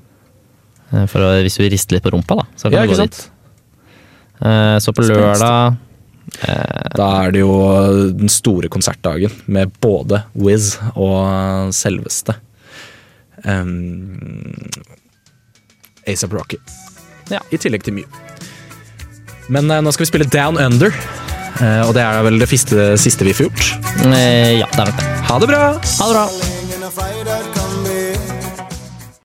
Speaker 2: Eh, For å, hvis du rister litt på rumpa, da, så kan
Speaker 8: ja
Speaker 2: du gå
Speaker 8: ikke sant?
Speaker 2: dit. Eh, Så på
Speaker 8: Spennende.
Speaker 2: lørdag
Speaker 8: Da er det jo den store konsertdagen med både Wiz og selveste um, ASAP Rocky.
Speaker 2: Ja.
Speaker 8: I tillegg til mye. Men eh, nå skal vi spille Down Under, eh, og det er vel det siste, siste vi får gjort.
Speaker 2: eh, Ja, det er nok det.
Speaker 8: Ha det bra!
Speaker 2: Ha det bra!
Speaker 7: Ingen er feirer